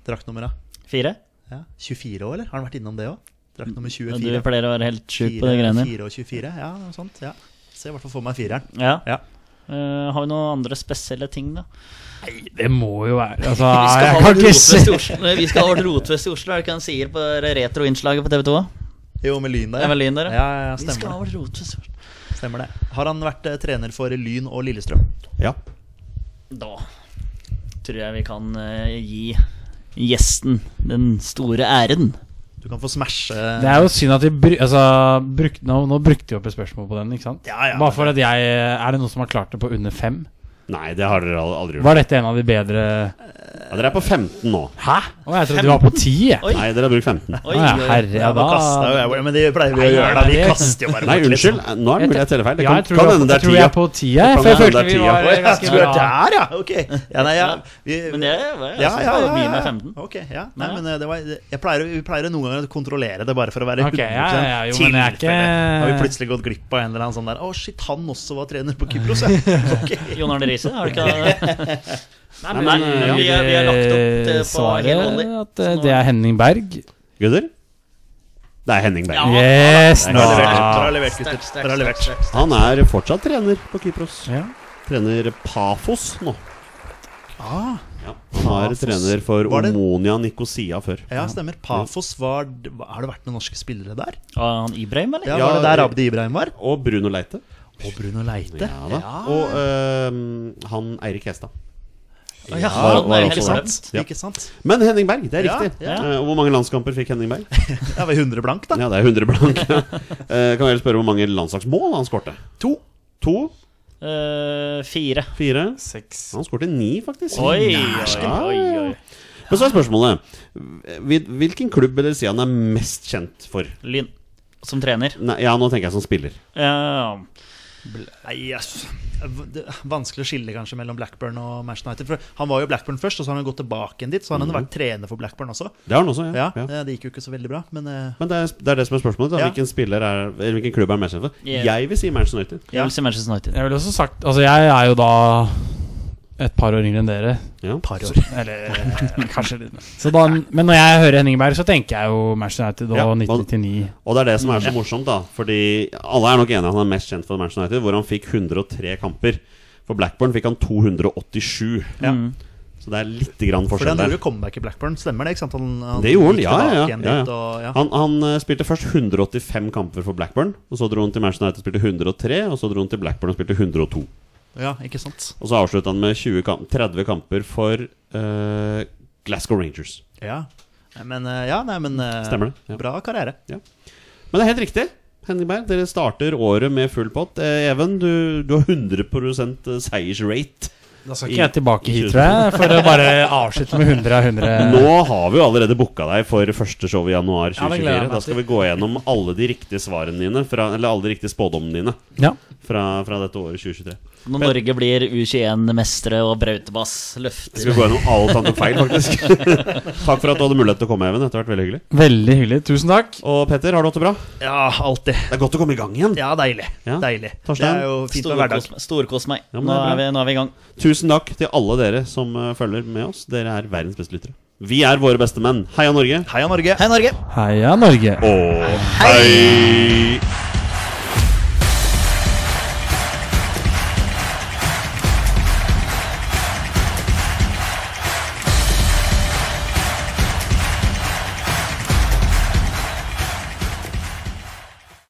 [SPEAKER 2] Draktnummera.
[SPEAKER 3] Fire?
[SPEAKER 2] Ja. 24 år, eller? Har han vært innom det òg? Drakt nummer
[SPEAKER 3] Du
[SPEAKER 2] 24.
[SPEAKER 3] pleier å være helt sjuk på de
[SPEAKER 2] Fire-
[SPEAKER 3] greiene.
[SPEAKER 2] fire og 24, ja, noe sånt. Ja. Ser i hvert fall for meg fireren.
[SPEAKER 3] Ja.
[SPEAKER 2] Ja.
[SPEAKER 3] Eh, har vi noen andre spesielle ting, da?
[SPEAKER 4] Det må jo være Altså,
[SPEAKER 3] Vi skal
[SPEAKER 4] jeg
[SPEAKER 3] ha
[SPEAKER 4] kan
[SPEAKER 3] vårt
[SPEAKER 4] ikke
[SPEAKER 3] rotfest i
[SPEAKER 4] se
[SPEAKER 3] Oslo. Vi skal ha vårt rotfest i Oslo, er det ikke han sier på det retroinnslaget på TV 2?
[SPEAKER 2] Jo, med Lyn der.
[SPEAKER 3] Det er vel Lyn der,
[SPEAKER 2] ja.
[SPEAKER 3] ja.
[SPEAKER 2] Ja, ja,
[SPEAKER 3] Vi skal ha
[SPEAKER 2] stemmer,
[SPEAKER 3] vårt rotfest i Oslo.
[SPEAKER 2] det. stemmer det. Har han vært eh, trener for Lyn og Lillestrøm?
[SPEAKER 1] ja.
[SPEAKER 3] Da tror jeg vi kan eh, gi gjesten den store æren.
[SPEAKER 2] Du kan få smashe
[SPEAKER 4] Det er jo synd at vi bru, altså, brukte, nå, nå brukte vi opp et spørsmål på den, ikke sant?
[SPEAKER 2] Ja, ja.
[SPEAKER 4] Bare for at jeg Er det noen som har klart det på under fem?
[SPEAKER 1] Nei, det har dere al- aldri gjort.
[SPEAKER 4] Var dette en av de bedre
[SPEAKER 1] Ja, dere er på 15 nå.
[SPEAKER 4] Hæ? Å, jeg trodde du var på ti, jeg.
[SPEAKER 3] Oi.
[SPEAKER 1] Nei, dere har brukt 15.
[SPEAKER 3] Oi,
[SPEAKER 4] Å, ja, herre, ja,
[SPEAKER 2] Ja, da kaster
[SPEAKER 4] da
[SPEAKER 2] jeg jo- Men det pleier vi å
[SPEAKER 4] Nei,
[SPEAKER 2] gjøre, da.
[SPEAKER 4] nei,
[SPEAKER 2] Vi
[SPEAKER 4] det-
[SPEAKER 2] kaster jo bare
[SPEAKER 1] Nei,
[SPEAKER 2] bort litt
[SPEAKER 1] unnskyld. Eh,
[SPEAKER 2] sånn.
[SPEAKER 1] Nå er det mulig jeg teller feil. Det
[SPEAKER 4] Ja,
[SPEAKER 1] kan,
[SPEAKER 4] jeg tror,
[SPEAKER 1] kan
[SPEAKER 4] jeg,
[SPEAKER 1] hende det er
[SPEAKER 4] tror jeg er
[SPEAKER 1] tida.
[SPEAKER 4] på ti,
[SPEAKER 1] Det kan
[SPEAKER 4] jeg. For jeg
[SPEAKER 1] hende
[SPEAKER 4] følte
[SPEAKER 1] det
[SPEAKER 4] vi
[SPEAKER 1] er
[SPEAKER 4] var
[SPEAKER 1] tida.
[SPEAKER 2] Ja,
[SPEAKER 4] ganske
[SPEAKER 2] du er
[SPEAKER 4] bra.
[SPEAKER 2] der, ja! Ok. Ja, nei, ja. Vi,
[SPEAKER 3] Men det var jeg
[SPEAKER 2] ja,
[SPEAKER 3] synes
[SPEAKER 2] ja, ja,
[SPEAKER 3] det var mye med
[SPEAKER 2] ja.
[SPEAKER 3] 15.
[SPEAKER 2] Ok, ja. Nei,
[SPEAKER 3] Ja.
[SPEAKER 2] men eh, det var, jeg pleier, vi pleier noen ganger å kontrollere det, bare for å være
[SPEAKER 4] Ok, ja, ja, jo, men jeg er ikke-
[SPEAKER 2] Har vi plutselig gått glipp av en eller annen sånn der Å, shit, han også var trener på Kypros, ja. Ok.
[SPEAKER 3] Jon Arne Riise, har du ikke
[SPEAKER 4] Nei, eh,
[SPEAKER 3] men- men vi er- vi er lagt opp eh, til- på hele
[SPEAKER 4] Svaret
[SPEAKER 3] volley.
[SPEAKER 4] at eh, det er Henning Berg.
[SPEAKER 1] Gutter? Det er Henning Berg.
[SPEAKER 4] Yes,
[SPEAKER 1] Det er
[SPEAKER 4] nå!
[SPEAKER 2] Dere har levert, dere har
[SPEAKER 4] Ja.
[SPEAKER 2] levert, gutter. Dere har levert.
[SPEAKER 1] Han er fortsatt trener på Kypros. Trener Pafos nå.
[SPEAKER 2] Ah,
[SPEAKER 1] Ja. Han var
[SPEAKER 2] Pafos.
[SPEAKER 1] trener for
[SPEAKER 2] Var det-
[SPEAKER 1] Omonia Nikosia før.
[SPEAKER 2] ja, stemmer. Pafos var Har det vært noen norske spillere der?
[SPEAKER 3] Ah, han Ibrahim, eller?
[SPEAKER 2] Ja,
[SPEAKER 1] Ja,
[SPEAKER 2] Var det der Abdi Ibrahim var?
[SPEAKER 1] Og Bruno Leite.
[SPEAKER 2] Og Bruno Leite.
[SPEAKER 1] Ja, da. Og øhm, han Eirik Hestad.
[SPEAKER 3] Å, ja,
[SPEAKER 1] Var-
[SPEAKER 3] han
[SPEAKER 1] var
[SPEAKER 3] er
[SPEAKER 1] også
[SPEAKER 3] helt
[SPEAKER 1] der.
[SPEAKER 3] glemt.
[SPEAKER 1] Ja.
[SPEAKER 2] Ikke sant?
[SPEAKER 1] Men Henning Berg, det er
[SPEAKER 2] Ja,
[SPEAKER 1] riktig.
[SPEAKER 3] ja.
[SPEAKER 1] Eh, og hvor mange landskamper fikk Henning Berg?
[SPEAKER 2] Ja, ved 100 blank, da.
[SPEAKER 1] Ja, det er 100 blank. Eh, kan jeg vel spørre hvor mange landslagsmål han skårte?
[SPEAKER 2] To.
[SPEAKER 1] To?
[SPEAKER 3] Eh, fire.
[SPEAKER 1] Fire?
[SPEAKER 4] Seks.
[SPEAKER 1] Han skårte ni, faktisk.
[SPEAKER 3] Oi,
[SPEAKER 1] Ja,
[SPEAKER 3] oi, oi, oi.
[SPEAKER 1] Men så er spørsmålet hvil- Hvilken klubb vil dere si han er mest kjent for?
[SPEAKER 3] Lyn som trener.
[SPEAKER 1] Nei, ja, nå tenker jeg som spiller.
[SPEAKER 3] Ja,
[SPEAKER 2] Nei, ass. Det er Vanskelig å skille kanskje mellom Blackburn og Manchester United. For han var jo Blackburn først, og så har han gått tilbake igjen dit. Så har han vært trener for Blackburn også.
[SPEAKER 1] Det har han også, Mhm. ja.
[SPEAKER 2] Ja,
[SPEAKER 1] ja.
[SPEAKER 2] eh, Det gikk jo ikke så veldig bra, men eh,
[SPEAKER 1] Men det er, det er det som er spørsmålet. Da.
[SPEAKER 2] Ja.
[SPEAKER 1] Hvilken, spiller er, eller hvilken klubb er han mest kjent for?
[SPEAKER 3] Yeah.
[SPEAKER 1] Jeg vil si Manchester United.
[SPEAKER 3] jeg vil si Manchester United.
[SPEAKER 4] Jeg ville også sagt Altså, jeg er jo da et par år yngre enn dere.
[SPEAKER 1] Ja.
[SPEAKER 2] par år.
[SPEAKER 4] Eller eh, kanskje litt mer. Så da, men når jeg hører Henning Berg, så tenker jeg jo Manchester United og
[SPEAKER 1] Ja, hva-
[SPEAKER 4] 1999.
[SPEAKER 1] Og det er det som er så morsomt, da. Fordi alle er nok enige om han er mest kjent for Manchester United, hvor han fikk 103 kamper. For Blackburn fikk han 287.
[SPEAKER 2] Ja.
[SPEAKER 4] Mm.
[SPEAKER 1] Så det er litt grann
[SPEAKER 2] For
[SPEAKER 1] forskjell
[SPEAKER 2] han
[SPEAKER 1] der.
[SPEAKER 2] gjorde comeback i Blackburn, stemmer det? ikke sant? Han, han
[SPEAKER 1] Det gjorde han,
[SPEAKER 2] gikk
[SPEAKER 1] ja,
[SPEAKER 2] tilbake
[SPEAKER 1] ja,
[SPEAKER 2] igjen
[SPEAKER 1] ja, ja.
[SPEAKER 2] dit, og, ja.
[SPEAKER 1] Han, han eh, spilte først 185 kamper for Blackburn, og så dro han til Manchester United og spilte 103, og så dro han til Blackburn og spilte 102.
[SPEAKER 2] ja, ikke sant?
[SPEAKER 1] Og så avslutta han med 20 kam 30 kamper for eh, Glasgow Rangers.
[SPEAKER 2] Ja. Nei, Men, eh, ja, nei, men eh,
[SPEAKER 1] Stemmer det, ja.
[SPEAKER 2] Bra karriere.
[SPEAKER 1] Men det er helt riktig. Henning Berg, dere starter året med full pott. Eh, Even, du, du har 100 eh, seiersrate
[SPEAKER 4] Da skal
[SPEAKER 1] I-
[SPEAKER 4] ikke jeg tilbake
[SPEAKER 1] i
[SPEAKER 4] hit,
[SPEAKER 1] 20.
[SPEAKER 4] tror jeg, for å bare avslutte med 100 av 100.
[SPEAKER 1] Nå har vi jo allerede booka deg for første show i januar
[SPEAKER 4] Ja, det gleder
[SPEAKER 1] 2024.
[SPEAKER 4] jeg meg
[SPEAKER 1] Da skal vi gå gjennom alle de riktige svarene dine, fra, eller alle de riktige spådommene dine,
[SPEAKER 4] Ja.
[SPEAKER 1] fra, fra dette året 2023.
[SPEAKER 3] Når Norge blir U21-mestere og Brautebass
[SPEAKER 1] Vi
[SPEAKER 3] løfter
[SPEAKER 1] skal gå gjennom alt han tok feil, faktisk. Takk for at du hadde mulighet til å komme, Even. Dette har vært veldig hyggelig.
[SPEAKER 4] Veldig hyggelig. Tusen takk.
[SPEAKER 1] Og Petter, har du hatt det bra?
[SPEAKER 2] Ja, alltid.
[SPEAKER 1] Det er godt å komme i gang igjen.
[SPEAKER 2] Ja, deilig.
[SPEAKER 1] Ja.
[SPEAKER 2] deilig. Det
[SPEAKER 1] Torstein?
[SPEAKER 2] er jo fint med hverdag.
[SPEAKER 3] Storkos storkos meg.
[SPEAKER 1] Ja, men
[SPEAKER 3] Nå
[SPEAKER 1] det er
[SPEAKER 3] er, vi, nå er vi i gang.
[SPEAKER 1] Tusen takk til alle dere som eh, følger med oss. Dere er verdens beste lyttere. Vi er våre beste menn. Heia Norge.
[SPEAKER 2] Heia Norge.
[SPEAKER 3] Hei, Norge!
[SPEAKER 4] Heia Norge.
[SPEAKER 1] Og hei!